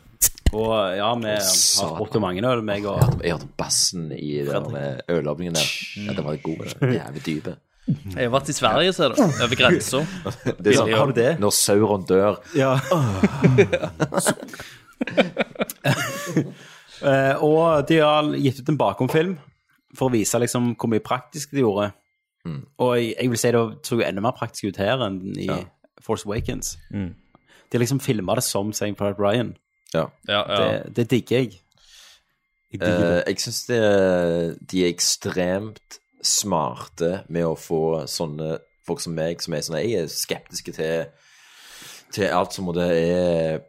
Og ja, vi har spurt om mange øl, meg og
Jeg hørte bassen i den der ølåpningen der. Ja, den var god. den Jævlig dype.
Jeg har vært i Sverige, ser du. Over grensa.
Det er sånn,
Har du
Eh?
det?
Når Sauron dør
Ja. Eh, og de har gitt ut en bakomfilm for å vise liksom hvor mye praktisk de gjorde. Og jeg, jeg vil si det så jo enda mer praktisk ut her enn i Force Awakens.
Mm.
De liksom filma det som St. Pride Ryan.
Ja.
Ja, ja.
Det, det digger jeg. Jeg digger
Eh,
det.
jeg syns de er ekstremt smarte med å få sånne folk som meg, som er sånn Jeg er skeptiske til, til alt som det er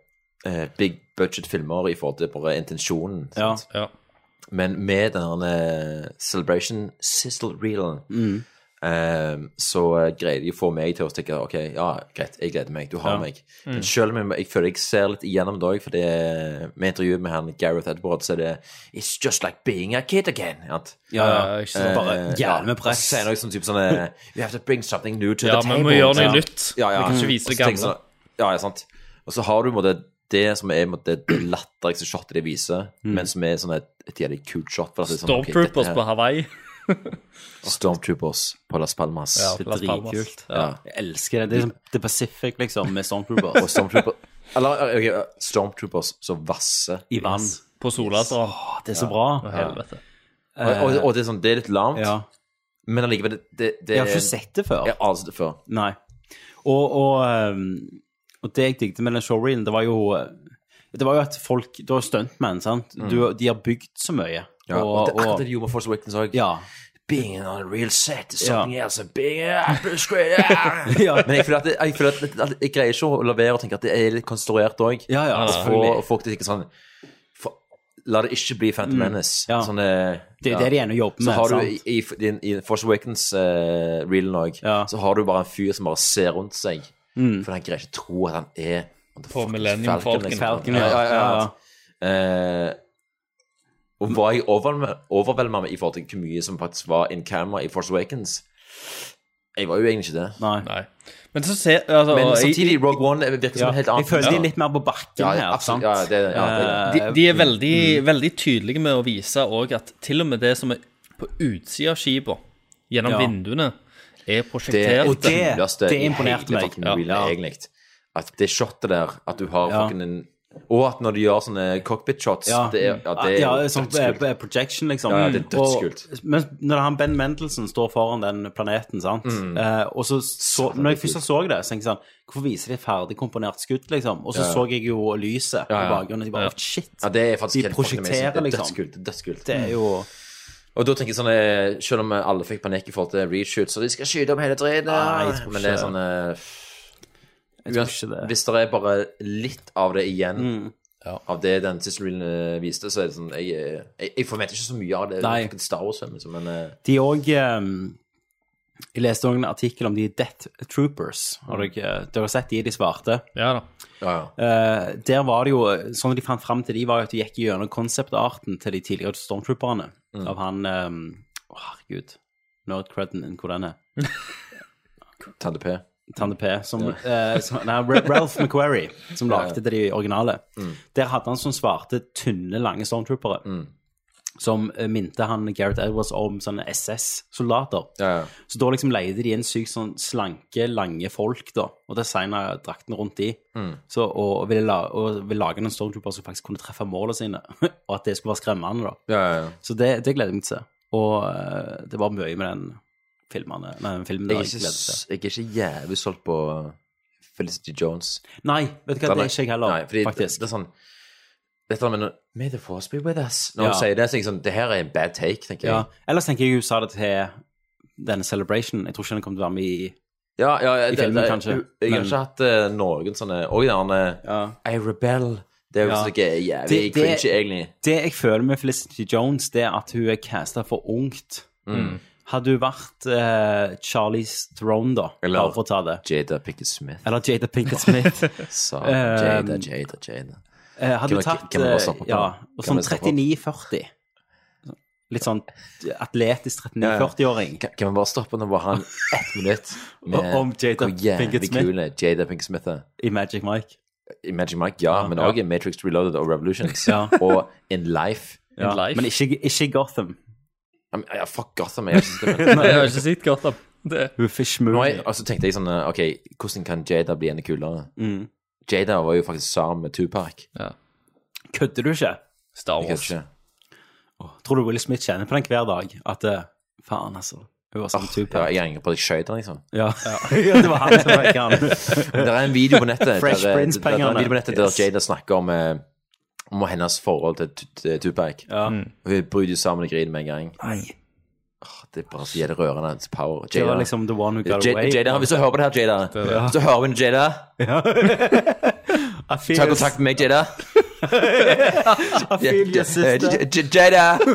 eh, big budget-filmer i forhold til bare intensjonen.
Ja. Mm.
sant? Men med denne celebration sizzle reelen Ehm, så eh, greide de å få meg til å stikke OK, ja, greit, jeg gleder meg, du
Ja.
har meg.
Mm.
Men selv om jeg, jeg føler jeg ser litt igjennom det òg, for det, med intervjuet med han Gareth Edward, så er det It's just like being a kid again. sant?
Ja, ja, ikke sant, bare
Eh,
jævlig med
ja,
press.
og så Sier han også sånn type sånn eh, You have to bring something new to
Ja,
the
men
table.
vi må gjøre noe
Ja.
nytt.
Ja, ja.
Vi kan ikke vise
Og så
gamle.
tenker jeg sånn, Ja, ja, sant. Og så har du på en måte, det som er på en måte, det latterligste shotet de viser,
Mm.
men som er sånn et, et jævlig kult shot. for at det er sånn, ok, dette
Stormtroopers
her-
på Hawaii.
Stormtroopers på Las Palmas.
Ja, på Las Palmas. Ja. Jeg elsker det. Det er som The Pacific, liksom, med Stormtroopers.
Og Stormtrooper, eller, ok, Stormtroopers som vasser
I vann.
På Solatra.
det er så bra.
Ja.
Helvete.
Og, og, og det er sånn, det er litt larmt, men allikevel, det, det, det
Jeg har ikke sett det før.
Jeg har aldri sett det før.
Nei. Og, og, ehm, og det jeg digget med den showreelen, det var jo eh, det var jo at folk Du har stuntmen, sant?
Mm.
Du, de har bygd så mye.
Ja, og det er akkurat det de gjorde med Force Awakens òg.
Ja.
Being on a real set is
Ja.
something else. Being up is great. Men jeg føler, at det, jeg føler at, det- at jeg greier ikke å la være å tenke at det er litt konstruert òg.
Ja, ja, selvfølgelig.
og folk tenker sånn for, La det ikke bli Phantom
Mm,
Menace.
ja.
Sånn, eh,
Det er det de gjerne jobber med,
Så har du
sant?
i, i, din- i Force Awakens-reelen òg, så har du bare en fyr som bare ser rundt seg.
Mm.
For han greier ikke å tro at han er on the
På
fucking
Millennium Falcon.
liksom.
Falcon,
ja, ja, ja,
ja.
ja. Eh, og var jeg overvelma overvelma med i forhold til hvor mye som faktisk var in camera i Force Awakens? Jeg var jo egentlig ikke det.
Nei. Men så ser altså,
Men
jeg-
samtidig, Rogue One virker som
Ja.
en helt annen
Jeg føler de er litt
mer på bakken
ja,
her,
Absolutt.
sant?
Ja, det, ja, det,
de, de
eh, mm.
er veldig, veldig tydelige med å vise også at til og med det som er på utsida av skipet, gjennom
Ja.
vinduene, er
Det,
prosjektert.
og det, kuleste i hele fucking
Ja.
mobilen, egentlig. At det shotet der, at du har
Ja.
fucking en Og at når de gjør sånne cockpit shots, det er, ja, det er
ja,
jo
sånn
dødskult.
eh, projection, liksom.
Ja, ja, det er dødskult.
Og, men når han Ben Mendelsen står foran den planeten, sant
Mm.
eh, Og så, så Når jeg først så det, så tenkte jeg sånn Hvorfor viser de ferdig komponert skudd, liksom? Og så
Ja, ja.
så jeg jo lyset
Ja, ja.
i bakgrunnen. og Jeg bare, shit.
Ja, det er faktisk
de
helt fucking amazing.
prosjekterer,
Det er
liksom.
Dødskult. Det er dødskult.
Det er jo
Mm. Og da tenker jeg sånn eh, Selv om alle fikk panikk i forhold til reshoot, så de skal skyte opp hele dritet.
Nei, jeg tror
Men det er
ikke-
sånn eh, uans- Hvis det er bare litt av det igjen
Mm.
Av det den siste reelen viste, så er det sånn Jeg, eh, jeg, jeg forventer ikke så mye av det.
Nei.
Det er Star Wars-film, liksom, men eh,
De òg Jeg leste også en artikkel om de Death Troopers. Har dere, dere har sett de, de svarte?
Ja da.
Eh, der var det jo, sånn de fant fram til de, var jo at de gikk gjennom konseptarten til de tidligere stormtrooperne.
Mm.
Av han ehm, Å, herregud. Nerd Creden, hvor den er.
Tande P.
Tande P. Som,
Ja.
eh, som, nei, Ra- Ralph McQuarrie, som
Ja, ja.
lagde det de originale.
Mm.
Der hadde han sånne svarte, tynne, lange stormtroopere. Som eh, minte han Gareth Edwards om sånne SS-soldater. Så da liksom leide de inn sykt sånn slanke, lange folk, da, og designa drakten rundt de.
Mm.
Så, og, ville la, og ville lage en stormtrooper som faktisk kunne treffe målene sine, og at det skulle være skremmende, da. Så det, det gleder jeg meg til å se. Og eh, det var mye med den filmene, nei, den filmen
jeg,
der
er
jeg
ikke,
gledet meg
s-
til.
jeg er ikke jævlig solgt på uh, Felicity Jones.
Nei, vet du hva, det er ikke jeg heller,
Nei, fordi
faktisk.
Det, det er sånn Dette med når- May the force be with us. Når
Ja.
hun sier det, så er jeg sånn Det her er en bad take, tenker jeg.
Ja. Ellers tenker jeg hun sa det til denne Celebration. Jeg tror ikke den kommer til å være med i
Ja, ja,
I filmen, kanskje,
Jeg, jeg har
men-
ikke hatt eh, noen sånne Oi, den I rebel. Det er jo
Ja.
sånn ikke jævlig
Det- det-
cringy, egentlig.
Det jeg føler med Felicity Jones, det er at hun er casta for ungt.
Mm.
Hadde hun vært eh, Charlies Throne, da, bare for å ta det
Jada Pickett Smith.
Eller Jada Pinkett Smith.
Sa
Eh,
Jada, Jada, Jada.
eh, hadde hun
Kan vi-
tatt
kan vi bare
eh,
stoppe på
ja,
den?
og
Kan
sånn
vi stoppe på den?
39-40 Litt sånn atletisk 39-40-åring.
Kan, kan vi bare stoppe nå bare ha en ett minutt med
Om Jada
hvor jævlig
Pinkett Smith.
kule Jada Pinkett Smith er?
I Magic Mike.
I Magic Mike, ja, men
ja.
òg i Matrix Reloaded og Revolutions.
Ja.
Og In Life.
Ja, Men ikke, ikke Gotham.
Ja, men- ja, fuck Gotham. Jeg har ikke sett
Nei, jeg har
ikke sett Gotham. Det.
Hun er fish
Nå er- Og så tenkte jeg sånn eh, OK, hvordan kan Jada bli enda kulere?
Mm.
Jada var jo faktisk sammen med Tupac.
Kødder du ikke?
Star
Jeg kødder ikke.
Tror du Will Smith kjenner på den hver dag? At eh, faen, altså. Hun var sånn
Åh,
tupac.
ja, jeg angrer på at jeg skjøt han, liksom.
Ja. Ja, det var han som røyka han.
Det er en video på nettet
Fresh
der,
Prince-pengene.
der- der er en video på nettet der
Yes.
Jada snakker om, eh, om hennes forhold til Tu- til Tupac.
Mm.
Og Hun bryter sammen og griner med en gang.
Nei.
Det er bare så jævlig rørende. hans Power.
Det var liksom the one who got
Jada,
away.
Jada, hvis du hører på det her, Jada,
det.
så hører vi den, Jada. Ta kontakt med meg, Jada.
I
Eh,
feel your
Ja,
sister.
J- J- Jada!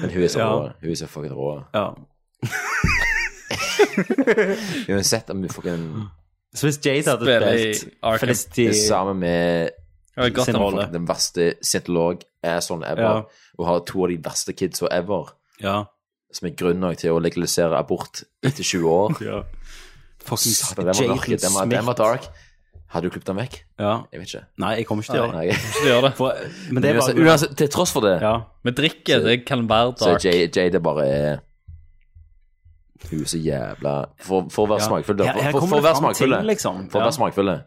Men Hun er så
Ja.
rå. Hun er så fucking rå.
Ja.
Uansett om hun fucking
Så hvis Jade hadde
Spiller i
spilt
Arkham.
Felicity
Det samme med
Ja, Gotham.
sin rolle.
rolle.
Den verste scientolog-assholen ever.
Ja.
Og har to av de verste kidsa ever. Som er grunn nok til å legalisere abort etter 20 år.
ja.
Satan, den var
Jaden
mørk. Den var, den var dark. Hadde du klippet den vekk?
Ja.
Jeg vet ikke.
Nei, jeg kommer ikke til å gjøre
Nei.
det.
gjøre det.
Men det er
uansett,
bare-
uansett, til tross for det,
Vi drikker, det kan være
så
dark.
er Jade, Jade er bare Hun er så jævla For, for å være
Ja.
smakfull, da.
Her-
For,
her
for,
kommer
for å
det
være
fram
smakfull.
ting, liksom.
For å
Ja.
være smakfull.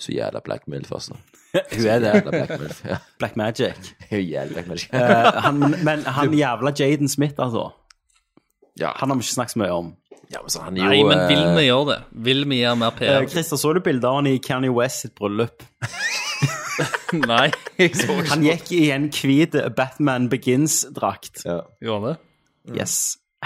Så jævla altså. blackmail først, da.
Hun er
Så jævla black
det.
milf, ja.
Black Magic.
Hun er jævla black magic.
Eh, han, men han jævla Jaden Smith, altså.
Ja.
Han har vi ikke snakket så mye om.
Ja, men så han er jo
Nei, men vil
eh,
vi gjøre det? Vil vi gjøre mer
Eh,
PR?
Christer, så du bildet av han i Kanye West sitt bryllup?
Nei.
Han gikk i en hvit Batman Begins-drakt.
Gjorde han det?
Mm.
Yes.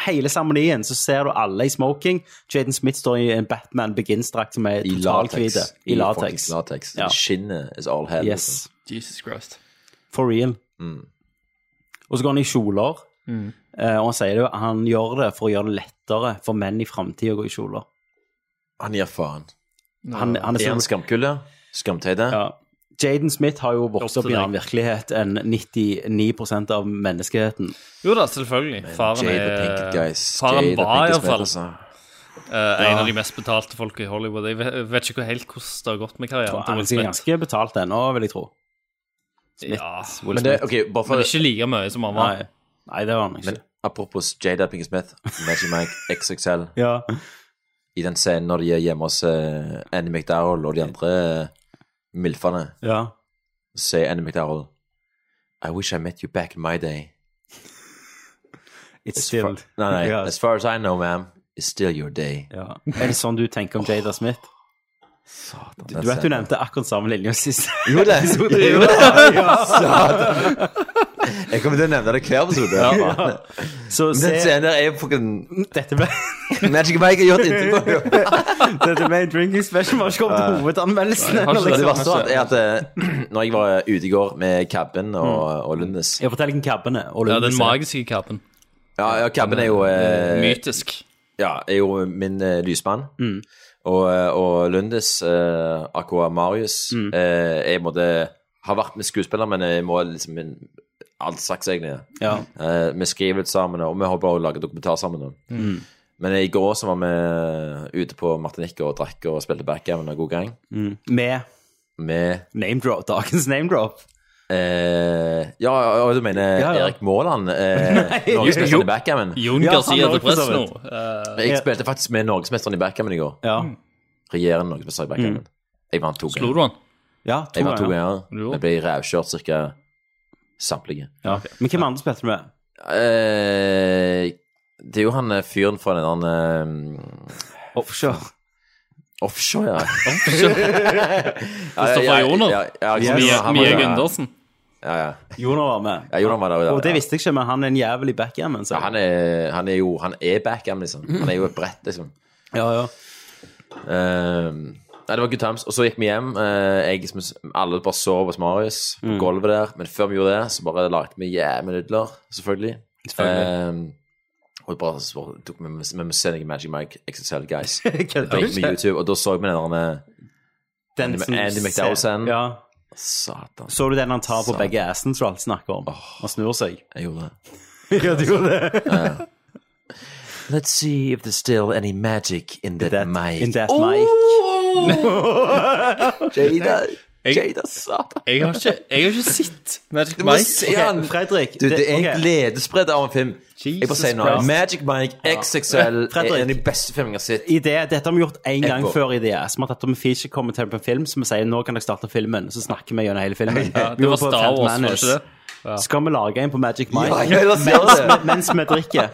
Hele seremonien så ser du alle i smoking. Jaden Smith står i en Batman Begins-drakt som er
I latex.
totalhvit. eh, I latex.
fucking latex.
Ja.
Skinnet is all hell. liksom.
Yes.
Jesus Christ.
For real.
Mm.
Og så går han i kjoler, eh, og han sier det jo, han gjør det for å gjøre det lettere for menn i framtida å gå i kjoler.
Han gir faen.
Han, han
Er
er
han
så,
skamkulle? Skamteide?
ja. Jaden Smith har jo vokst
Opp
opp
til
i en
deg.
annen virkelighet enn 99 av menneskeheten.
Jo da, selvfølgelig. Faren
Jade
eh,
er
the Pinkest Guys.
Faren
Jade the
var
Pinkest
iallfall
Guys, altså.
en av de mest betalte folka i Hollywood. Jeg vet- vet ikke hvor helt hvordan det har gått med karrieren til
Han
Will
er
Smith.
ganske betalt ennå, vil jeg tro.
Ja,
Will
Men det,
Smith.
ok, bare for
men ikke like mye som han var.
Nei. Nei, det var han ikke.
Men apropos Jada Pinkett Smith, Magic Mike XXL,
Ja.
i den scenen når de er hjemme hos eh, Annie McDowell og de andre eh, milfene,
ja.
sier Annie McDowell I wish I met you back in my day.
It's
As far,
still
nei, nei,
Ja.
as far as I know, ma'am, it's still your day.
ja. Er det sånn du tenker om Jada Smith?
Satan,
Du
den
vet du
scenen.
nevnte akkurat samme linja sist.
Jo, det.
Jo,
Jo,
det.
Satan. Jeg kommer til å nevne det hver episode. faen.
Så
Den
se,
scenen der er jo fucking
dette ble
Magic Mike har gjort inntrykk på meg.
Dette med drinking special var ikke kommet til hovedanmeldelsen.
har ikke
ennå,
det.
Det
liksom.
verste av alt er at eh, når jeg var ute i går med Cabben og,
Mm.
og Lundes
Jeg forteller hvem cabben er. og
Ja,
Lundes
den
er.
magiske kappen.
Ja, ja Cabben er jo eh,
Mm.
Mytisk.
Ja, er jo min eh, lysmann. Og, og Lundes, eh, Aqua Marius,
Mm.
eh, er på en måte Har vært med skuespiller, men jeg må liksom min, Alt slags, egentlig.
Ja.
Eh, vi skriver litt sammen, og vi håper å lage dokumentar sammen. nå.
Mm.
Men i går så var vi eh, ute på Martinique og drakk og spilte backgammon og god gang.
Mm. Med
Med
name drop, dagens name drop.
Eh, ja, ja, ja, du mener
Ja, ja.
Erik Maaland? Eh, Norgesmesteren i backgammon?
Jon
Ja,
Garcia
han
de
er også for så
Fresno.
vidt.
Eh,
Jeg spilte faktisk med Norgesmesteren i backgammon i går.
Ja,
Regjerende norgesmester i
Mm.
backgammon. Jeg vant to
Slo
ganger.
du han?
ja to
Jeg vant to
ganger.
ganger.
Du gjorde.
Jeg ble rævkjørt ca. samtlige.
Ja. Men hvem andre spilte du med?
Eh, det er jo han eh, fyren fra den der eh,
Offshore.
Offshore, ja.
Kristoffer Joner.
Ja, ja, ja,
Mie,
han var-
Mie Gundersen.
Ja, ja.
Jonar var med.
Ja, Jonas var der, ja.
Og det visste jeg ikke, men han er en jævel i backgammon. så-
Ja, han, er, han er jo Han er backgammon, liksom. Han er jo et brett, liksom.
Ja, ja.
Eh, Nei, det var good times. Og så gikk vi hjem. eh, jeg, som, alle bare sov hos Marius på gulvet der. Men før vi gjorde det, så bare lagde vi jævlig nudler, selvfølgelig. Eh, og bare så tok vi Vi må se noe Magic Mike XXL, guys.
Kødder du
Med
ikke?
YouTube, og da så vi den der
Den
Andy-
som
Andy
ser-
McDowell-scenen.
Ja.
Satan.
Så du den han tar på
Satan.
begge assene som du alltid snakker om? Han snur seg.
Jeg gjorde det.
Ja, du gjorde det.
Let's see if there's still any magic in that,
That,
mic.
in that
Oh,
mic.
Jada,
Jeg-
Jada, satan.
Jeg har ikke, jeg har ikke sett Magic
Du må
Mike.
se
Ok,
han.
Fredrik.
Du, det er en
ok.
gledesspredd av en film. jeg bare
Jesus
sier noe.
Christ.
Magic Mike XXL er
Fredrik.
en av de beste filmene jeg har sett.
I det, dette har vi gjort én gang
Ever.
før i det. Som at Tom Fischer kommer til en film som vi sier nå kan dere starte filmen. Så snakker vi gjennom hele filmen.
Ja,
Vi
det var
gjorde på
Star Wars,
Phantom
var det
Menace.
ikke det?
Skal vi lage en på Magic Mike
Ja, ja, la oss gjøre det.
mens, mens vi drikker?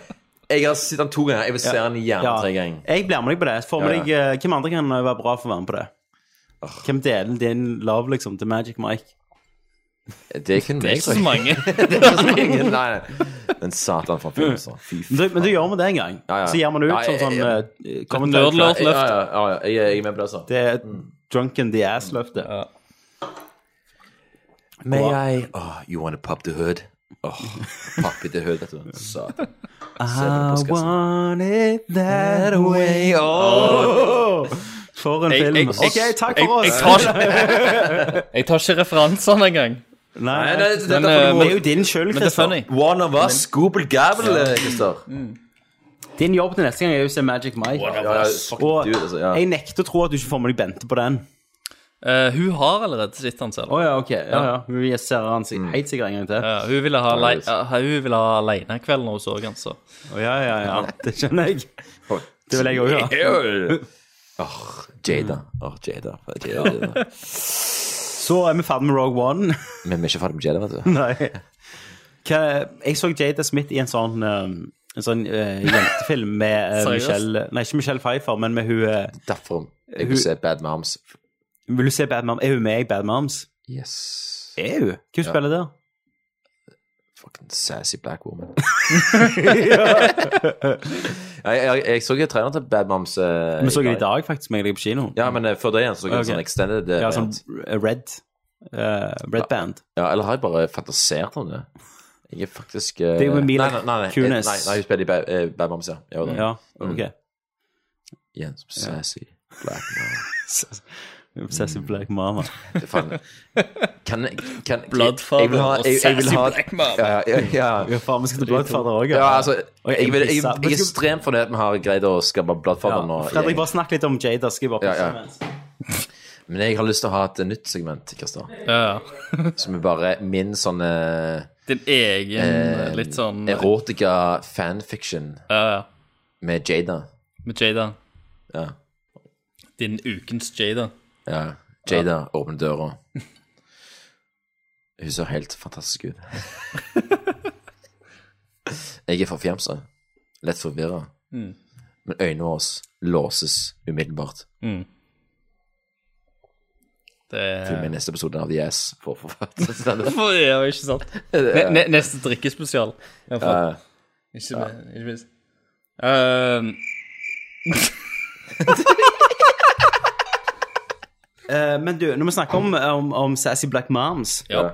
Jeg har sett den to ganger. Jeg vil se den gjerne tre ganger.
Jeg blir med deg på det. Får med
Ja, ja.
deg, eh, hvem andre kan eh, være bra for å være med på det? Hvem deler din love liksom, til Magic Mike?
Det er kun
Det er
meg,
ikke så mange.
Det er ikke så mange. Nei, nei. Den satan fra filmen, så. altså. Fy
Men du, men du gjør med det en gang.
Ja, ja.
Så gir man ut
Ja, jeg-
sånn sånn
jeg-
eh,
Nerd
kommentar.
Lord
Ja, ja,
Left.
ja, ja, jeg er- jeg er med på det, altså.
Det er drunken the ass-løftet.
May I Oh, you Ah, wanna pop the hood? Åh, Pakke til høyde, vet du. Satan.
I want it that way. Åh! For en
Jeg-
film.
jeg-
OK, takk for
jeg-
oss.
jeg tar Jeg tar ikke referansene engang.
Nei, eh,
nei, det- dette får du- det er jo din skyld,
Men det er
Christer.
funny.
One of us, Google eh, Gavel,
Ja.
Christer.
Din jobb til neste gang er jo å se Magic Mike.
One of Ja, ja, us. fuck
Og
dude, altså, ja.
jeg nekter å tro at du ikke får med deg Bente på den.
Eh, hun har allerede sett den selv.
Å ja, ok. Ja, ja. Hun ser han sik- helt sikkert en gang til.
Ja, Eh, hun ville ha, lei- ja, hun ville ha alenekveld når hun så den, så.
Å ja, ja, ja. Det skjønner jeg. Det vil jeg òg
Ew.
gjøre.
Åh, Jada. Åh, Jada. Jada, Jada.
Så er vi ferdig med Rogue One.
Men vi er ikke ferdig med Jada, vet du.
Nei. Hva, jeg så Jada Smith i en sånn eh, en sånn eh, jentefilm med eh,
Seriøst?
Michelle Nei, ikke Michelle Pfeiffer, men med hun eh,
Derfor jeg
Hun-
vil se Bad Moms.
Vil du se Bad Moms? Er hun med i Bad Moms?
Yes.
Er hun? Hva
Ja.
spiller der?
Fucking sassy black woman. Ja, jeg, jeg, jeg så ikke traileren til Bad Moms. eh,
Vi så den i dag, faktisk, med deg på kino.
Ja, men eh, før det igjen så så jeg en
Ok.
sånn extended eh,
Ja, sånn
variant.
eh, red. eh, red band.
Ja, eller har jeg bare fantasert om det? Jeg er faktisk eh,
Det er jo med Mila
nei, nei, nei, nei,
Kunis.
Nei, nei, hun spiller i Ba- eh, Bad Moms, ja. Jo da.
Ja, ok.
Igjen, sassy black mom.
Obsessive Black Mama.
Det er faen- Kan, kan
Bloodfather
jeg vil ha-
og
jeg- jeg vil
sassy
ha-
black mom.
Ja, ja, ja.
Ja, faen, vi skal til Bloodfather også, ja.
Ja, altså,
Og
jeg, vil- jeg,
Elvisa.
jeg er ekstremt fornøyd med at vi har greid å skape Bloodfather nå.
Fredrik, bare snakk litt om Jada. Skal jeg bare
Ja, ja. Men jeg har lyst til å ha et nytt segment, Kristian.
Ja.
Som er bare min sånn eh,
Din egen
eh,
litt sånn
Erotika fanfiction
Ja, ja.
med Jada.
Med Jada.
Ja.
Din ukens Jada.
ja. Jada åpner døra. Hun ser helt fantastisk ut. jeg er forfjamsa. Lett forvirra.
Mm.
Men øynene våre låses umiddelbart.
Mm. Det
Til min neste episode av The Ass. For, for, for,
For- ja, ikke sant? Ne ne neste drikkespesial. i hvert fall. Ikke
Ja.
med- ikke minst. Ehm,
Eh, men du, når vi snakker om, eh, om, om Sassy Black Moms,
Ja.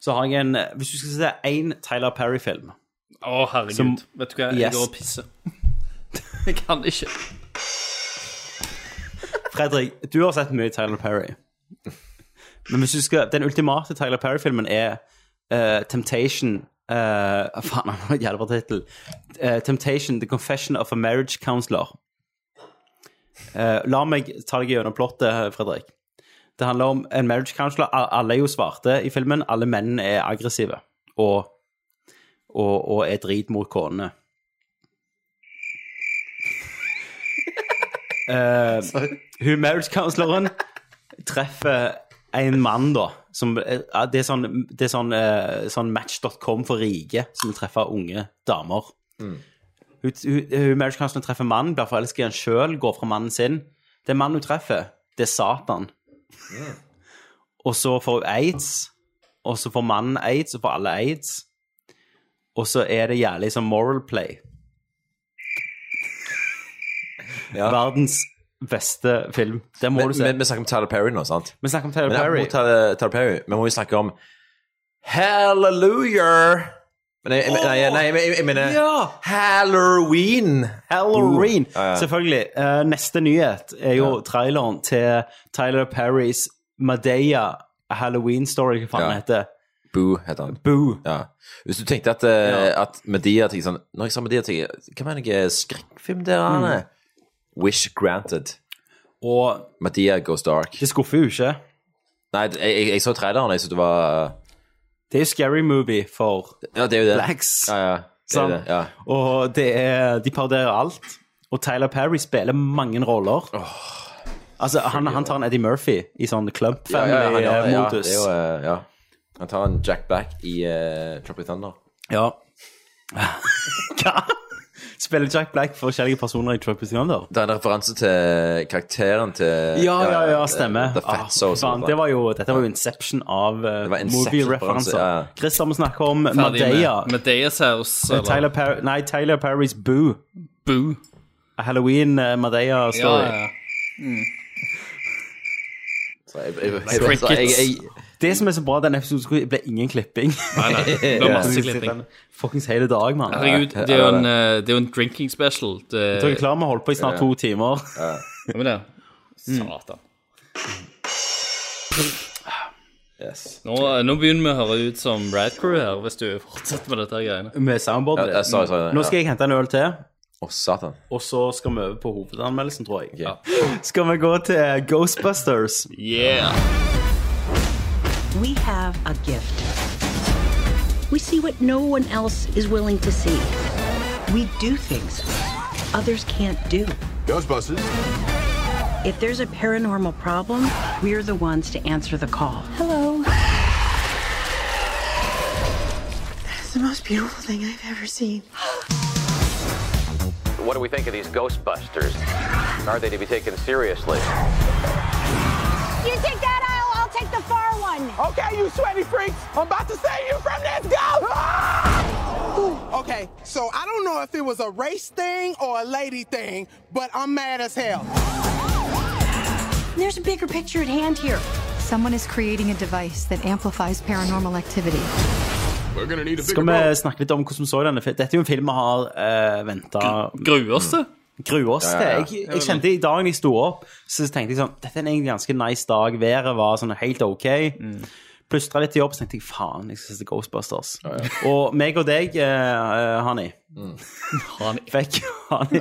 så har jeg en eh, Hvis du skal se én Tyler Perry-film
Å, herregud.
Som-
Vet du hva, jeg
Yes.
går og pisser. Jeg kan ikke.
Fredrik, du har sett mye Tyler Perry. Men hvis du skal Den ultimate Tyler Perry-filmen er eh, Temptation eh, Faen, han har en jævla tittel. Eh, Temptation, The Confession of a Marriage Counselor. Eh, la meg ta deg gjennom plottet, Fredrik. Det handler om en marriage counselor. A- Alle er jo svarte i filmen. Alle mennene er aggressive og, og, og er drit mot konene. Eh, hun marriage counseloren treffer en mann, da. Som, eh, det er sånn, det er sånn, eh, sånn match.com for rike, som treffer unge damer.
Mm.
Hun, hun, hun marriage counselor treffer mannen, blir forelsket i han sjøl, går fra mannen sin. Den mannen hun treffer, det er Satan.
Mm.
Og så får hun aids, og så får mannen aids, og får alle aids. Og så er det jævlig som moral play. Verdens beste film. Den må
Men-
du se.
men Vi snakker om Tyler Perry nå, sant?
Vi snakker om Tyler
Men
Perry.
apropos Tyler, Tyler Perry, vi må jo snakke om Hallelujah! Men jeg, jeg, nei, nei, jeg, jeg, jeg mener
Ja!
Halloween.
Halloween!
Uh, ja, ja.
Selvfølgelig. Eh, neste nyhet er jo traileren til Tyler Perrys Madeia Halloween Story, hva faen
Ja.
den heter.
Boo heter han.
Boo.
Ja. Hvis du tenkte at, eh, at Medea tenkte sånn Når jeg sa Medea, tenkte jeg Hva mener jeg skrekkfilm der
Mm.
han er? Wish granted.
Og
Medea goes dark.
det skuffer jo ikke.
Nei, jeg, jeg, jeg så traileren, og jeg syntes det var
Det er jo scary movie for
Ja, det er jo det.
blacks.
Ja, ja. Det er
sant?
det, ja.
Og det er, de parodierer alt. Og Tyler Perry spiller mange roller. altså, han, han tar en Eddie Murphy i sånn Clump
Ja, ja, han gjør det, ja,
Family-modus.
det er jo, eh, ja. Han tar en Jack Back i uh, Tropic Thunder.
Ja. Hva? Spiller Jack Black forskjellige personer i Tropic Thunder?
Det er en referanse til karakteren til eh,
Ja, ja, ja, stemmer.
The
Ah,
Fat Soul. som
faen, det var jo, dette var jo Inception av eh,
var Inception-referanse, ja, ja.
movie-referanser. Chris, da må snakke om
Ferdig med
Madeia.
Medeiasaus. eller
Tyler, per nei, Tyler Perrys Boo.
Boo.
A Halloween eh, Madeia-story.
Ja, ja.
Så jeg- jeg- jeg-
Crickets.
jeg- jeg-
Det som er så bra, den episoden ble ingen klipping.
Nei, nei, det ble masse
Ja.
klipping.
Fuckings hele dag, mann.
Herregud, det er jo en, eh, det er jo en drinking special. Det...
Jeg tror jeg er klar med å holde på i snart to timer.
Hva med det?
Mm.
Satan. Nå, øh, nå begynner vi å høre ut som Rad Crew her, hvis du fortsetter med dette her greiene.
Med soundboard.
Ja, jeg sa- jeg sa det,
Nå
ja.
skal jeg hente en øl til.
Å, satan.
Og så skal vi over på hovedanmeldelsen, tror jeg. Skal vi gå til Ghostbusters?
Yeah.
We have a gift. We see what no one else is willing to see. We do things others can't do.
Ghostbusters.
If there's a paranormal problem, we're the ones to answer the call.
Hello. That's the most beautiful thing I've ever seen.
What do we think of these Ghostbusters? Are they to be taken seriously?
You take that aisle, I'll take the far one. Okay, you sweaty freaks. I'm about to save you from this ghost.
Ooh, Ah! okay, so I don't know if it was a race thing or a lady thing, but I'm mad as hell.
There's a bigger picture at hand here. Someone is creating a device that amplifies paranormal activity.
We're gonna need a bigger
Skal vi
boat.
snakke litt om hvordan vi så denne filmen? Dette er jo en film vi har uh, venta
Gruer oss til?
Gruer oss til.
Ja, ja.
Jeg, jeg kjente i dag da jeg sto opp, så tenkte jeg sånn Dette er en ganske nice dag. Været var sånn helt OK.
Mm.
Plystra litt i jobb, så tenkte jeg faen, jeg skal se Ghostbusters. Og meg og deg, eh, eh, Hani,
Mm.
fikk, Hani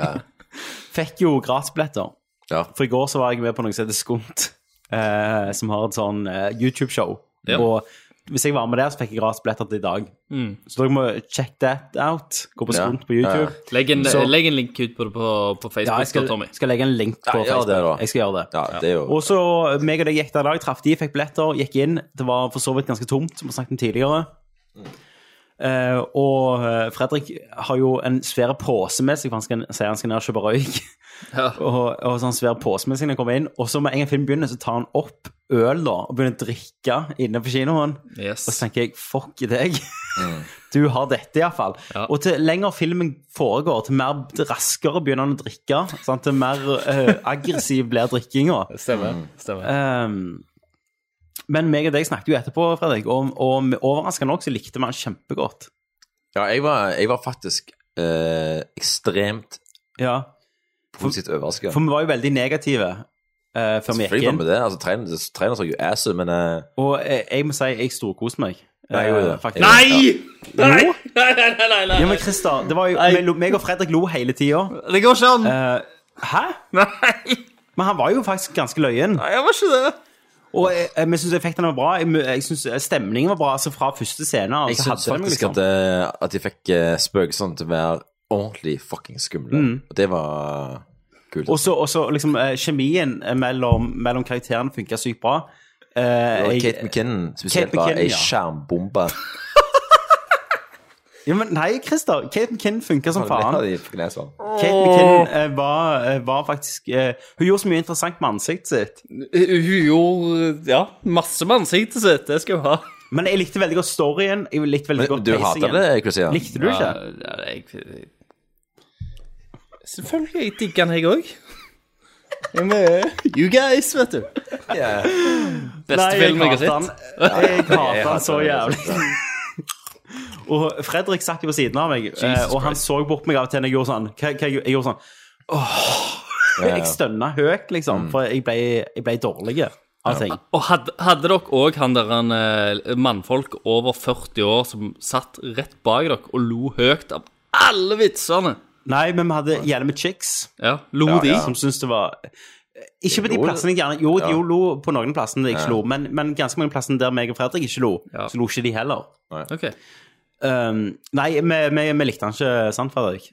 fikk jo gratisbilletter. For i går så var jeg med på noe som heter Skunt, eh, som har et sånn eh, YouTube-show.
Ja.
Og hvis jeg var med der, så fikk jeg gratisbilletter til i dag.
Mm.
Så dere må check that out. Gå på
Ja.
Skunt på YouTube.
Legg en,
Så-
legg en link ut på, på, på Facebook,
Ja, jeg skal,
da, Tommy.
skal legge en link på
Ja, gjør
Facebook.
det da.
Jeg skal gjøre det.
det er jo-
Og så eh, meg og deg gikk der i dag, traff de, fikk billetter, gikk inn. Det var for så vidt ganske tomt, som vi snakket om tidligere. Eh, og eh, Fredrik har jo en svær pose med seg, for han skal, sier han skal ned og kjøpe røyk. og, og så har han svær pose med seg når han kommer inn. Og så med en gang filmen begynner, så tar han opp øl da, og begynner å drikke inne på kinoen.
Yes.
Og så tenker jeg fuck deg.
Mm.
Du har dette, iallfall. fall Og til lenger filmen foregår, til mer til raskere begynner han å drikke. Sant? Til mer eh, aggressiv blir drikkinga.
Stemmer. stemmer.
Ehm, men meg og deg snakket jo etterpå, Fredrik, og, og overraskende nok så likte vi han kjempegodt.
Ja, jeg var, jeg var faktisk eh, ekstremt
Ja.
positivt overrasket.
For vi var jo veldig negative eh, før vi gikk
Selvfølgelig var
inn.
vi det. Altså, trainer, trainer så jo ass ut, men eh,
Og jeg, jeg må si jeg storkoste meg.
Nei, jeg gjorde
eh,
det.
faktisk.
Nei!
Ja. Jo.
Nei, nei, nei, nei, nei.
Ja, men Christer, det var jo, vi lo- meg og Fredrik lo hele tida.
Det går ikke an.
hæ? Nei. Men han var jo faktisk ganske løyen. Nei,
jeg var ikke det.
Og jeg, jeg, men jeg syns effektene var bra. Jeg, men jeg synes stemningen var bra altså fra første scene.
jeg
Altså,
syns
hadde de
faktisk
liksom-
at, eh, at de fikk eh, spøkelsene til å være ordentlig fucking skumle.
Mm.
Og det var kult.
Og så- Og så liksom eh, kjemien mellom, mellom karakterene funka sykt bra. Eh,
Og
jeg-
Kate McKinnon spesielt
Kate
var
McKinnon,
ei
ja.
skjermbombe.
Ja, men nei, Christer. Kate McKinnon funka som
Han
faen.
ble av de kineserne.
Kate McKinnon eh, var, eh, var faktisk eh, Hun gjorde så mye interessant med ansiktet sitt.
Hun gjorde ja, masse med ansiktet sitt. Det skal hun ha.
Men jeg likte veldig godt storyen. Jeg likte veldig
Men
godt
du
pacingen.
hater det, Christian?
Likte du ikke?
Ja, ja, jeg, selvfølgelig. Jeg digger den, jeg òg. You guys, vet du. Beste
Nei,
film jeg har
hater han.
sett.
Jeg hater han så
den.
jævlig. Og Fredrik satt jo ved siden av meg, eh, og han så bort meg av og til når jeg gjorde sånn. Hva, hva, jeg gjorde- jeg gjorde sånn Åh.
Ja, ja. Mm.
Jeg stønna høyt, liksom, for jeg ble, jeg ble dårlig Altså, av ting.
Og hadde, hadde dere òg han der han, eh, mannfolk over 40 år som satt rett bak dere og lo høyt av alle vitsene?
Nei, men vi hadde gjerne med chicks.
Ja, Lo
Ja,
de?
ja. Som syntes det var Ikke på de
Jo, det-
plassene jeg gjerne Jo, de
Ja.
jo lo på noen plassene jeg
Ja.
ikke lo, men, men ganske mange plassene der meg og Fredrik ikke lo, så lo ikke de heller.
Ok.
Um, nei, vi, vi, vi likte han ikke, sant, Fredrik?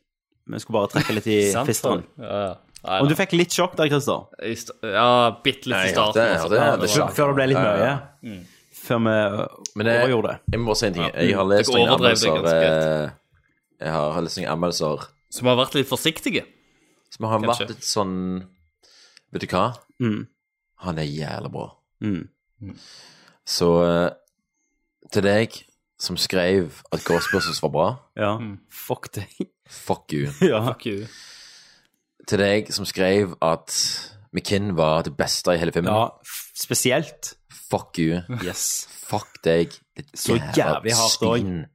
Vi skulle bare trekke litt i
Sant,
fisteren.
Fredrik? Ja, ja. Nei,
Om
nei.
du fikk litt sjokk der, Christer?
I st- Ja, bitte litt
Nei,
i
jeg
starten.
hørte- jeg
altså.
hørte- jeg
Ja,
hørte
det var-
sjokk. Før det ble litt Ja, ja, ja.
mye.
Mm.
Før vi
Men jeg,
overgjorde det.
jeg må bare si en ting.
Ja.
Jeg har lest
Dere
noen
overdrev det
anmeldelser
ganske
eh, Jeg har lest noen anmeldelser
Som har vært litt forsiktige.
som har
Kanskje.
vært litt sånn Vet du hva?
Mm.
Han er jævlig bra.
Mm.
Så eh, til deg som skrev at Ghostbusters var bra
Ja.
Mm.
Fuck deg.
Fuck you.
Ja.
Fuck you.
Til deg som skrev at McKinn var det beste i hele filmen.
Ja, f- spesielt.
Fuck you.
Yes.
Fuck deg. ditt
Så jævlig hardt også.
svin.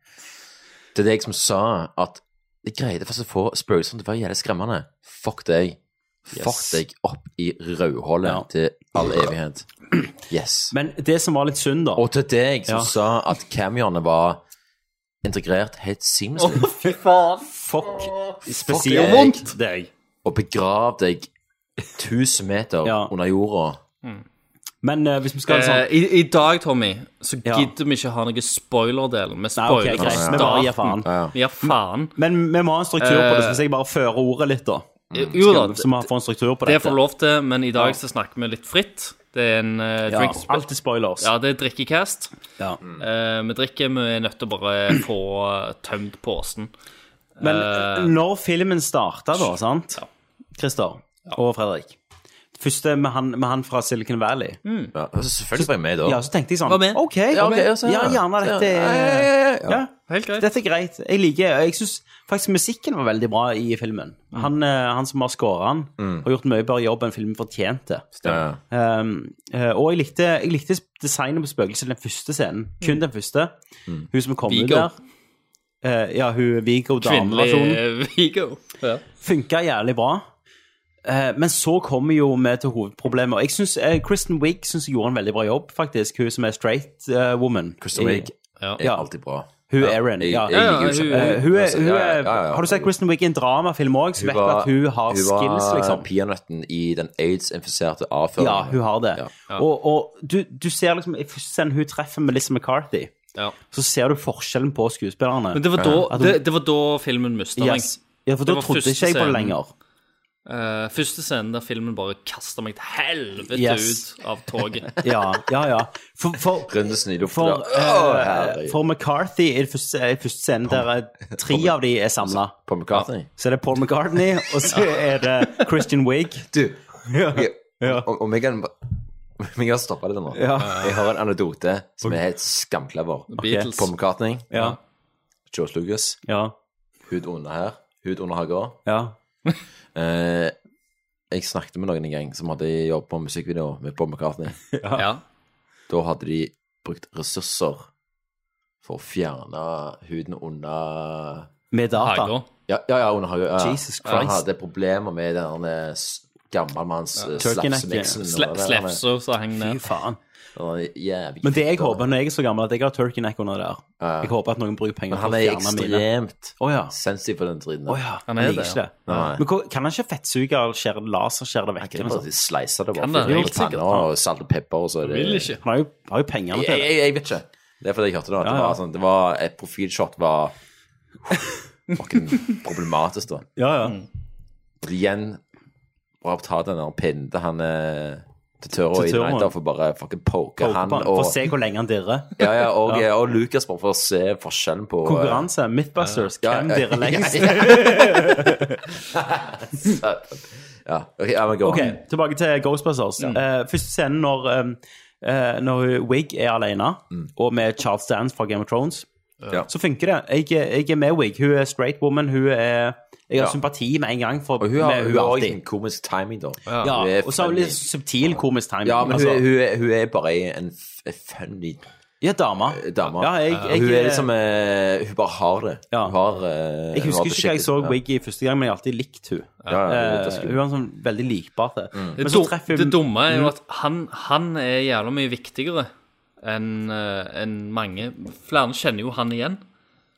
Det er deg som sa at det greide faktisk å få Spurgeon til å være jævlig skremmende. Fuck deg. Fuck
Yes.
deg opp i rødhålet til all evighet. Yes.
Men det som var litt synd, da
Og til deg som
Ja.
sa at cameoene var integrert helt seamlessly.
fy faen! Fuck.
Fuck
Spesielt deg.
Og begrav deg 1000 meter under jorda.
Men eh, hvis vi skal ha
Eh,
en sånn
i, I dag, Tommy, så
Ja.
gidder vi ikke ha noe spoiler-del. Vi
Nei, ok,
spoiler
greit.
fra
Vi bare gir
starten.
faen. Mm.
Vi gir faen.
Men vi må ha en struktur på det, så
Eh,
hvis jeg bare fører ordet litt, da.
Jo da,
Mm, Skal- Så vi får en struktur på
Det
dette.
får lov til, men i dag
Ja.
så snakker vi litt fritt. Det er en uh,
Ja, alltid spoilers.
Ja, det er drikkecast.
Ja.
Eh, vi drikker, vi er nødt til å bare få eh, tømt posen.
Men
Eh,
når filmen starta, da, sant? Christer og Fredrik. Første med han, med han fra Silicon Valley.
Ja, altså, selvfølgelig var jeg med da.
Ja, så tenkte jeg sånn
Var med.
OK,
Ja, ok, ja, så-
ja, gjerne
ja.
dette
Ja,
er
ja, ja, ja, ja.
ja.
Helt greit.
Dette er greit. Jeg liker Jeg syns faktisk musikken var veldig bra i filmen.
Mm.
Han, eh, han som har skåra den,
Mm.
har gjort en mye bedre jobb enn filmen fortjente.
Ja.
Um, eh, og jeg likte, jeg likte designet på spøkelset i den første scenen. Kun den første. Hun som kom ut
Mm. Viggo.
der. Eh, ja, hun Viggo dameversjonen.
Kvinnelig Viggo. Ja.
Funka jævlig bra. Eh, men så kommer jo vi til hovedproblemet. Og Jeg synes, eh, Kristen Wiig syns jeg gjorde en veldig bra jobb, faktisk. Hun som er straight eh, woman.
Kristen
I-
Wiig er
Ja.
alltid bra.
Hun
Ja,
Erin,
jeg-
ja.
jeg liker jo
Eh, hun,
kjempe-
er, hun
altså, ja, ja, ja, ja.
er, har du sett Kristen Wiig i en dramafilm òg, så vet du at hun har skills, liksom.
var peanøtten i den aids-infiserte avføringen.
Ja, hun har det. Og, og du, du ser liksom i første scenen hun treffer Melissa McCarthy,
Ja.
så ser du forskjellen på skuespillerne.
Men det var, da,
At hun-
det, det var da filmen mista meg.
Yes. Ja, for da
Det var
trodde
første
ikke jeg på det
scenen-
lenger.
eh, første scenen der filmen bare kasta meg til helvete
Yes.
ut av toget.
Ja, ja, ja. For, for,
Rønnesen i lufta.
for,
Å,
eh,
herregud.
for McCarthy i det første, i første scenen der eh, tre av de er samla.
Paul McCartney.
Så er det Paul McCartney, og så er det Christian Wiig.
Du,
Ja.
jeg, om, om jeg kan om jeg kan stoppe det nå.
Ja.
Jeg har en anekdote som er helt skamklever.
Beatles.
Paul McCartney,
Ja.
George Lucas,
Ja.
hud under her, hud under haga.
ja.
Eh, jeg snakket med noen en gang som hadde jobb på musikkvideo med Paul McCartney.
Ja.
Da hadde de brukt ressurser for å fjerne huden under
Med data.
Haga.
Ja, ja, ja under hagen. Ja. ja.
Jesus
Han
Christ.
hadde problemer med den der eh, s- eh, gammelmanns ja.
Turkeyneck, ja.
slapsneksen.
Sle, Slefsa som hang
Fy
ned.
faen.
Jævlig
Men det jeg
fitte.
håper når jeg er så gammel, at jeg har turkey neck under der.
Ja.
Jeg håper at noen bruker penger
Men
på å
han er
fjerne mine.
ekstremt
Å ja.
sensitiv på den driten.
Å ja.
Han
Han
er
er
det,
ikke det.
Nei.
Men hvor- kan han ikke fettsuge og skjære det laserskjære det vekk?
Ikke
eller noe sånn
bare
sånt?
at de sleiser det bare for
Kan det,
det
helt
er panna
sikkert.
og salt og pepper og så er det
Vil ikke.
Han har jo, har jo pengene
Jeg,
til det.
jeg, jeg vet ikke. Det er fordi jeg hørte det. at Det,
Ja, ja.
var, sånn, det var Et profilshot var fucking problematisk, da.
Ja, ja.
Igjen bare ta den der pinnen til han eh, til Tørro
Til
i
Tørro.
Nighter for bare fucking poke,
Poker
han
på han,
og
For å se hvor lenge han dirrer.
ja, ja, og, og Lucas bare for å se forskjellen på eh,
Konkurranse. Mythbusters.
Ja,
Hvem
ja,
dirrer lengst?
Ja, ja. ja, ok, ja, men gå.
Ok, tilbake til Ghostbusters. Eh, første scenen når, eh, eh, når Wig er alene, og med Charles Dance fra Game of Thrones,
Mm. Ja.
så funker det. Jeg, jeg er med Wig. Hun er straight woman. Hun er, jeg har
Ja.
sympati med en gang. For,
Og hun har,
med,
hun har
alltid.
en komisk timing, da. Hun
Ja,
er
og så har hun litt
funny.
subtil komisk timing.
Ja, men hun,
altså.
er, hun, er, hun er bare en f- en funny
Ja, dama.
dame.
Ja, jeg, jeg,
Eh, hun er liksom eh, Hun bare har det.
Ja.
Hun har eh,
jeg
hun har
husker ikke hva jeg så
beskyttelse.
Wig i første gang, men jeg har alltid likt hun.
Ja, ja, Mm. ja, det er
Eh,
skummelt.
hun er sånn veldig likbar til.
Det,
Men så
dum-
treffer Mm. hun-
det dumme er jo at han, han er jævla mye viktigere enn eh, enn mange. Flere kjenner jo han igjen.
Mm.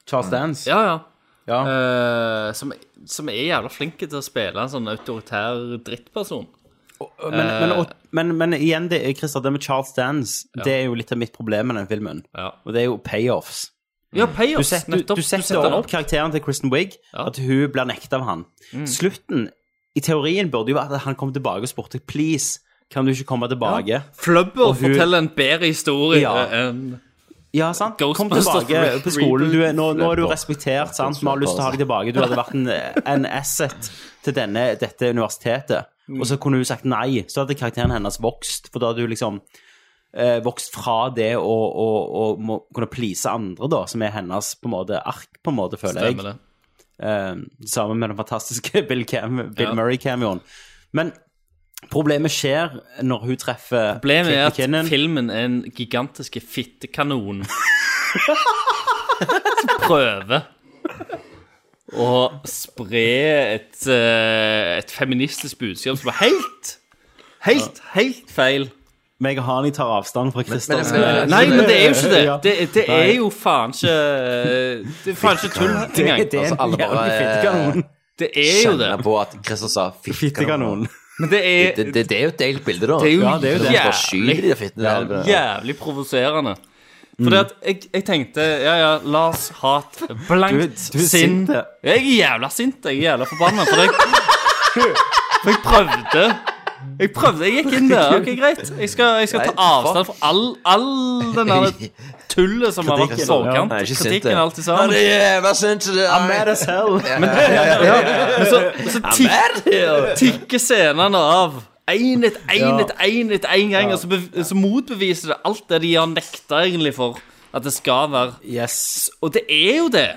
Charles Dance.
Ja, ja.
Ja.
Eh, som, som er jævla flink til å spille en sånn autoritær drittperson.
Men, men, og, men, men igjen, det, Christer, det med Charles Dance, det er jo litt av mitt problem med den filmen.
Ja.
Og det er jo payoffs.
Ja, payoffs,
Mm. Du setter, du,
nettopp.
du setter, opp Mm. karakteren til Kristen Wiig,
Ja.
at hun blir nekta av han. Slutten, i teorien, burde jo være at han kom tilbake og spurte please, kan du ikke komme tilbake? Ja,
Flubber
Og hun-
forteller en bedre historie
Ja.
enn
sant? Kom
Ghostbusters
tilbake
re-
på skolen. Du er, nå, nå er du
Flubber.
respektert, sant? Vi har lyst til å ha deg tilbake. Du hadde vært en, en asset til denne, dette universitetet.
Mm.
Og så kunne hun sagt nei. Så hadde karakteren hennes vokst, for da hadde hun liksom eh, vokst fra det å, å, å må kunne please andre, da, som er hennes på en måte ark, på en måte, føler jeg.
Stemmer det.
Eh, sammen med den fantastiske Bill, Cam Bill
Ja.
Murray-cameoen. Men Problemet skjer når hun treffer
Problemet er
Kate
at filmen er en gigantisk fittekanon som prøver å spre et, eh, et feministisk budskap som er helt, helt, helt feil.
Meg og Hani tar avstand fra Kristian.
Nei, men det er jo ikke det. Det, det er jo faen ikke eh, Det er faen ikke tull
Det-
engang.
det er en Altså, alle bare, jævlig fittekanon.
Det er jo det.
Kjenner på at Christer sa fittekanon.
Men det er
det, det, det er jo et deilig bilde, da.
Det er jo
ja, det er jo
jævlig,
jævlig,
jævlig provoserende. Fordi
Mm.
at jeg, jeg tenkte Ja, ja, Lars hat blankt
Du- du er
sinn.
sint, ja.
Jeg er jævla sint. Jeg er jævla forbanna. For jeg, for jeg prøvde. Jeg prøvde, jeg gikk inn der. ok, Greit. Jeg skal, jeg skal
Nei,
ta
fuck.
avstand fra all, all den der tullet som har vært i forkant.
Nei, ikke sint,
Kritikken sånn.
det.
og alt i sammen.
Nei, det er jævla sint, det er-
I'm mad as hell.
Ja,
Men,
ja, ja, ja.
men så, så
I'm mad
tikk,
here.
tikker scenene av. Én etter
Ja.
én etter én etter én gang.
Ja.
Og så, bev- så motbeviser det alt det de har nekta egentlig for at det skal være. Og det er jo det.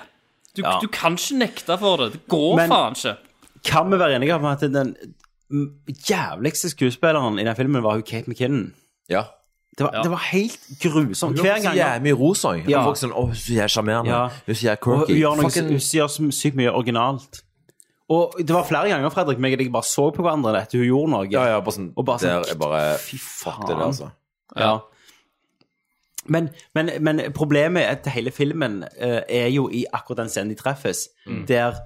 Du, du kan ikke nekte for det. Det går
Men-
faen ikke.
Kan vi være enige om at den jævligste skuespilleren i den filmen var hun Kate McKinnon?
Ja.
Det var, det var helt grusomt. Hver gang
Jeg er mye ros òg.
Ja.
Folk sånn 'Å, hun er så jævlig sjarmerende'.
Ja.
Hun er så jævlig
Og
quirky.
hun gjør, noe,
Fucking-
hun gjør så sykt mye originalt. Og det var flere ganger Fredrik, meg og deg bare så på hverandre dette. Hun gjorde noe.
Ja, ja, bare sånn,
og bare sånn
Der er bare Fuck det der, altså.
Ja. Men, men, men problemet er at hele filmen eh, er jo i akkurat den scenen de treffes,
Mm.
der,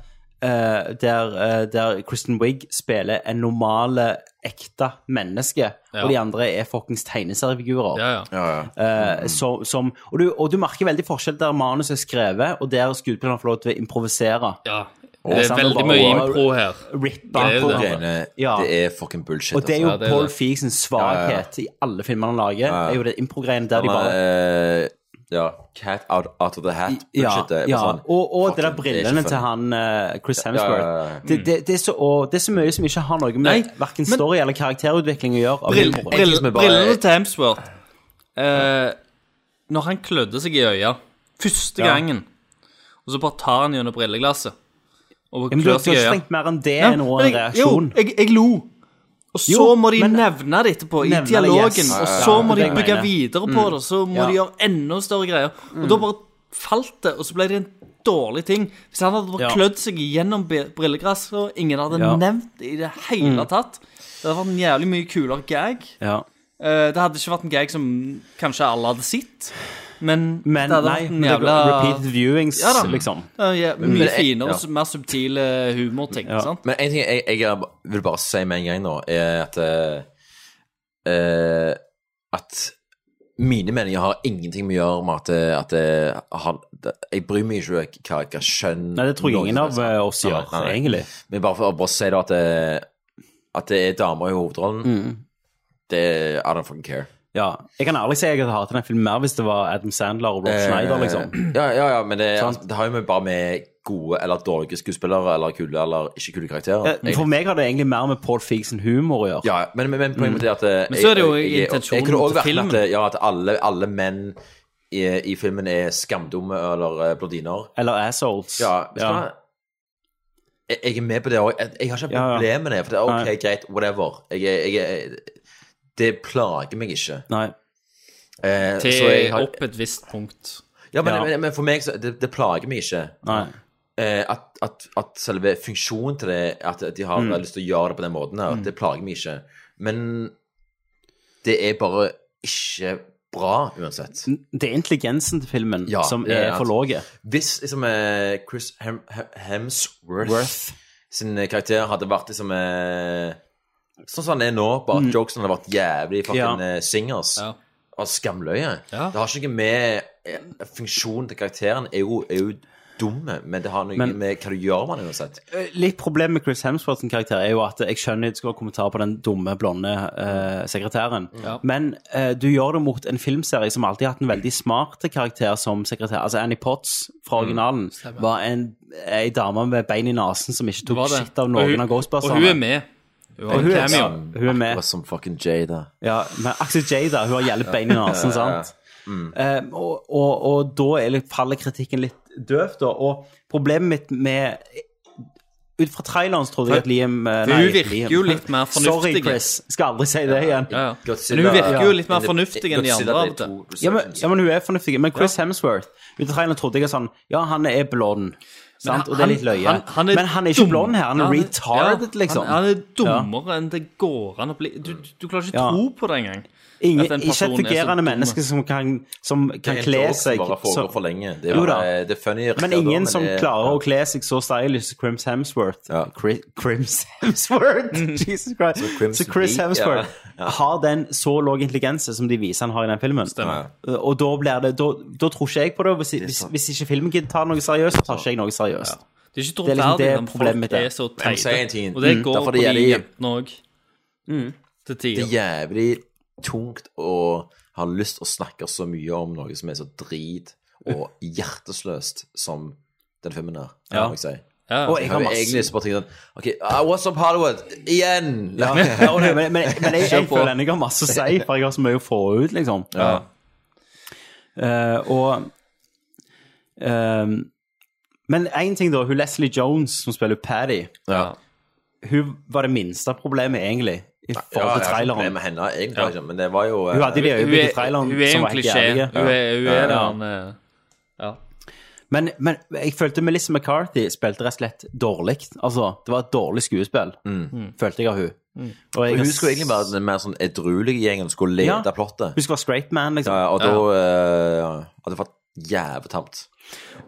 eh, der, eh, der Kristen Wiig spiller en normale, ekte menneske,
Ja.
og de andre er fuckings tegneseriefigurer.
Ja, ja.
Eh, så, som, og, du, og du merker veldig forskjell der manus er skrevet, og der skuespillerne får lov til å improvisere.
Ja.
Og
Det er
sånn,
veldig
og
mye
bare-
impro her.
Rippe
Bare
på
på
hverandre.
greiene.
Ja.
Det er fucking bullshit.
Og det er jo
altså.
Paul Feig sin svakhet i alle filmene han lager.
Ja, ja.
er jo det impro-greiene der de
Han
bare
er, eh, Ja. Cat out, out of the hat.
Ja,
Bullshit. det er bare
ja.
sånn,
og, og det der
fucking, det er ikke
brillene
funny.
til han eh, Chris
Ja, ja, ja,
Hemsworth.
ja.
Det, det, det, er så, og det er så mye som ikke har noe med hverken story eller karakterutvikling å gjøre. av
Brill,
humor.
brill, brillene til Hemsworth eh, Når han klødde seg i øya første
Ja.
gangen, og så bare tar han gjennom brilleglasset og
Ja, men du, du
klør
har
seg i
ikke
øya
tenkt mer enn det
Ja,
enn
men
noen
jeg-
reaksjon.
Jo, jeg, jeg lo. Og så
Jo,
må de nevne det etterpå i
Nevne det,
dialogen.
yes.
Og
Ja,
så
ja,
må
det er
de
det jeg
bygge
mener.
videre på
Mm.
det. Så må
Ja. Mm.
de gjøre enda større greier. Og da bare falt det, og så ble det en dårlig ting. Hvis han hadde bare
Ja.
klødd seg gjennom be- brilleglass, og ingen hadde
Ja.
nevnt det i det hele
Mm.
tatt Det hadde vært en jævlig mye kulere gag.
Ja.
Eh, Det hadde ikke vært en gag som kanskje alle hadde sett. Men,
Men
det hadde
nei,
vært
men
en
det er
jævla
repeated viewings,
ja, da.
liksom.
Ja, ja,
Men-
mye
men jeg-
finere
ja.
og mer subtile humorting. Sant?
Men en ting jeg, jeg er- vil bare si med en gang nå, er at eh, eh, At mine meninger har ingenting med å gjøre med at, eh, at eh, han, det- Jeg bryr meg ikke hva hva kjønn
Nei, det tror jeg ingen av eh, oss
altså. Nei,
gjør,
nei, nei.
egentlig.
Men bare for å bare si da at, eh, at det er damer i hovedrollen, det I don't fucking care.
Ja. Jeg kan ærlig si jeg hadde hatet den filmen mer hvis det var Adam Sandler og Rob
Eh,
Schneider, liksom.
Ja, ja, ja men det, altså,
Sant?
det har jo med bare med gode eller dårlige skuespillere eller kule eller ikke kule karakterer.
Eh, For meg har det egentlig mer med Paul Feig sin humor å gjøre.
Ja, men, men, men poenget er at eh,
Men så er det jo
jeg- jeg- jeg-
intensjonen
Jeg kunne også
til
vært med at,
filmen.
eh, ja, at alle, alle menn i, i filmen er skamdumme eller eh, blondiner.
Eller assholes.
Ja, vet du
Ja.
hva? Jeg, jeg er med på det òg. Jeg, jeg har ikke et
Ja, ja.
problem med det. For det er OK,
Nei.
greit, whatever. Jeg, er- jeg, er- det plager meg ikke.
Nei.
Eh,
Til
så jeg har-
opp et visst punkt.
Ja, men,
Ja.
Men, men for meg så Det, det plager meg ikke.
Nei.
Eh, at, at, at selve funksjonen til det, at de har
Mm.
lyst til å gjøre det på den måten, her,
Mm.
det plager meg ikke. Men det er bare ikke bra, uansett.
Det er intelligensen til filmen
Ja,
som
ja,
er
ja.
for låge.
Hvis liksom eh, Chris Hem Hem- Hemsworth
Worth.
sin karakter hadde vært liksom eh, Sånn som han er nå, bare at
Mm.
jokesen hadde vært jævlig
Ja.
fucking eh, singers og skamløye Det har ikke noe med eh, Funksjonen til karakteren er jo, er jo dumme, men det har noe
Men-
med hva du gjør med den uansett.
Eh, Litt problem med Chris Hemsworth sin karakter er jo at jeg skjønner du skal ha kommentarer på den dumme, blonde eh, sekretæren,
Ja.
men eh, du gjør det mot en filmserie som alltid har hatt en veldig smart karakter som sekretær. Altså Annie Potts fra originalen
Mm. stemmer.
var en, ei dame med bein i nesen som ikke
Det var
tok
det.
shit av
Og
noen
hun-
av Ghostbusterne.
og hun er med. Hun har
Og
en
Hun er,
cameo.
ja, hun er med.
Akkurat som fucking Jada.
Ja, men Axel J, da. Hun har gjeldt bein i nesen,
Ja, ja, ja. Mm.
sant? Eh, og, og, og da er litt, faller kritikken litt døvt, da. Og problemet mitt med Ut fra traileren så trodde jeg at Liam eh,
For
nei,
hun virker
Liam.
jo litt mer
Sorry,
fornuftig.
Chris. Skal aldri si det igjen.
Ja, ja. Men hun virker jo litt mer fornuftig enn de andre av og til.
Ja, men, ja, men hun er fornuftig. Men Chris Hemsworth Ut av traileren trodde jeg at sånn Ja, han er blond. Sant? Og det er litt løye. men han er ikke
dum.
blond her. Han er
Ja,
retarded,
ja,
liksom.
Han, han er
Ja.
dummere enn det går an å bli. Du, du, du klarer ikke
Ja.
tro på det engang.
Ingen,
at en
ikke
person
et
er så
fungerende
dum.
menneske som kan, som kan
er en
kle
joke som
seg
bare foregår
så-
for lenge. Det er
Jo da.
bare- eh, det er funny
Men
irriterende,
ingen
men
som
det-
klarer å kle seg så stylish som Crims Hemsworth Chris, Crims Hemsworth? Jesus Christ.
Mm. Så Crims
Så Chris
Lee,
Hemsworth
ja.
har den så lav intelligens som de viser han har i den filmen. Og da blir det Da, da tror ikke jeg på det. Hvis, hvis, hvis ikke filmen gidder ta noe seriøst, tar ikke jeg noe seriøst.
Det er ikke
Det er liksom
troverdig
det
når folk
problemet mitt er.
er så
Jeg må si en
teite.
ting.
Og det
Mm.
går
Derfor
på de
det gjelder-
jentene òg.
Mm.
Til
Det
tider.
er jævlig tungt å ha lyst til å snakke så mye om noe som er så drit og hjertesløst som den filmen der.
Ja.
må jeg si.
Ja. Og jeg har masse-
egentlig lyst på ting sånn OK, ah, what's up Hollywood? Igjen!
Ja, ja, og det- men, men, men jeg, jeg føler ennå jeg har masse å si, for jeg har så mye å få ut, liksom.
Ja.
Eh, og ehm, Men én ting, da. Hun Leslie Jones, som spiller Paddy, hun var det minste problemet, egentlig, i
Ja,
forhold til
jeg har ikke problemer
traileren.
med henne, egentlig, ikke, men det var jo
Hun hadde de
eh,
øyeblikkene i traileren
hun er
som
en
var helt
klisjé.
jævlige.
Hun er, hun er
Ja.
den eh, ja.
Men, men jeg følte Melissa McCarthy spilte rett og slett dårlig. Altså, det var et dårlig skuespill, følte jeg av hun.
Og hun skulle egentlig være den mer sånn edruelige gjengen, skulle lede
Ja.
plottet.
Hun skulle være straight man, liksom.
Ja, og da eh, ja, hadde det vært jævlig tamt.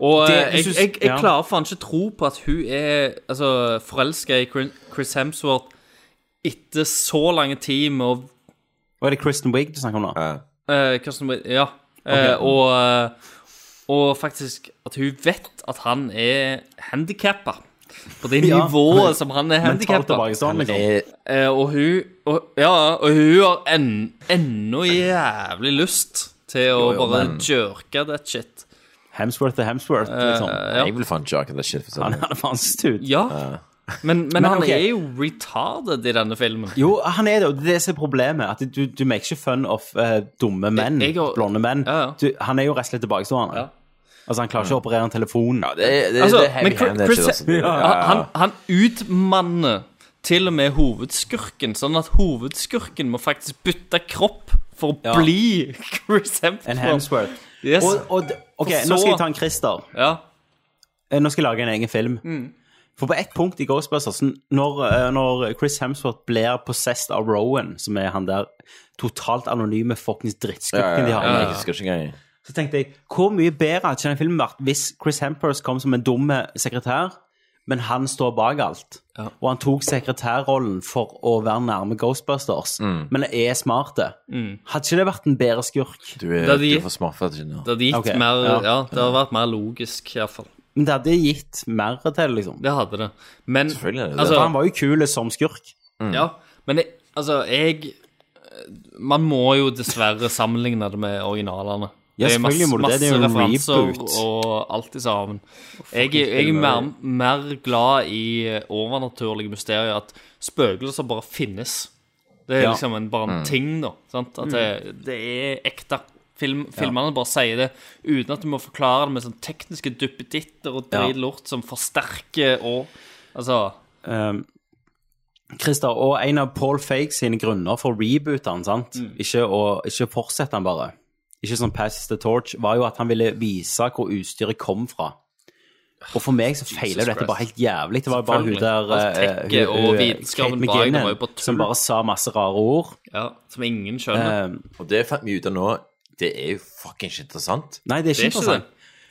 Og
Det-
eh,
jeg
jeg,
synes-
jeg, jeg
ja.
klarer faen ikke tro på at hun er altså, forelska i Chris- Chris Hemsworth etter så lang tid med å
Og er det Kristen Wiig du snakker om nå?
Eh, Kirsten Wiig, ja. Eh,
Ok.
og, eh, og faktisk at hun vet at han er handikappa. På det
Ja.
nivået som han er
Mentalt
handikappa.
tilbakestående, liksom.
og hun og, Ja, og hun har en, ennå jævlig lyst til
Jo,
å
jo,
bare
men-
jerke that shit.
Hemsworth er Hemsworth, liksom.
Eh, ja. Jeg
vil faen jerke that shit.
Han
sånn.
er faen stud.
Ja. Men, men,
Eh. Men
han
ok.
er jo retarded i denne filmen.
Jo, han er det, og det er det som er problemet. At du, du maker ikke fun of eh, dumme menn,
Jeg- jeg har-
blonde menn. Du, han er jo rett og slett tilbakestående. Altså, han klarer ikke å operere en telefon. Ja,
det- det-
Altså, men Chris, Chris
ja,
han, han- han utmanner til og med hovedskurken, sånn at hovedskurken må faktisk bytte kropp for å
Ja.
bli Chris Hemsworth.
En Hemsworth.
Yes.
Og, og, ok,
For så-
nå skal jeg ta en Christer. Eh, Nå skal jeg lage en egen film.
Mm.
For på ett punkt i Ghostbusters, n- når, eh, når Chris Hemsworth blir possessed av Rowan, som er han der totalt anonyme fuckings
Ja, ja,
drittskurken de
ja,
har
ja,
med
jeg husker ikke engang.
Så tenkte jeg, hvor mye bedre hadde ikke den filmen vært hvis Chris Hempers kom som en dumme sekretær, men han står bak alt. Og han tok sekretærrollen for å være nærme Ghostbusters,
Mm.
men er smarte.
Mm.
Hadde ikke det vært en bedre skurk?
Du er,
Da de-
du er for smart for det.
Det hadde gitt
Ok,
mer ja.
ja.
det hadde vært mer logisk, iallfall.
Men det hadde gitt mer til, det, liksom.
Det hadde det. Men
det.
altså,
For han var jo kul som skurk.
Ja, men jeg, altså, jeg Man må jo dessverre sammenligne det med originalene.
Ja,
Det er masse-
selvfølgelig må du det. Det er jo en
masse
reboot.
referanser og alt i sammen. Jeg,
fucking
jeg er
film,
mer,
det.
mer glad i eh, overnaturlige mysterier. At spøkelser bare finnes. Det er
Ja.
liksom en, bare en
Mm.
ting, da. Sant? At det, det er ekte. Film, filmene bare sier det uten at du må forklare det med sånn tekniske duppeditter og
Ja.
dritlort som forsterker og Altså
Um, Christer, og en av Paul Fake sine grunner for rebootene, sant?
Mm.
Ikke, å, ikke fortsette han bare, ikke som Pass the Torch, var jo at han ville vise hvor utstyret kom fra. Og for meg så feiler jo dette
Christ.
bare helt jævlig. Det var bare hun der
Selvfølgelig.
eh,
Alt tekket
hun-
og
hun-
vitenskapen
Kate
bak, det
McKinnon,
var jo bare tull.
som bare sa masse rare ord. Ehm,
Ja, som ingen skjønner.
og det fant vi ut av nå. Det er jo fucking ikke interessant.
Nei, det er ikke interessant.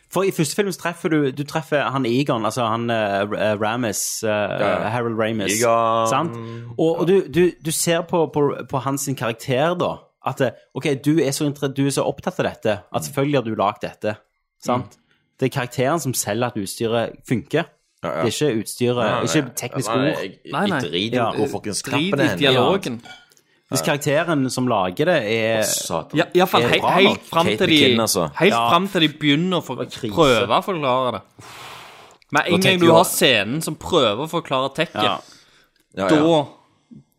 For i første film så treffer du, du treffer han Egon, altså han uh, Ramis, eh,
ja.
Harold Ramis.
Egon.
Sant?
Um,
Og, og du, du, du ser på, på, på hans sin karakter da, at eh, ok, du er, så, inter- du er så opptatt av dette, at
Mm.
selvfølgelig har du lagd dette. Sant? Det er karakteren som selger at utstyret funker.
ja.
Det er ikke utstyret,
Nei, nei,
ikke tekniske
nei,
ord.
nei, jeg- jeg- jeg driter i hvor fuckings knappen er henne.
Hvis karakteren som lager det, er
satan.
Ja, i hvert fall
er
helt,
bra nok.
helt fram til de
McKinnon, altså.
Helt
Ja.
frem til de begynner å for, prøve å forklare det. Med
Nå
en gang
tenkte
du
jeg-
har scenen som prøver å forklare tekket,
Ja. Ja, ja.
da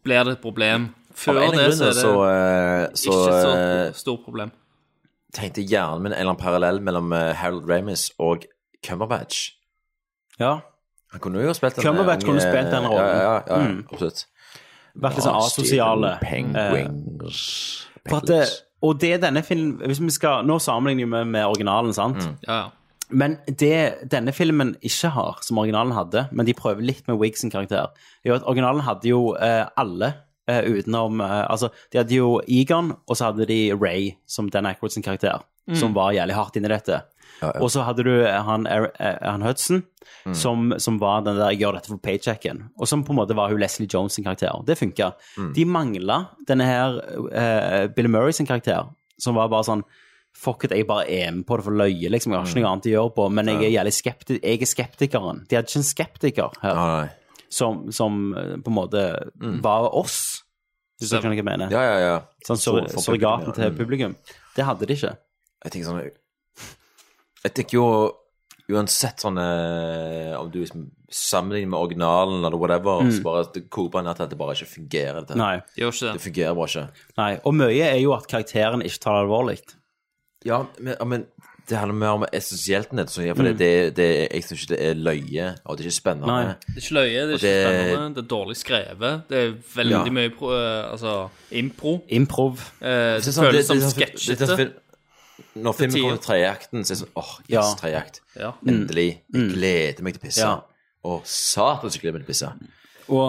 blir det et problem. Før
Av en
det
grunn
så er det
så, eh, så,
ikke så
eh,
stort problem.
Tenkte hjernen min en eller annen parallell mellom eh, Harold Ramis og Cumberbatch.
Ja.
Han kunne jo ha spilt eh,
Cumberbatch kunne spilt den rollen.
Ja, ja, ja, ja
Mm.
absolutt.
Vært litt sånn asosiale. Eh, for at, det- og det er denne filmen hvis vi skal, Nå sammenligner vi med originalen, sant? Men det denne filmen ikke har, som originalen hadde, men de prøver litt med Wiggs sin karakter, er jo at originalen hadde jo eh, alle eh, utenom eh, Altså, de hadde jo Egon, og så hadde de Ray som Dan Aykroyd sin karakter,
Mm.
som var jævlig hardt inni dette. Og så hadde du han, Er- eh, han Hudson,
Mm.
som, som var den der 'gjør dette for paychecken', og som på en måte var hun Leslie Jones sin karakter. Det funka.
Mm.
De mangla denne her eh, Bill Murray sin karakter, som var bare sånn Fuck it, jeg bare er med på det for løye, liksom. Jeg har
Mm.
ikke noe annet å gjøre på, men jeg er jævlig skepti- jeg er skeptikeren. De hadde ikke en skeptiker her som, som eh, på en måte var oss, hvis du skjønner hva jeg mener.
Mm. Ja, ja, ja.
Sånn
For-
surr-
for
surrogaten
publikum, ja.
til
Mm.
publikum. Det hadde de ikke.
Jeg tenker sånn Jeg tenker jo Uansett sånn eh, om du liksom sammenligner med originalen eller whatever,
Mm.
så bare at det koker bare ned til at det bare ikke fungerer. Dette.
Nei.
Det gjør ikke det. Det fungerer bare ikke.
Nei, og mye er jo at karakteren ikke tar det alvorlig.
Ja, men, ja, men det handler mer om essensielt nett, så jeg- for
Mm.
det, det, det, jeg syns ikke det er løye, og det er ikke spennende.
Nei.
Det er ikke løye, det er
Og
ikke spennende, det er dårlig skrevet. Det er veldig
Ja.
mye pro, eh, altså, impro.
Improv.
Eh,
er
det
sånn-
føles som
det er sånn- det er sånn
sketsjete.
film- Når filmen
Til tider.
kommer til tredjeakten, så er det sånn åh, yes,
Ja.
tredjeakt.
Ja.
Endelig. Jeg gleder meg til å pisse.
Ja.
Å, satan, så gleder jeg meg til å pisse.
Og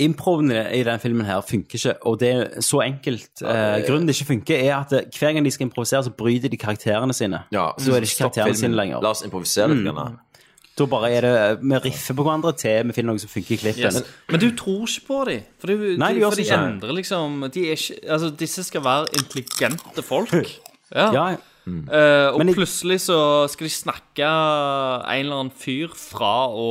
improven i den filmen her funker ikke, og det er så enkelt. Eh, grunnen det ikke funker, er at eh, hver gang de skal improvisere, så bryter de karakterene sine.
Ja,
så da er det ikke
stopp
karakterene
filmen.
sine lenger.
La oss improvisere litt.
Mm.
grann.
Da bare er det eh, Vi riffer på hverandre til vi finner noe som funker i klippen.
Yes. Men du tror ikke på dem. For, du,
Nei, de
de,
gjør
for de
ikke det.
endrer liksom de er ikke, altså, Disse skal være intelligente folk. Ja.
Ja.
Eh, og plutselig så skal de snakke en eller annen fyr fra å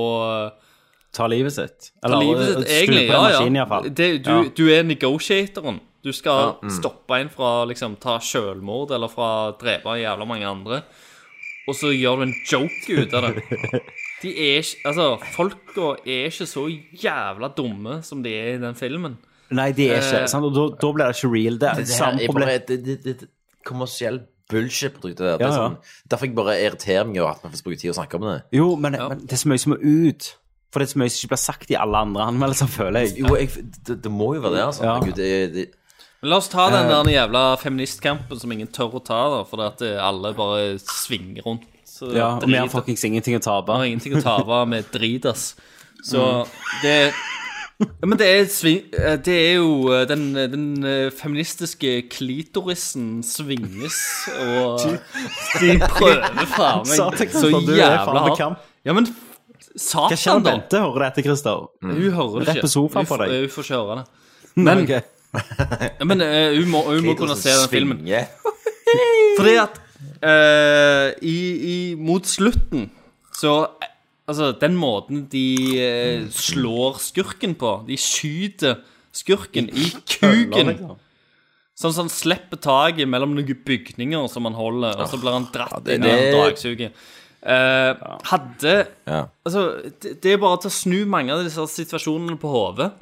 Ta livet sitt.
Ta
eh,
livet sitt, egentlig. Ja, ja. Det, du,
Ja.
du er negotiatoren. Du skal
Ja, mm.
stoppe en fra liksom ta selvmord eller fra å drepe jævla mange andre. Og så gjør du en joke ut av det. De er ikke, altså, Folka er ikke så jævla dumme som de er i den filmen.
Nei, de er ikke
Eh,
sant? Og da, da blir det ikke real. Det er
Det
det
her
samme
er bare
problem.
et- Det, det, det, det kommersiell bullshit-produkt. Det, der. det
Ja,
er
ja.
sånn, derfor jeg bare irriterer meg over at vi får bruke tid å snakke om det.
Jo, men, men det er så mye som må ut. For det er så mye som ikke blir sagt i alle andre anmeldelser, føler jeg.
Jo, jeg, det, det må jo være det, altså.
Ja.
Herregud, det, det,
Men la oss ta den
Eh.
der jævla feministkampen som ingen tør å ta, da, fordi at eh, alle bare svinger rundt. Så
Ja, og vi har
drit-
fuckings ingenting å tape.
har ingenting å tape med drit, ass. Så
Mm.
det ja, Men det er, sving, eh, det er jo eh, den, den eh, feministiske klitorisen svinges, og de prøver faen meg
altså,
så
sånn,
jævla hardt. Ja, men
Hva skjer
satan,
med
da!
Bente? Hører dette, Christer?
Hun hører det ikke.
Rett på sofaen
Hun
på
f-
deg.
Hun får ikke høre det.
Men,
Ja, Men eh, hun må, hun må
Klitorisen
kunne
sånn
se den filmen.
svinger.
Fordi at eh, i, i, Mot slutten så eh, Altså, den måten de eh, slår skurken på De skyter skurken i kuken.
liksom.
Sånn som han slipper taket mellom noen bygninger som han holder, og så blir han dratt
det-
inn i en
det-
dragsuge. Eh, hadde
Ja.
Altså, det, det er bare til å snu mange av disse situasjonene på hodet.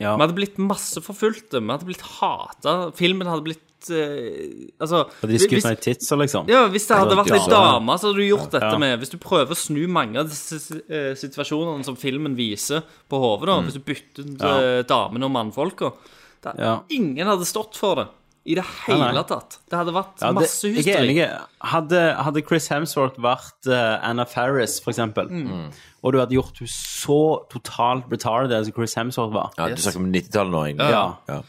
Ja.
Vi hadde blitt masseforfulgte, vi hadde blitt hata. Filmen hadde blitt eh, Altså
Og de skutt
hvis-
meg i titsa, liksom.
ja, hvis det hadde vært ei
Ja.
dame, så hadde du gjort dette
Ja.
med Hvis du prøver å snu mange av disse eh, situasjonene som filmen viser på hodet, da,
Mm.
hvis du bytter ut
Ja.
eh, damene og mannfolka da-
Ja.
Ingen hadde stått for det i det
Nei,
hele
nei.
tatt. Det hadde vært
Ja, det,
masse
jeg er enig.
hysteri.
Hadde, hadde Chris Hemsworth vært eh, Anna Faris, for eksempel,
Mm.
og du hadde gjort henne så totalt retarded som Chris Hemsworth var
ja, du snakker om 90-tallet nå, egentlig.
Ja.
Ja.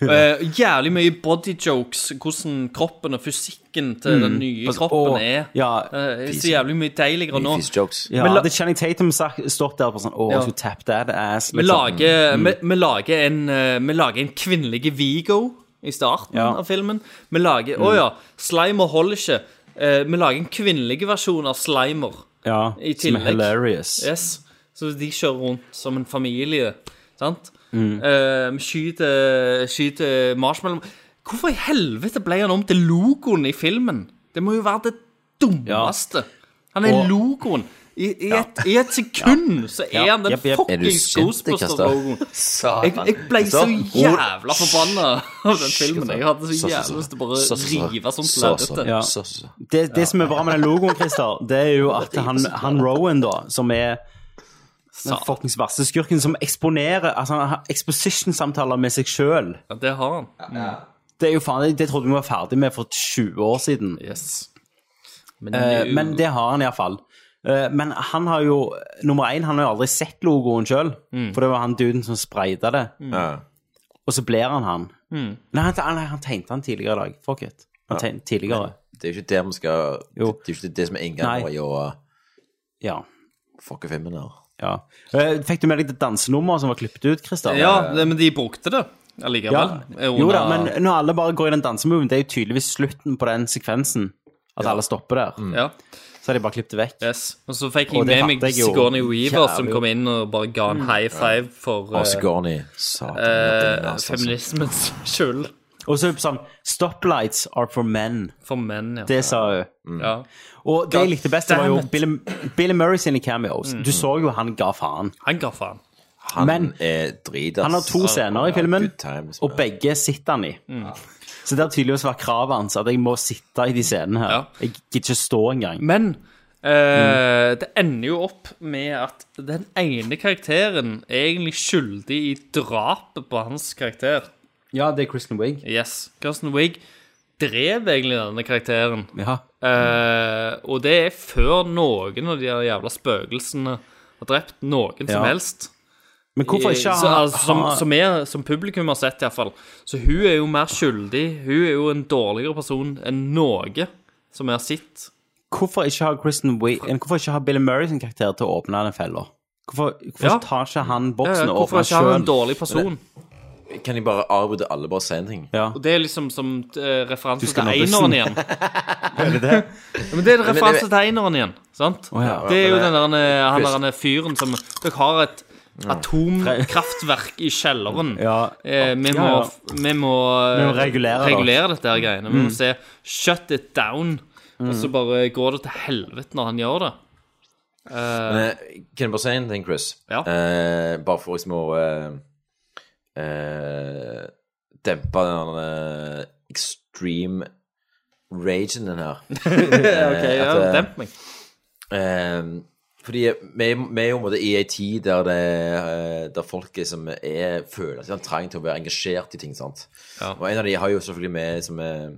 Eh, jævlig mye body jokes, hvordan kroppen og fysikken til
Mm.
den nye
Altså,
kroppen
og-
er.
ja.
Eh, så jævlig mye deiligere nå.
Ja,
Men la-
hadde Channing Tatum sagt, stått der på sånn Å,
Ja.
jeg skulle tappe that ass.
Vi
liksom.
lager,
Mm.
vi, vi lager en eh, Vi lager en kvinnelig Vigo i starten
Ja.
av filmen. Vi lager Å
Mm.
ja, Slimer holder ikke. Eh, vi lager en kvinnelig versjon av Slimer
ja,
i
Som er
tillegg.
hilarious.
Yes. Så de kjører rundt som en familie, sant?
Mm.
Eh, vi skyter, skyter marshmallow Hvorfor i helvete ble han om til logoen i filmen? Det må jo være det dummeste. Han er
Og-
logoen. I, i, et, I et sekund så er
Ja.
han den
Jepp, jepp. Er du
fuckings
sint,
Ghostbusters-logoen.
Satan.
Jeg, jeg ble så
Satan.
jævla forbanna av den
altså.
filmen. Jeg hadde
Så,
så
så, så.
jævlig lyst til å bare
Så, så, så.
rive sånn sånt
Så, så.
lerretet.
Ja. Det, det som er bra med den logoen, Christer, det er jo at han, han Rowan, da, som er den fuckings verste skurken, som eksponerer Altså, han har exposition-samtaler med seg sjøl.
Ja, det har han.
Det er jo faen, det trodde vi var ferdig med for 20 år siden.
Men,
Eh, men det har han iallfall. Uh, men han har jo Nummer én, han har jo aldri sett logoen sjøl.
Mm.
For det var han duden som spreida det.
Mm. Ja.
Og så blir han han.
Mm.
Nei, han, nei, han tegnte han tidligere i dag. Fuck it. Han
Ja.
tegn- tidligere.
Det er jo ikke det vi skal Det er jo ikke det som er inngangen
Nei.
vår i å
ja.
fucke filmen her.
Ja. Eh, fikk du med deg det dansenummeret som var klippet ut, Christer?
Ja, det, men de brukte det
Ja.
allikevel. Eh,
Jo da, men når alle bare går i den dansemoven, det er jo tydeligvis slutten på den sekvensen. At alle stopper der.
Ja.
Så har de bare klippet det vekk.
Yes. Og så fikk jeg
Og det
med meg
fatter jeg jo
Sigourney Weaver som
jævlig.
kom inn og bare ga en
Mm.
high five for
Og
eh,
Sigourney. Satan.
eh,
det er altså-
feminismens skyld.
Og så er det sånn Stoplights are for men.
For menn, ja.
Det sa hun.
Ja.
Og det jeg likte best, det var jo
Goddammit.
Billy, Billy Murray sine cameos.
Mm.
Du så jo han ga faen.
Han ga faen.
Han
Men
er drit, ass.
han har to scener i filmen, og begge sitter han i.
Mm.
Så det har tydeligvis vært kravet hans at jeg må sitte i de scenene her. Jeg gidder ikke stå engang.
Men Eh,
Mm.
Det ender jo opp med at den ene karakteren er egentlig skyldig i drapet på hans karakter.
Ja, det er Kristen Wiig.
Yes. Kristen Wiig drev egentlig denne karakteren.
Ja.
Eh, og det er før noen av de her jævla spøkelsene har drept noen
Ja.
som helst.
Men hvorfor ikke
så,
ha-
altså, som,
ha-
som, er, som publikum har sett, iallfall. Så hun er jo mer skyldig. Hun er jo en dårligere person enn noe som vi har sett.
Hvorfor ikke ha Kristen Wiig eh, Hvorfor ikke ha Billy Murray sin karakter til å åpne den fella? Hvorfor, hvorfor
Ja.
tar ikke han boksen
Ja,
og
Eh, hvorfor
åpner
er ikke han en
sjøl?
dårlig person?
Kan jeg bare avbryte alle, bare si en ting?
Ja.
Og det er liksom som eh, referanse
Du skal
til
nå bussen.
eineren igjen.
Er det det?
Ja, men det er en
Men det-
referanse til eineren igjen, sant?
Å, ja.
Det er jo
Men det-
den der, eh, han
Chris.
der eh, fyren som Dere har et atomkraftverk i kjelleren. Eh, vi, må,
Ja, ja.
vi må eh,
Vi må regulere det.
regulere dette her greiene. Vi
Mm.
må se Shut it down.
Mm.
Og så bare går det til helvete når han gjør det. Eh,
Men, eh, kan jeg bare si en ting, Chris?
Ja.
Eh, bare for liksom å eh, eh, dempe den eh, extreme ragen din her.
Ok, ja, demp meg.
Eh, fordi vi vi er jo på en måte i en tid der, det, eh, der folk som er, føler seg trang til å være engasjert i ting. sant? Og en av de har jo selvfølgelig med som er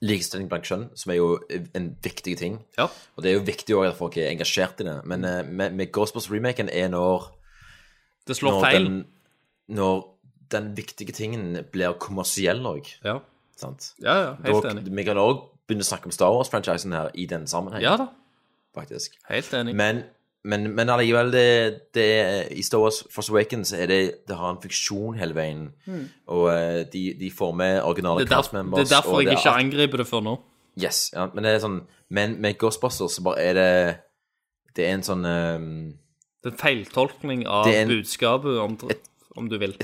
likestilling blant kjønn, som er jo en viktig ting. Og det er jo viktig også at folk er engasjert i det. Men eh, med, med Ghostbusters-remaken er når
Det slår
når
feil.
Den, når den viktige tingen blir kommersiell òg.
Ja.
Sant?
Ja, ja, helt
Da-
enig.
Vi kan òg begynne å snakke om Star Wars-franchisen her i den sammenhengen.
Ja da.
Faktisk.
Helt enig.
Men, men, men allikevel, det, det er- i Star Wars Force Awakens er det, det har en funksjon hele veien.
Mm.
Og eh, de, de får med originale
det, er
cast
der, det
members.
er derfor
og
jeg ikke
alt-
angriper det før nå.
Yes, ja, men det er sånn Men med Ghostbusters så bare er det Det er en sånn ehm,
Det er en feiltolkning av
Det er en-
budskapet, om, om du vil.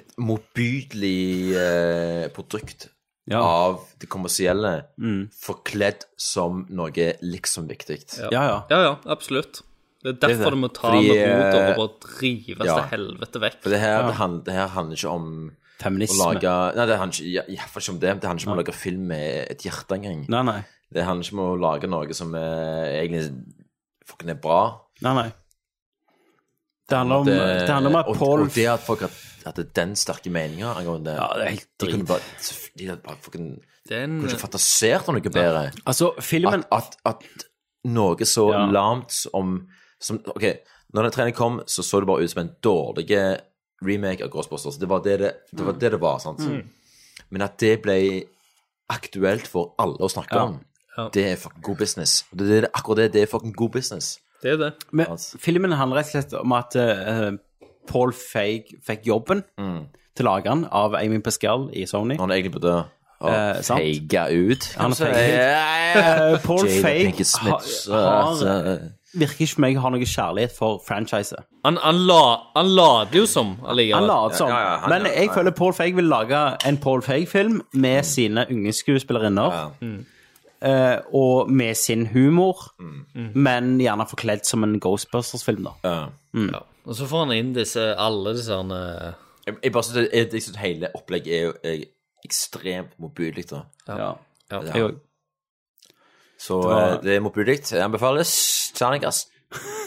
motbydelig eh, produkt av det kommersielle forkledd som noe liksom viktig.
Hmm. ja, ja, absolutt. Det er
Det er
derfor
det.
du må ta
Fordi,
med rota og
eh,
bare drives
ja.
til helvete vekk.
For det her, det, handler, det her handler ikke om
Feminisme.
Å lage, nei, det handler ikke, ja, i hvert fall ikke om det. Det handler ikke om å lage film med et hjerte engang.
Nei, nei.
Det handler ikke om å lage noe som eh, egentlig fucking er bra.
Nei, nei. Det handler om, det, handler om at
og,
Paul
Og det at folk hadde, hadde den sterke meninga angående det. Ja, det er helt drit. De kunne bare, de hadde bare fucking,
Den-
kunne ikke fantasert om noe bedre.
Altså, filmen
At, at, at noe så lamt som, som Ok, når den treningen kom, så så det bare ut som en dårlig remake av Ghostbusters. Det var det det, det, var, det, det var, sant?
Mm.
Men at det ble aktuelt for alle å snakke
Ja.
om, det er fucking god business. Og Det er det- akkurat det. Det er fucking god business.
Det er det.
Men
altså.
filmen handler rett og slett om at eh, Paul Feig fikk jobben
Mm.
til lageren av Amy Pascal i Sony.
Han egentlig burde
Eh, sant?
feige ut.
Han
kanskje.
er feig. Eh, Paul
Jada
Feig
Pinkett Smith, så-
har,
så-
virker ikke for meg å ha noe kjærlighet for franchise.
Han, han, la, han lader jo som allikevel.
Han later som. Men jeg føler Paul Feig vil lage en Paul Feig-film med sine unge skuespillerinner. eh, og med sin humor, men gjerne forkledd som en Ghostbusters-film, da. Mm.
Og så får han inn disse, alle disse eh, herne
Jeg, jeg bare synes, det- jeg, jeg synes hele opplegget er jo er ekstremt motbydelig, da.
Ja. Ja.
Ja.
Jeg òg.
Så
Det var-
eh, det er motbydelig. Det Anbefales. Terningkast.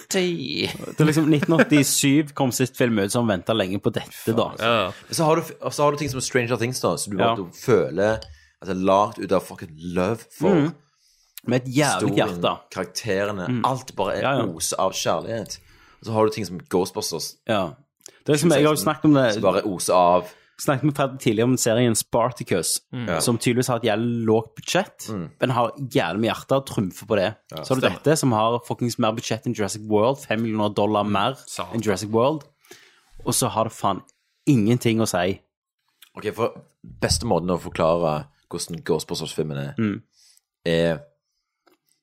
Det er liksom 1987 kom sist film ut, så han venta lenge på dette, da.
Så har, du, og så har du ting som Stranger Things, da, som du,
Ja.
du føler altså, lagd ut av fucking love for.
Mm. Med et jævlig
Historien,
hjerte.
karakterene,
Mm.
alt bare er
Ja, ja.
os av kjærlighet. Og så har du ting som Ghostbusters.
Ja. Det er som jeg har jo snakket om det
Som bare oser av
Snakket med Fred tidligere om serien Spartacus,
Mm. Ja. Mm.
som tydeligvis har et jævlig lågt budsjett, men har jævlig med hjerte og trumfer på det.
Ja,
så har du
stemmer.
dette, som har fuckings mer budsjett enn Jurassic World, 5 millioner dollar mer
Mm.
enn Jurassic World, og så har det faen ingenting å si.
Ok, for beste måten å forklare hvordan Ghostbusters-filmen er,
Mm.
er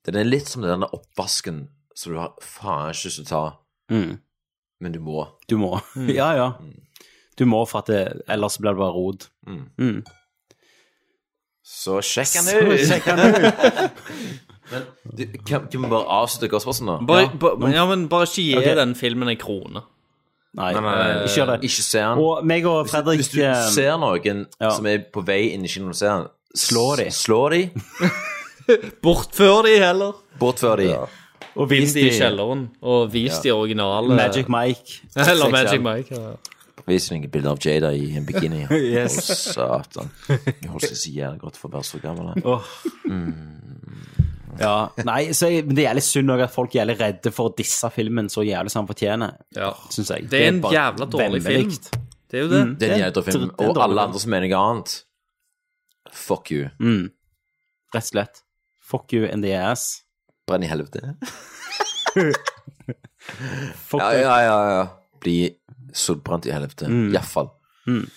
Den er litt som den der oppvasken som du har faen ikke lyst til å ta,
Mm.
men du må.
Du må.
Mm.
Ja, ja. Du må for at det, ellers blir det bare rod.
Mm.
Mm.
Så sjekk
Så
den ut!
sjekk den ut.
men du, kan, kan vi bare avslutte Ghostbustersen, da?
Bare, ja. Bare, ja, men bare ikke gi
Ok.
den filmen en krone.
Nei,
Nei, nei, nei,
ikke gjør det.
Ikke se den.
Og meg og Fredrik eh,
Hvis du ser noen som er på vei inn i kinoen og ser den, slå de. Slå de.
Bortfør de heller.
Bortfør de.
Og vis
Vis
de i
de-
kjelleren. Og vis
Ja.
de originale
eh.
Magic Mike.
Eller Magic Mike. Ja.
Vis noen bilder av Jada i en bikini.
Yes.
Å, satan. Jeg holder seg så jævlig godt for å være så gammel. jeg.
Åh. Ja, nei, så jeg, men det er jævlig synd også at folk er jævlig redde for å disse filmen så jævlig som han fortjener,
Ja.
synes jeg.
Det er en
bare
jævla dårlig film.
vemmelikt.
Det er jo det.
Mm.
Det
Det
er en
er en
jævla film.
dr- det er en
Og
dårlig
alle
film.
andre som mener noe annet, fuck you.
Mm. Rett og slett. Fuck you in the ass.
Brenn i helvete.
Fuck
Ja, ja, ja. ja. Bli solbrent i helvete.
Mm.
Iallfall.
Mm.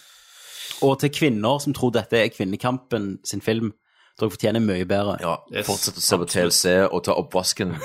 Og til kvinner som tror dette er kvinnekampen sin film, dere fortjener mye bedre.
Ja, Fortsett å se på TLC og ta oppvasken.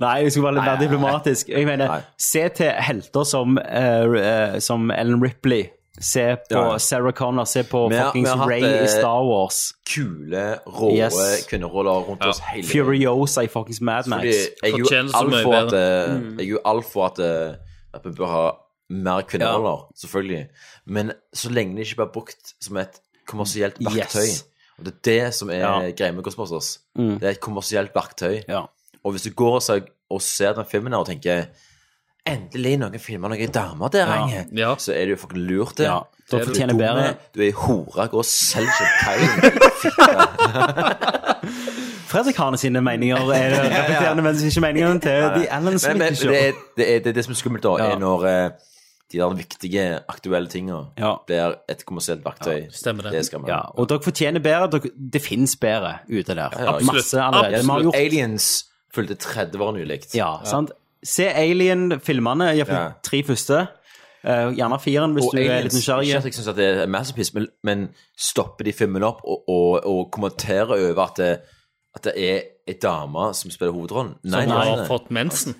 Nei, jeg skulle være litt mer diplomatisk. Jeg mener, se til helter som, eh, eh, som Ellen Ripley. Se på
Ja, ja.
Sarah Connor, se på
Vi har- vi
fuckings
har hatt,
Ray
eh,
i Star Wars.
Kule, rå
Yes.
kvinneroller rundt oss hele tiden.
Furiosa i fuckings Mad Max.
Fordi jeg er jo alt for at, eh,
Mm.
jeg er jo alt for at, eh, at vi bør ha mer kvinneroller, selvfølgelig. Men så lenge det ikke blir brukt som et kommersielt verktøy
Yes.
Og det er det som er
Ja.
greia med Ghostbusters.
Mm.
Det er et kommersielt verktøy.
Ja.
Og hvis du går og ser, og ser den filmen her og tenker Endelig noen filmer noen damer der,
Ja.
Inge. Så er det jo fucking lurt, det.
Ja. Da
Er du
fortjener
dum,
bedre.
eh? Du er ei hore. Gå og selg champagne.
Fredrik Hane sine meninger er det reflekterende, men ikke meningene til de Alan
Nei, men
Smith
det, er, det, er, det er det som er skummelt, da, er når eh, de der viktige, aktuelle tinga blir et kommersielt verktøy.
stemmer det.
Det er skremmende.
Ja, og dere fortjener bedre. Dere, det fins bedre ute der.
Ja, ja,
Masse allerede. Vi har gjort
Aliens fulgte 30 år nylig.
Ja, sant? Se Alien-filmene, iallfall
Ja.
tre første. Eh, gjerne firen, hvis
og
du er litt
aliens, ikke at
nysgjerrig.
jeg synes at det er masterpiece, men, men stopper de filmen opp og, og, og kommenterer over at det, at det er ei dame som spiller hovedrollen? Nei,
som
nei,
har
nei.
fått mensen.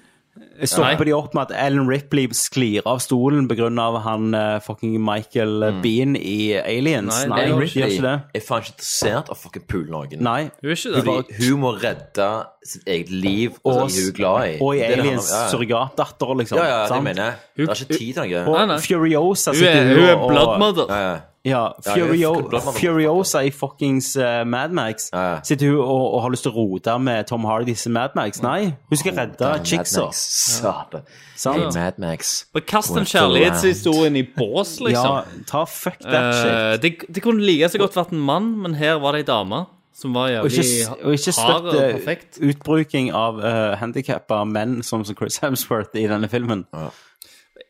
Stopper
Nei.
de opp med at Ellen Ripley sklir av stolen pga. han eh, fucking Michael eh, Bean i Aliens?
Mm. Nei,
Nei,
Ellen
de gjør ikke det.
Ripley er faen ikke interessert av fucking pule noen.
Nei.
Hun er ikke det.
Fordi hun må redde sitt eget liv og
Og-
som hun er glad i.
Altså, Og i
Det er det
Aliens
han- ja, ja.
surrogatdatter, liksom.
Ja, ja, det
sant?
mener jeg. Det er ikke tid til noe.
Og
Nei, nei.
Furiosa
Hun
sitter
er-
jo
hun er
og-
blood mother. Ja, ja.
Ja,
Ja, hun er
Furio,
fucking blood mother.
Furiosa i fuckings eh, Mad Max sitter hun og, og har lyst til å rote med Tom Hardys Mad Max. Nei, hun skal redde
Mad
chicksa.
Max. Satan.
Sant?
Hey, Mad Max.
Bare kast en
Walk around.
kjærlighetshistorien i bås, liksom.
Ja, ta fuck that shit.
Eh, det, det kunne like så godt vært en mann, men her var det ei dame som var
Og
jævlig
ikke, og ikke
hard og
støtte
perfekt.
utbruking av uh, handikappa menn sånn som som Chris Hemsworth i denne filmen.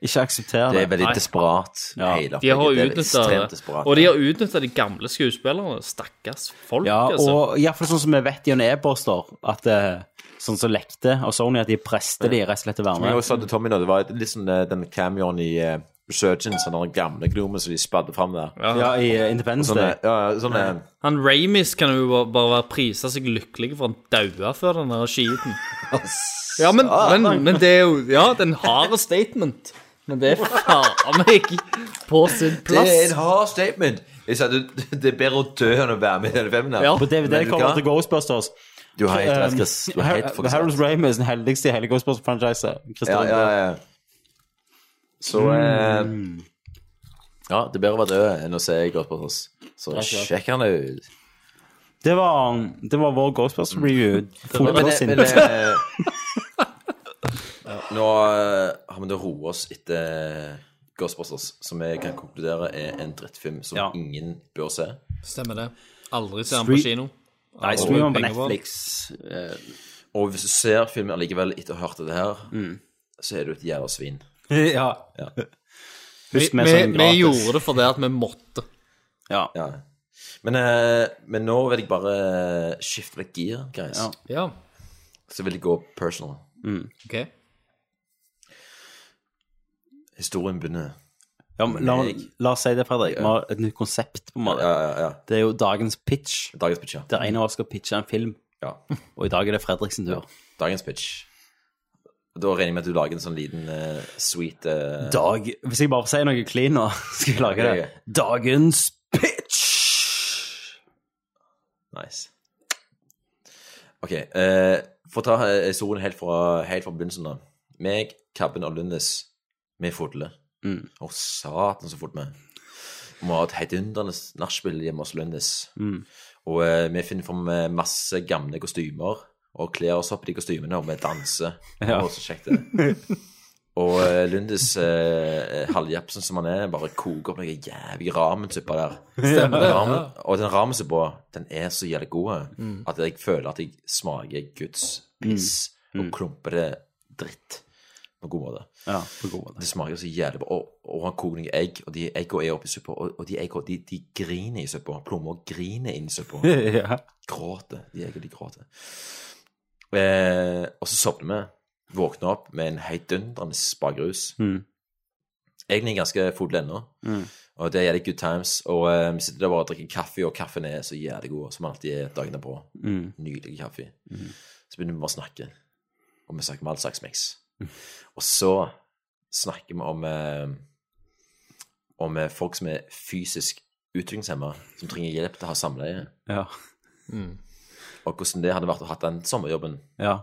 Ikke akseptere det.
Det er veldig
Nei.
desperat.
Ja.
hele
De har
opplegget. Det er
utnytta
ekstremt
det.
desperat.
Og de har utnytta de gamle skuespillerne. Stakkars folk,
Ja,
altså.
og iallfall sånn som vi vet gjennom e-poster, at eh, sånn som lekte og Sony, at de prester de rett og slett til å være
Som jeg
med.
også sa til Tommy nå, det var litt sånn eh, den cameoen i eh, Resurgence, han der gamle gnomen som de spadde fram der.
Ja, i eh, Independence
Sånn,
Day.
eh, ja, ja, sånn, eh,
Han Ramis kan jo bare- bare være prisa seg lykkelig for han daua før den der skiten. Ja, men, men, men det er jo Ja, den harde statement. Men det er faen meg på sin
Det er
plass.
en hard statement. Jeg sa, du, det er bedre å dø enn å være med i denne filmen. her.
På DVD
Men vet du
kommer
hva?
til Ghostbusters.
Du har helt
Um,
rett, Chris. Du har helt
Har-
fucking
Harold Ramis er den heldigste i hele Ghostbusters-franchiset.
Ja, ja, ja. Så eh, Ja, det er bedre å være død enn å se Ghostbusters. Så
Takk, takk.
sjekk han ut.
Det var, um, det var vår Ghostbusters-review. Fort
Men
og
det-
sint.
men det- Nå eh, har vi da roet oss etter Ghostbusters, som vi kan konkludere er en drittfilm som ingen bør se.
Stemmer det. Aldri ser han på
Stre-
kino.
Nei,
Aldri
stream han på
penger den.
Netflix. eh, Og hvis du ser filmen allikevel etter å ha hørt det her, så er du et jævla svin.
ja. sånn
Vi,
Husk vi
vi,
sang
vi
gratis.
gjorde det fordi at vi måtte.
Ja.
Men, eh, men nå vil jeg bare skifte litt gir, guys.
Ja. Ja.
Så vil jeg gå personal.
OK.
Historien begynner.
Ja, men la, la oss si det, Fredrik. Vi har et nytt konsept. på en måte. Det er jo dagens pitch.
Dagens pitch, ja.
Der en av oss skal pitche en film. Og i dag er det Fredrik sin tur.
Dagens pitch. Da regner jeg med at du lager en sånn liten eh, sweet eh,
Dag, Hvis jeg bare får si noe clean nå, skal jeg lage det. Dagens
Nice. Ok, eh, for å ta eh, historien helt fra, helt fra begynnelsen da. Meg, Kabben og Lundes, vi er fodle.
Mm.
Å, satan så fort vi. er. Vi har et heidundrende nachspiel hjemme hos Lundes.
Mm.
Og eh, vi finner fram eh, masse gamle kostymer, og kler oss opp i de kostymene, og vi danser.
Ja.
Og så kjekt det. Og eh, Lundes eh, halvjapsen som han er, bare koker opp noe jævlig ramensuppe der.
Stemmer det, ja.
Ramen, og den ramensuppa, den er så jævlig god eh,
Mm.
at jeg føler at jeg smaker Guds piss
Mm.
og klumper det dritt på en god måte.
Ja, på god måte.
Det smaker så jævlig bra. Og, og han koker noen egg, og de eggene er oppi suppa, og, og de eggene de, de griner i suppa. Plommer griner inn i suppa.
Ja.
Gråter. De eggene de gråter. Eh, og så sovner vi. Våkner opp med en heidundrende bakrus.
Mm.
Egentlig ganske full ennå.
Mm.
Og det er jævlig good times. Og eh, vi sitter der bare og drikker kaffe, og kaffen er så jævlig god, som han alltid er dagen derpå.
Mm.
Nydelig kaffe.
Mhm.
Så begynner vi bare å snakke, og vi snakker om all slags mix.
Mm.
Og så snakker vi om eh, om eh, folk som er fysisk utviklingshemma, som trenger hjelp til å ha samleie.
Ja.
Og hvordan det hadde vært å ha den sommerjobben.
Ja.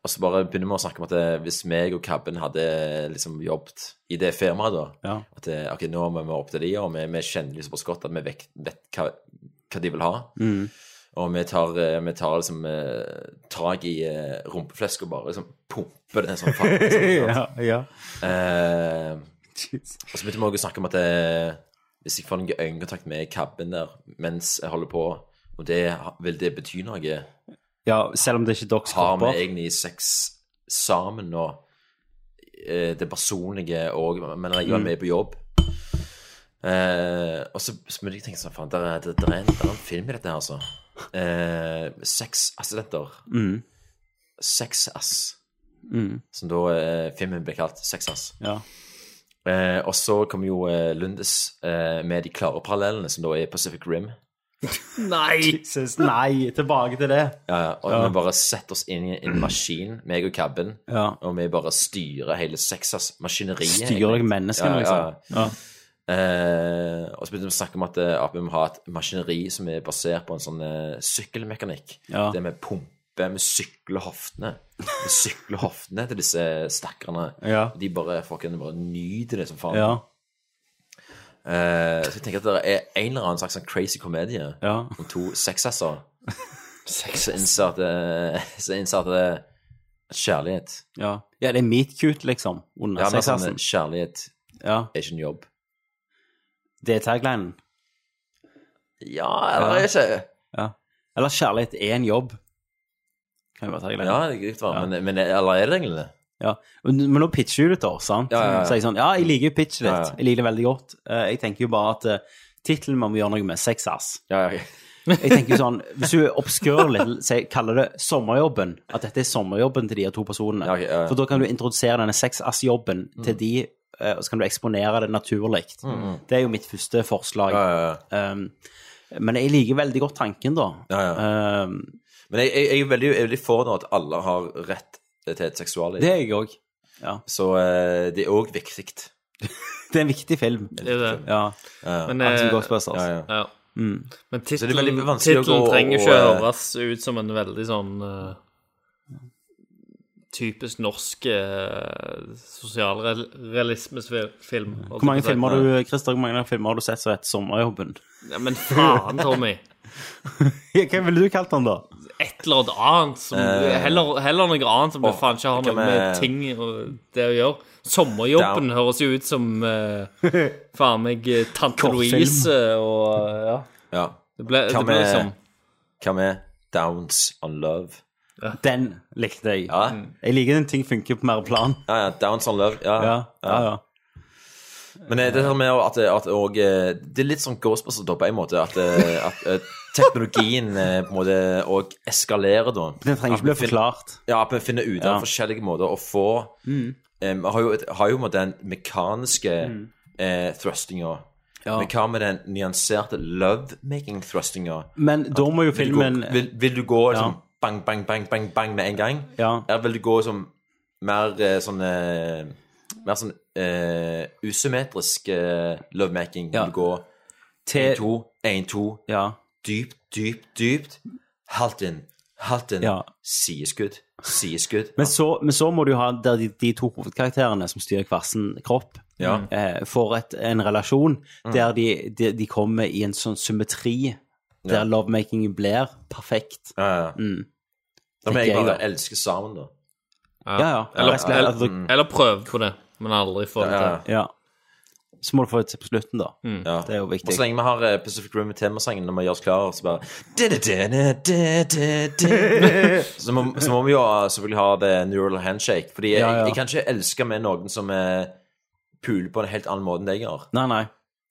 Og så bare begynner vi å snakke om at eh, hvis meg og Kabben hadde liksom jobbet i det firmaet, da
Ja.
At eh, ok, nå må vi opp til de, og vi, vi kjenner liksom oss godt, at vi vet, vet hva, hva de vil ha.
Mm.
Og vi tar, eh, vi tar liksom eh, tak i eh, rumpeflesk og bare liksom pumper den sånn faen. Liksom,
ja, ja.
Eh, og så begynte vi også å snakke om at eh, hvis jeg får noen øyekontakt med kabben der mens jeg holder på, og det, vil det bety noe?
ja, selv om det er ikke deres
Har vi
kropper.
egentlig sex sammen nå? Eh, det personlige og Men jeg er
Mm.
med på jobb. Eh, og så så begynte jeg å tenke sånn Faen, det er, der er, en- der er en film i dette her, altså. Eh, Sexassistenter.
Mm.
Sexass.
Mm.
Som da eh, filmen ble kalt Sexass.
Ja.
Eh, og så kom jo eh, Lundes eh, med de klare parallellene, som da er Pacific Rim.
Nei! Jesus, nei! Tilbake til det.
Ja, ja, og
Ja.
vi bare setter oss inn i en maskin, meg og Cabben,
Ja.
og vi bare styrer hele Sexas-maskineriet.
Styrer dere menneskene, liksom? Ja.
Eh, og så begynte vi å snakke om at, eh, at vi må ha et maskineri som er basert på en sånn eh, sykkelmekanikk.
Ja.
Det med pumpe, vi sykler hoftene. Vi sykler hoftene til disse stakkarene.
Ja.
De bare, fucking, bare nyter det som faen.
Ja.
Eh, så jeg tenker at det er en eller annen slags sånn crazy komedie om to sexasser. Så innser at, eh, så innser at det er kjærlighet.
Ja. ja, det er meet cute, liksom. Under
Ja, men
sexassen.
sånn, kjærlighet
Ja.
er ikke en jobb.
Det er taglinen.
Ja, eller ikke.
Ja. Eller kjærlighet er en jobb. Kan jo være taglinen.
Ja, det er greit, hva,
Ja.
men, men eller er det egentlig det?
Ja, men, men nå pitcher du det til oss, sant?
Ja, ja, ja.
Så jeg sånn, ja, jeg liker jo pitchet ditt.
Ja, ja.
Jeg liker det veldig godt. Eh, jeg tenker jo bare at uh, titlen må vi gjøre noe med sexass.
Ja, ja,
jeg tenker jo sånn, hvis du er obskør litt, så jeg kaller det sommerjobben, at dette er sommerjobben til de her to personene.
Ja, ok, ja, ja.
For da kan du introdusere denne sexass-jobben til de, eh, og så kan du eksponere det naturligt.
Mm, mm.
Det er jo mitt første forslag. Um, men jeg liker veldig godt tanken da. Ehm,
men jeg, jeg, jeg er veldig, jeg er veldig for nå at alle har rett til et seksualliv.
Det er jeg også.
Så eh, det er òg viktig.
Det er en viktig film.
Det er det.
Ja. Akkurat som
Men, eh,
Ghostbusters.
ja,
ja.
Mm.
Men
Så
det er veldig
tittelen
vanskelig å
tittelen
gå
trenger
og,
ikke
eh,
høres ut som en veldig sånn eh, typisk norsk uh, sosialrealismefilm.
Hvor mange filmer har du, Christer, hvor mange filmer har du sett som heter Sommerjobben?
Ja, men faen, Tommy.
Ja, Hva ville du kalt den, da?
Et eller annet annet. Som,
Eh,
heller, heller noe annet som
åh,
faen ikke har
hva
noe med,
med-
ting og det å gjøre. Sommerjobben høres jo ut som uh, faen meg eh, Tante
Kortfilm.
Louise og eh, ja.
Ja.
Det ble- det
Hva
ble
med-
liksom-
Hva med Downs on Love?
Den likte jeg.
Ja.
Jeg liker den ting funker på mer plan.
Ja, ja. Downs on Love. Ja,
Mm. Ja, ja, ja.
Men eh, det her med at, at og, eh, Det er litt sånn Ghostbusters da, på en måte. At, eh, at eh, teknologien eh, på en måte òg eskalerer, da.
Den trenger ikke
At vi
bli
fin-
forklart.
Ja, at vi finner ut av
Ja.
forskjellige måter å få
Mm.
eh, Vi har jo, et- har jo med den mekaniske eh, thrustinga.
Ja.
Men hva med den nyanserte lovemaking-thrustinga?
Men da må jo filmen
Vil du gå, vil, vil du gå
Ja.
liksom, bang, bang, bang, bang, bang med en gang?
Ja.
Eller vil du gå som mer eh, sånn eh, Mer sånn eh, usymmetrisk eh, lovemaking? Vil du gå
Til-
1, 2, 1, 2, dypt, dypt, dypt, halvt inn, halvt inn,
Ja.
sideskudd, sideskudd.
Men så, men så må du jo ha der de, de to hovedkarakterene som styrer hver sin kropp,
Ja.
eh, får et, en relasjon
Mm.
der de, de, de kommer i en sånn symmetri der
Ja.
lovemaking blir perfekt.
Ja, ja.
Mm.
Da må
Tenker
jeg
jeg
bare
da.
elske sammen, da.
Ja, ja.
Eller,
Eller-
eller,
eller-
eller prøve på det, men aldri få det til.
Ja. Så må du få et til på slutten, da.
Ja.
Det er jo
Og
viktig.
så lenge vi har eh, Pacific Rim i temasangen når vi gjør oss klare, så bare så, må, så må vi jo eh, selvfølgelig ha The Neural Handshake. Fordi jeg,
Ja, ja.
jeg kan ikke elske med noen som eh, puler på en helt annen måte enn det jeg gjør.
Nei, nei.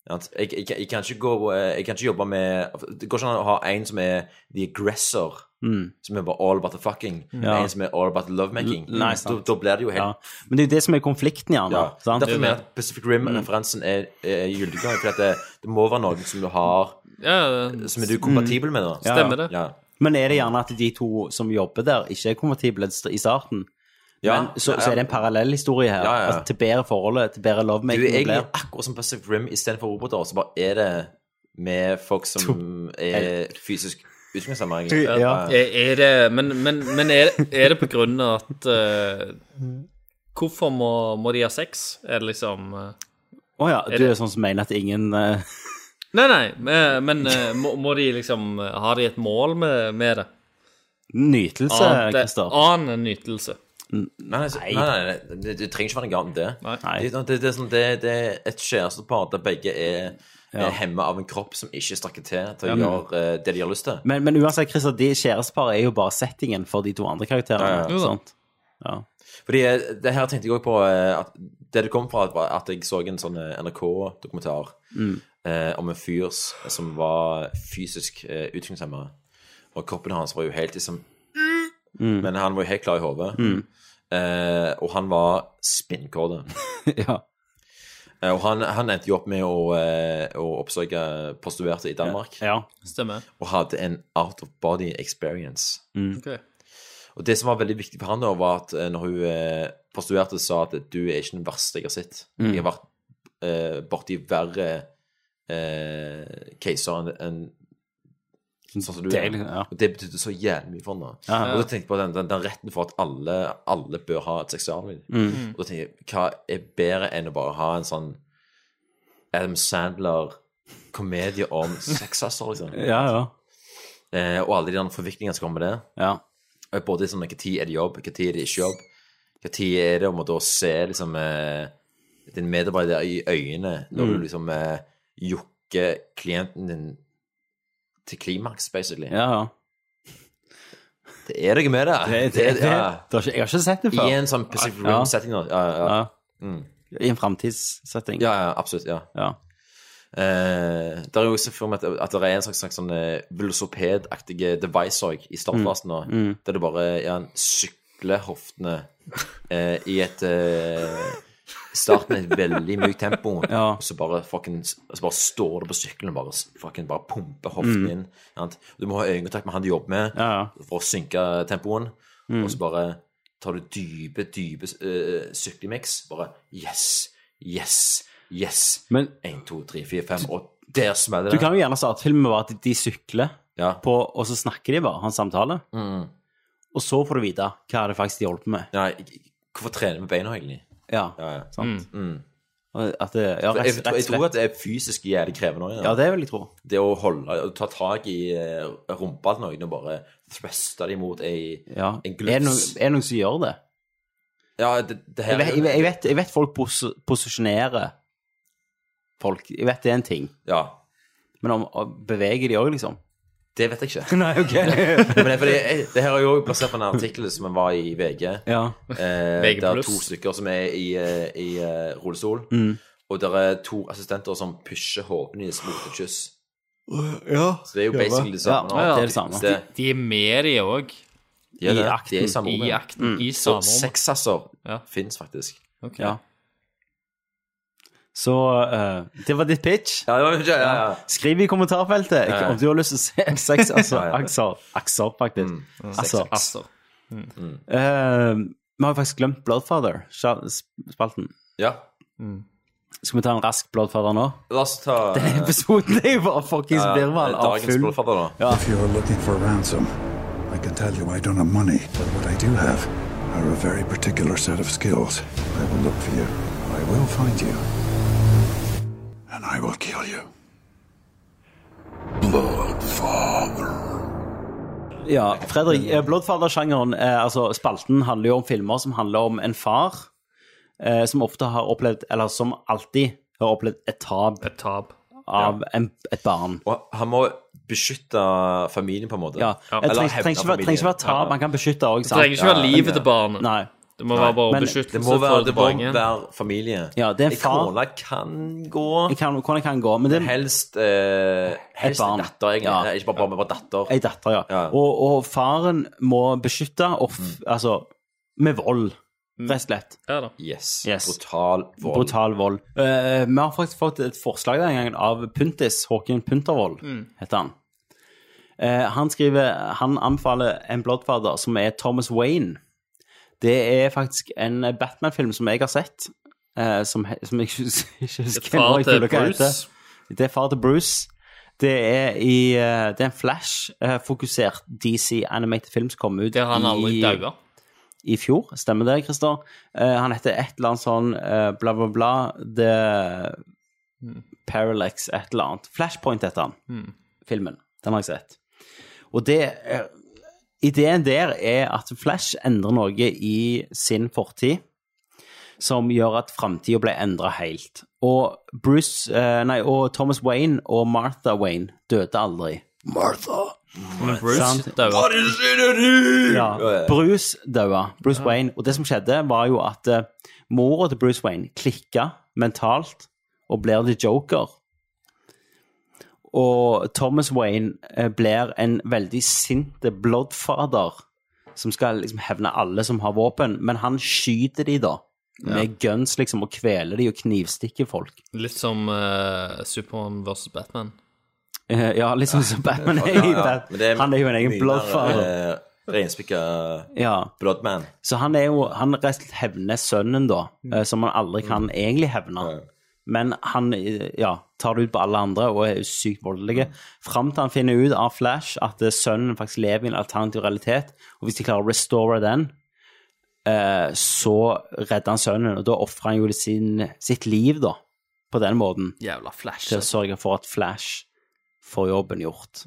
At Jeg, jeg, jeg, kan ikke gå, eh, jeg kan ikke jobbe med Det går ikke an å ha en som er the aggressor,
Mm.
som er bare all about the fucking,
Ja.
og en som er all about the lovemaking.
L- nei,
da,
sant.
da blir det jo helt
Ja. Men det er jo det som er konflikten, gjerne.
ja.
sant?
Derfor mener jeg at Pacific Rim-referansen er, er gyldig. For det, det må være noen som du har Som er du kompatibel med, da.
Ja, ja. Stemmer det.
Ja.
Men er det gjerne at de to som jobber der, ikke er kompatible i starten?
Ja,
Men så,
ja, ja.
så er det en parallellhistorie her.
Ja, ja, ja.
Altså, til bedre forholdet, til bedre
Du
lovemaking.
er egentlig
blir.
akkurat som Pacific Rim istedenfor roboter, så bare er det med folk som er fysisk utviklingshemmede. egentlig.
Er, er det, men men, men er, er det på grunn av at eh, Hvorfor må, må de ha sex? Er det liksom eh,
Å ja, du
Er det-
er sånn som mener at ingen eh,
Nei, nei, men, men eh, må, må de liksom eh, Har de et mål med, med det?
Nytelse,
Annet-
Christer.
Annen enn nytelse.
Nei, nei, så- nei, nei, nei det, det trenger ikke være en gang det.
Nei.
Det, det, det, er sånn, det, det er et kjærestepar der begge er,
Ja.
er hemma av en kropp som ikke strekker til til å
Ja.
gjøre eh, det de har lyst til.
Men, men uansett, Christer, de kjæresteparet er jo bare settingen for de to andre karakterene.
Ja, ja. Jo da.
Sant? Ja.
Fordi eh, det her tenkte jeg òg på eh, at Det det kom fra, var at jeg så en sånn eh, NRK-dokumentar
Mm.
eh, om en fyr s- som var fysisk eh, utviklingshemma. Og kroppen hans var jo helt liksom
Mm.
Men han var jo helt klar i hodet.
Mm.
Eh, og han var spinnkåte.
ja.
Eh, og han, han endte jo opp med å, eh, å oppsøke prostituerte i Danmark.
Ja,
stemmer.
Og hadde en out of body experience.
Mm.
Og det som var veldig viktig for han da, var at eh, når hun eh, prostituerte, sa at du er ikke den verste jeg har sett.
Mm.
Jeg har vært eh, borti verre eh, caser enn enn sånn som du
Deilig, ja.
Og det betydde så jævlig mye for han da.
Ja.
Og da tenkte jeg på den, den, den retten for at alle, alle bør ha et seksualliv.
Mm.
Og da tenkte jeg, hva er bedre enn å bare ha en sånn Adam Sandler komedie om sexasser, liksom?
ja, ja.
Eh, og alle de der forviklingene som kommer med det.
Ja.
Og Både liksom, hva tid er det jobb, hva tid er det ikke jobb? Hva tid er det om å da se liksom, eh, din medarbeider i øynene når
Mm.
du liksom eh, jokker klienten din til klimaks, basically?
ja, ja.
Det er noe med det.
Det- det- det- det har ikke- jeg har ikke sett det før.
I en sånn Pacific
Ja.
Rim-setting. da. Ja, ja.
Ja.
Mm.
I en framtidssetting.
Ja, ja, absolutt. Ja. Eh, der er jo også for meg at, at det er en slags, slags sånn eh, velosopedaktige device også i startfasen. nå,
Mm. Mm.
Der du bare ja, sykler hoftene eh, i et eh, Start med et veldig mykt tempo, og så bare, fucking, så bare står du på sykkelen og bare, fucking, bare pumper hoften
Mm.
inn. Sant? Du må ha øyekontakt med han du jobber med, for å synke tempoen.
Mm.
eh, Og så bare tar du dype, dype uh, syklemiks. Bare Yes! Yes. Yes. Men, 1, 2, 3, 4, 5, og der smeller
Du
det.
kan jo gjerne starte filmen med at de sykler, på, og så snakker de bare, hans samtale.
Mm.
Og så får du vite hva det faktisk de hjelper med.
Nei, hvorfor trener vi beina egentlig?
Ja, Mm. sant. Og At det, ja,
Mm. For
rett,
jeg,
rett,
tror- jeg tror
slett.
at det er fysisk jævlig krevende også,
Ja, det vil jeg tro.
Det å holde, å ta tak i eh, rumpa til noen og bare thruste dem mot ei,
Ja.
en
Er det noen
glufs.
er det noen som gjør det?
Ja, det, det
Jeg
her
vet, jeg vet- jeg vet, jeg vet folk pos posisjonerer folk. Jeg vet det er en ting. Men om, om- beveger de òg, liksom?
Det vet jeg ikke.
Nei, ok.
Men det, er fordi, jeg, det her er jo plassert på en artikkel som var i VG. Eh,
VG+.
der to stykker som er i, eh, i eh, rullestol.
Mm.
Og der er to assistenter som pusher hodene deres mot et kyss.
Ja.
Så det er jo basically det samme. nå.
De, de er med, de òg.
Ja, det er-
I akten.
De er i samme rom,
I
ja.
akten,
Mm.
i
Så
samme rom.
sexsasser fins faktisk.
Ok.
Ja. Så eh, det var ditt pitch.
ja, ja.
Skriv i kommentarfeltet
Ja, ja.
om du har lyst til å se sex altså,
Ja, ja.
akser, akser, faktisk. Akser.
Asser.
Mm.
Eh, vi har faktisk glemt Bloodfather, sja- sp- spalten.
Ja.
Skal vi ta en rask Bloodfather nå?
La oss ta
Denne episoden er jo bare fuckings
Ja, ja.
virvar av
Dagens
full
Bloodfather, da.
Ja.
If you're looking for ransom, I can tell you I don't have money, but what I do have are a very particular set of skills. I will look for you, I will find you, and I will kill you.
Ja, Fredrik,
Mm.
eh, Bloodfather-sjangeren, eh, altså spalten, handler jo om filmer som handler om en far eh, som ofte har opplevd, eller som alltid har opplevd et tap av en, et barn.
Og han må beskytte familien, på en måte.
Ja,
Eller
det trenger,
hevne
trenger, ikke være, trenger ikke være
familien.
tap, man kan beskytte òg.
Det trenger ikke være livet til barnet.
Nei.
Det må være bare
Men-
beskyttelse
det må være-
for
det må
barnet.
Hver familie.
Ja, det er en
En
far.
kone kan gå
En kan- kone kan gå, men det er
Helst, eh, helst
Et barn.
en datter, egentlig.
Ja.
Nei, Ikke bare barn, men bare datter.
ei datter, ja. Og, og faren må beskytte, og, f- altså, med vold, rett og slett.
Ja da.
Yes.
Yes.
Brutal vold.
Brutal vold. Eh, vi har faktisk fått et forslag denne gangen av Puntis, Håken Puntervold,
Mm.
heter han. Eh, han skriver han anbefaler en Bloodfather som er Thomas Wayne. Det er faktisk en Batman-film som jeg har sett, eh, som, he- som jeg ikke hus- ikke husker
far
nå, jeg tror
til
det heter.
Bruce.
Det er far til Bruce. Det er, i, eh, det er en Flash-fokusert DC-animated film som kom ut
Der han aldri
i-
dauer.
i fjor. Stemmer det, Christer? Eh, han heter et eller annet sånn eh, bla, bla, bla The Parallax et eller annet. Flashpoint heter han,
Mm.
filmen. Den har jeg sett. Og det eh, Ideen der er at Flash endrer noe i sin fortid som gjør at framtida ble endra helt. Og Bruce eh, Nei, og Thomas Wayne og Martha Wayne døde aldri. Martha!
Men Bruce
Sant?
dauer. What is it in here?
Ja. Bruce døde. Bruce Wayne. Og det som skjedde, var jo at uh, mora til Bruce Wayne klikka mentalt og blir The Joker. Og Thomas Wayne eh, blir en veldig sinte bloodfather som skal liksom hevne alle som har våpen, men han skyter de da. Med guns, liksom, og kveler de og knivstikker folk.
Litt som eh, Superman versus Batman.
Eh, ja, litt sånn som Batman er.
Ja,
i
ja.
Bat-
Men det
Han er jo en egen
mye mer,
bloodfather.
eh, Reinspikka
Ja.
bloodman.
Så han er jo Han rett og slett hevner sønnen, da, eh, som han aldri kan egentlig hevne. Men han eh, ja, tar det ut på alle andre og er sykt voldelig. Fram til han finner ut av Flash at eh, sønnen faktisk lever i en alternativ realitet, og hvis de klarer å restore den, eh, så redder han sønnen, og da ofrer han jo sin, sitt liv, da, på den måten.
Jævla Flash. altså.
Til å sørge for at Flash får jobben gjort.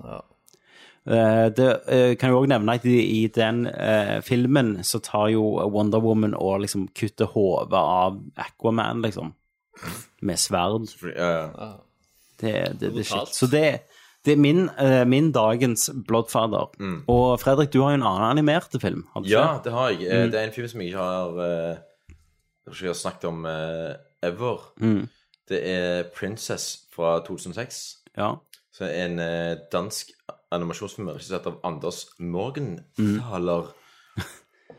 Eh, det eh, kan jo òg nevne at i, i den eh, filmen så tar jo Wonder Woman og liksom kutter hodet av Aquaman, liksom. Med sverd. Altså. Det, det, det er
Brutalt.
shit. Så det, det er min, eh, min dagens Bloodfather.
Mm.
Og Fredrik, du har jo en annen animerte film. Har du ikke
Ja, det har jeg. Eh,
Mm.
Det er en film som jeg ikke har, eh, jeg tror ikke jeg har snakket om eh, ever.
Mm.
Det er 'Princess' fra 2006.
Ja.
Så er en eh, dansk animasjonsfilm regissert av Anders
Mm.
Morgenthaler.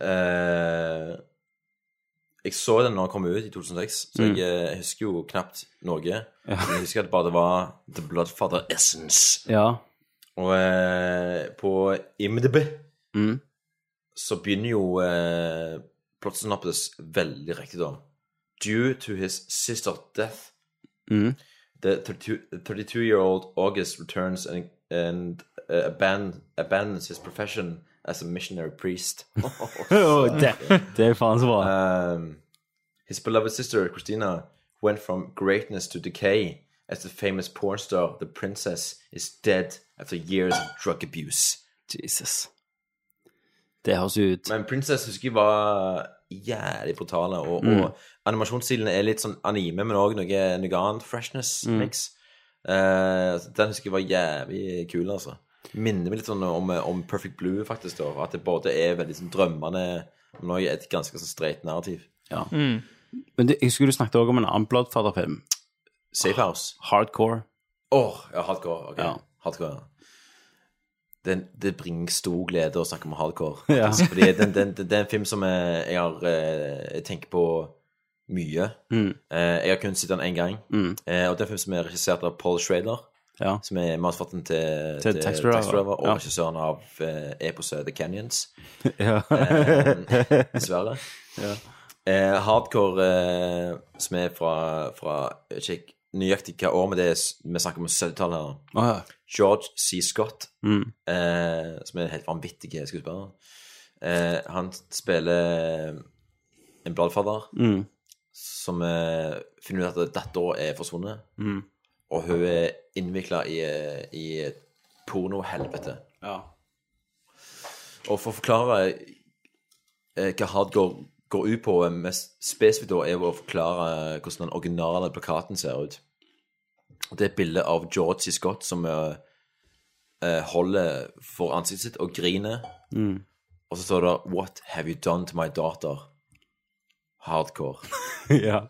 eh, jeg så den når den kom ut i 2006, så
Mm.
jeg eh, husker jo knapt noe. Men jeg husker at bare det var The Bloodfather Essence.
Ja.
Og eh, på IMDb
Mm.
så begynner jo eh, plottsynopsis veldig riktig, da.
due to his sister's death,
Mhm.
the 32 year old August returns and, and uh, aban- abandons his profession as a missionary priest.
Å, det, det er faen så bra.
Um, his beloved sister, Christina, went from greatness to decay as the famous porn star, the princess, is dead after years of drug abuse.
Jesus. Det høres jo ut
Men Princess husker jeg var jævlig brutale, og,
Mm.
og animasjonsstilen er litt sånn anime, men òg noe, noe annet freshness
Mm.
mix. Eh, så den husker jeg var jævlig kul, altså. Minner meg litt sånn om, om Perfect Blue, faktisk, da. At det både er veldig sånn drømmende, men òg et ganske sånn streit narrativ.
Ja. Men det, jeg husker du snakket også om en annen Bloodfather-film.
Safe
Ah.
House.
Hardcore.
Åh, ja, hardcore. ok. Hardcore, ja. Det, det bringer stor glede å snakke om hardcore.
Ja.
faktisk, Fordi den, den, den, det er en film som jeg, jeg har eh, jeg tenker på mye.
Mm.
Eh, Jeg har kun sett den én gang.
Mm.
Eh, Og det er en film som er regissert av Paul Schrader.
Ja.
Som er mannsfatteren til,
Til Taxi Driver.
og
Ja.
regissøren av eh, eposet The Canyons.
Ja.
Eh, dessverre.
Ja.
Eh, hardcore, eh, som er fra, fra jeg vet ikke nøyaktig hva år, men det er, s- vi snakker om 70-tallet her.
Å, ja.
George C. Scott,
Mm.
eh, som er en helt vanvittig skuespiller. Eh, han spiller eh, en bladfader
Mm.
som eh, finner ut at dattera er forsvunnet.
Mm.
Og hun er innvikla i, eh, i et pornohelvete.
Ja.
Og for å forklare eh, hva hardcore går ut på, eh, mest spesifikt da, er jo å forklare eh, hvordan den originale plakaten ser ut. Og Det er et bilde av George C. Scott som eh, eh, holder for ansiktet sitt og griner.
Mm.
Og så står det 'What have you done to my daughter?' Hardcore.
ja.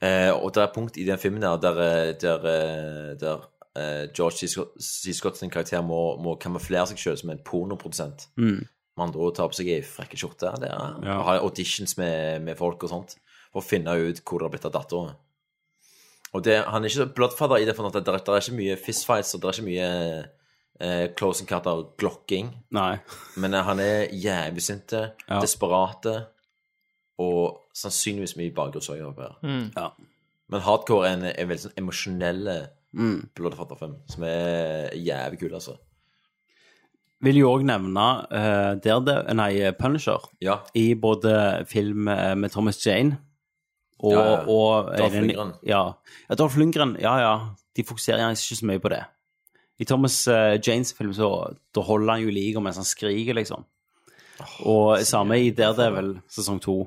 Eh, og det er et punkt i den filmen der der, eh, der, eh, der eh, George C. Scott, C. Scott sin karakter må, må kamuflere seg sjøl som en pornoprodusent.
Mm.
Med andre ord tar på seg ei frekke skjorte der,
Ja.
og har auditions med, med folk og sånt, for å finne ut hvor det har blitt av datteren. Og det, han er ikke så bloodfather i det, for at det, det er ikke mye fistfights og det er ikke mye eh, close encounter og glokking.
Nei.
Men eh, han er jævlig sinte,
Ja.
desperate eh, og sannsynligvis mye bakgrunnsorg oppi her.
Mm. Ja.
Men hardcore er en, en veldig sånn emosjonell
Mm.
bloodfatterfilm, som er jævlig kul, altså.
Vil jo òg nevne eh, Darede- nei, Punisher
Ja.
i både film eh, med Thomas Jane og,
Ja, ja.
og
Dolph
er det en-
Lundgren.
Ja. ja, Dolph Lundgren. Ja, ja. De fokuserer gjerne ikke så mye på det. I Thomas eh, Janes film så da holder han jo livet mens han skriker, liksom. Og samme i Daredevil sesong to.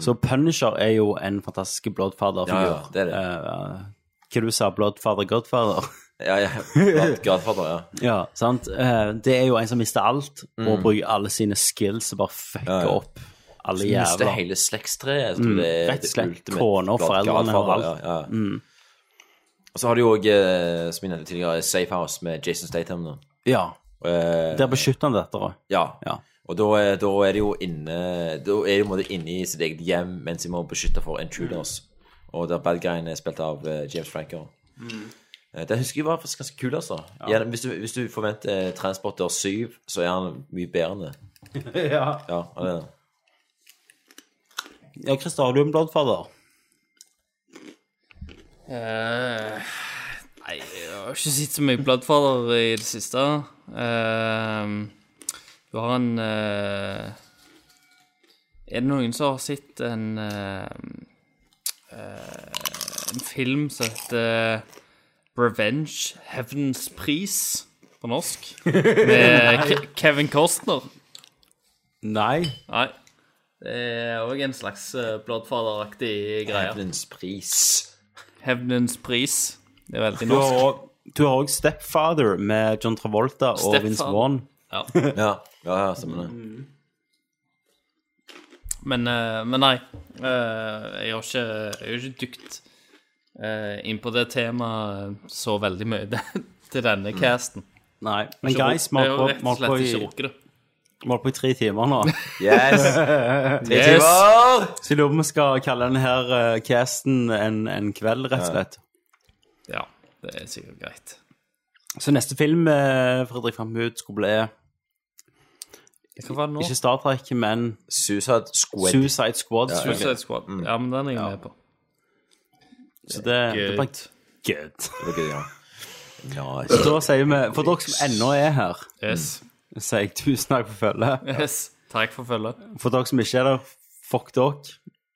Så Punisher er jo en fantastisk bloodfather-figur.
Mm. Ja, ja, det er det.
Eh, hva du sa Bloodfather, Godfather?
Ja, ja. Blood- Godfather, ja.
Ja, sant? Eh, Det er jo en som mister alt, og
Mm.
bruker alle sine skills og bare fucker
Ja, ja.
opp alle
Som mister
jævla
hele slektstreet. jeg tror
Mm,
det er
rett og
det
slett.
ultimate
Kona,
Blood
foreldrene og
Godfather,
alt.
Ja, ja.
Mm.
Og så har du jo òg, eh, som jeg nevnte tidligere, Safe House med Jason Statham. nå.
Ja.
Eh,
Der beskytter han dette, da.
ja. Og da, er- da er det jo inne Da er det på en måte inne i sitt eget hjem mens de må beskytte for intruders.
Mm.
Og der bad guyen er spilt av eh, James Franco. Eh, Den husker jeg var faktisk ganske kul, altså.
Mm. Ja.
Gjerne- hvis, du, hvis du forventer eh, Transporter 7, så er han mye bedre enn det.
ja.
Ja, han er det.
ja, Christer, har du en bloodfather?
Eh, nei, jeg har ikke sett så mye Bloodfather i det siste. Eh, du har en eh, Er det noen som har sett en eh, eh, En film som heter eh, Revenge Heaven's Pris på norsk? Med
Nei.
Ke- Kevin Costner.
Nei.
Nei. Det er òg en slags eh, Bloodfather-aktig greie.
Hevnens pris.
Hevnens pris. Det er veldig
Du har
norsk.
også- Du har òg Stepfather med John Travolta og
Stepfather.
Vince Vaughn.
Ja.
Ja, ja, ja stemmer det.
Men, eh, men nei, eh, jeg har ikke, jeg har ikke dykt eh, inn på det temaet så veldig mye den- til denne casten.
Nei,
Jeg har
men
ikke
guys,
ru-
vi
jeg har
holder
rett
på,
og slett ikke
vi
rukket det.
holder på i tre timer nå.
Yes! Tre
Yes.
timer!
Så jeg lurer på om vi skal kalle denne her eh, casten en, en kveld, rett og slett.
Ja, det er sikkert greit.
Så neste film eh, Fredrik fant ut skulle bli
Hva var det nå?
Ikke Star Trek, men
Suicide Squad.
Suicide Squad.
Ja, Suicide Squad. mm. Ja, men den er jeg med på.
Så det, det blir
Good.
good.
Det var gøy, ja.
Så da sier vi, for dere som ennå er her,
Yes.
sier jeg tusen takk for følget.
yes. Takk for følget.
For dere som ikke er der, fuck dere.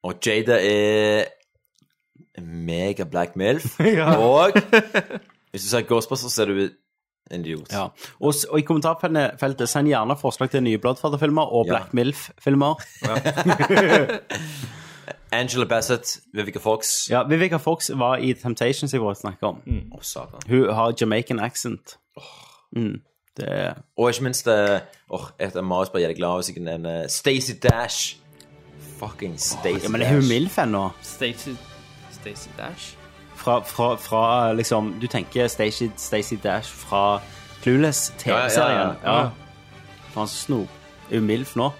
Og Jada er en mega black milf.
Ja.
Og hvis du sier Ghostbusters, så er du en idiot.
Ja. Og, s- og i kommentarfeltet, send gjerne forslag til nye Bloodfather-filmer og
Ja.
Black Milf-filmer.
Angela Bassett, Vivica Fox.
Ja, Vivica Fox var i Temptations jeg var snakke om.
Å, satan.
Hun har Jamaican accent. Mm. Det er
Og ikke minst eh, åh, et av Marius blir jævlig glad hvis jeg nevner Stacey Dash. Fucking Stacey
Ja, men er hun
Dash.
MILF ennå?
Stacey Stacey Dash?
Fra, fra, fra liksom Du tenker Stacey, Stacey Dash fra Clueless TV-serien?
Ja, ja, ja.
Faen, så snop. Er hun MILF nå?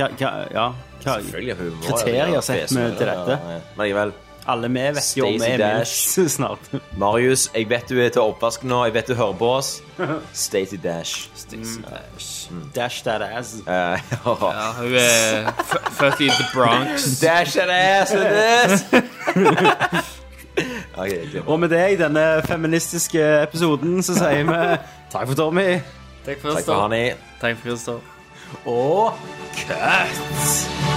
Hva, hva, ja, hva
Selvfølgelig er hun må jo
kriterier
være
setter
fesen,
vi til
ja,
dette?
ja, ja. Men likevel.
Alle vi vet jo om vi
Stacey
er
Dash.
MILF snart.
Marius, jeg vet du er til oppvask nå. Jeg vet du hører på oss. Stacey Dash.
Stacey Dash.
Dash that ass.
Eh,
Ja, hun er fø- født i The Bronx.
Dash that ass with this! Ok, jeg glemmer.
Og med det i denne feministiske episoden så sier vi takk for Tommy
Takk for
Takk for
Kristoff.
Hanni.
Takk for Kristoff.
og cut!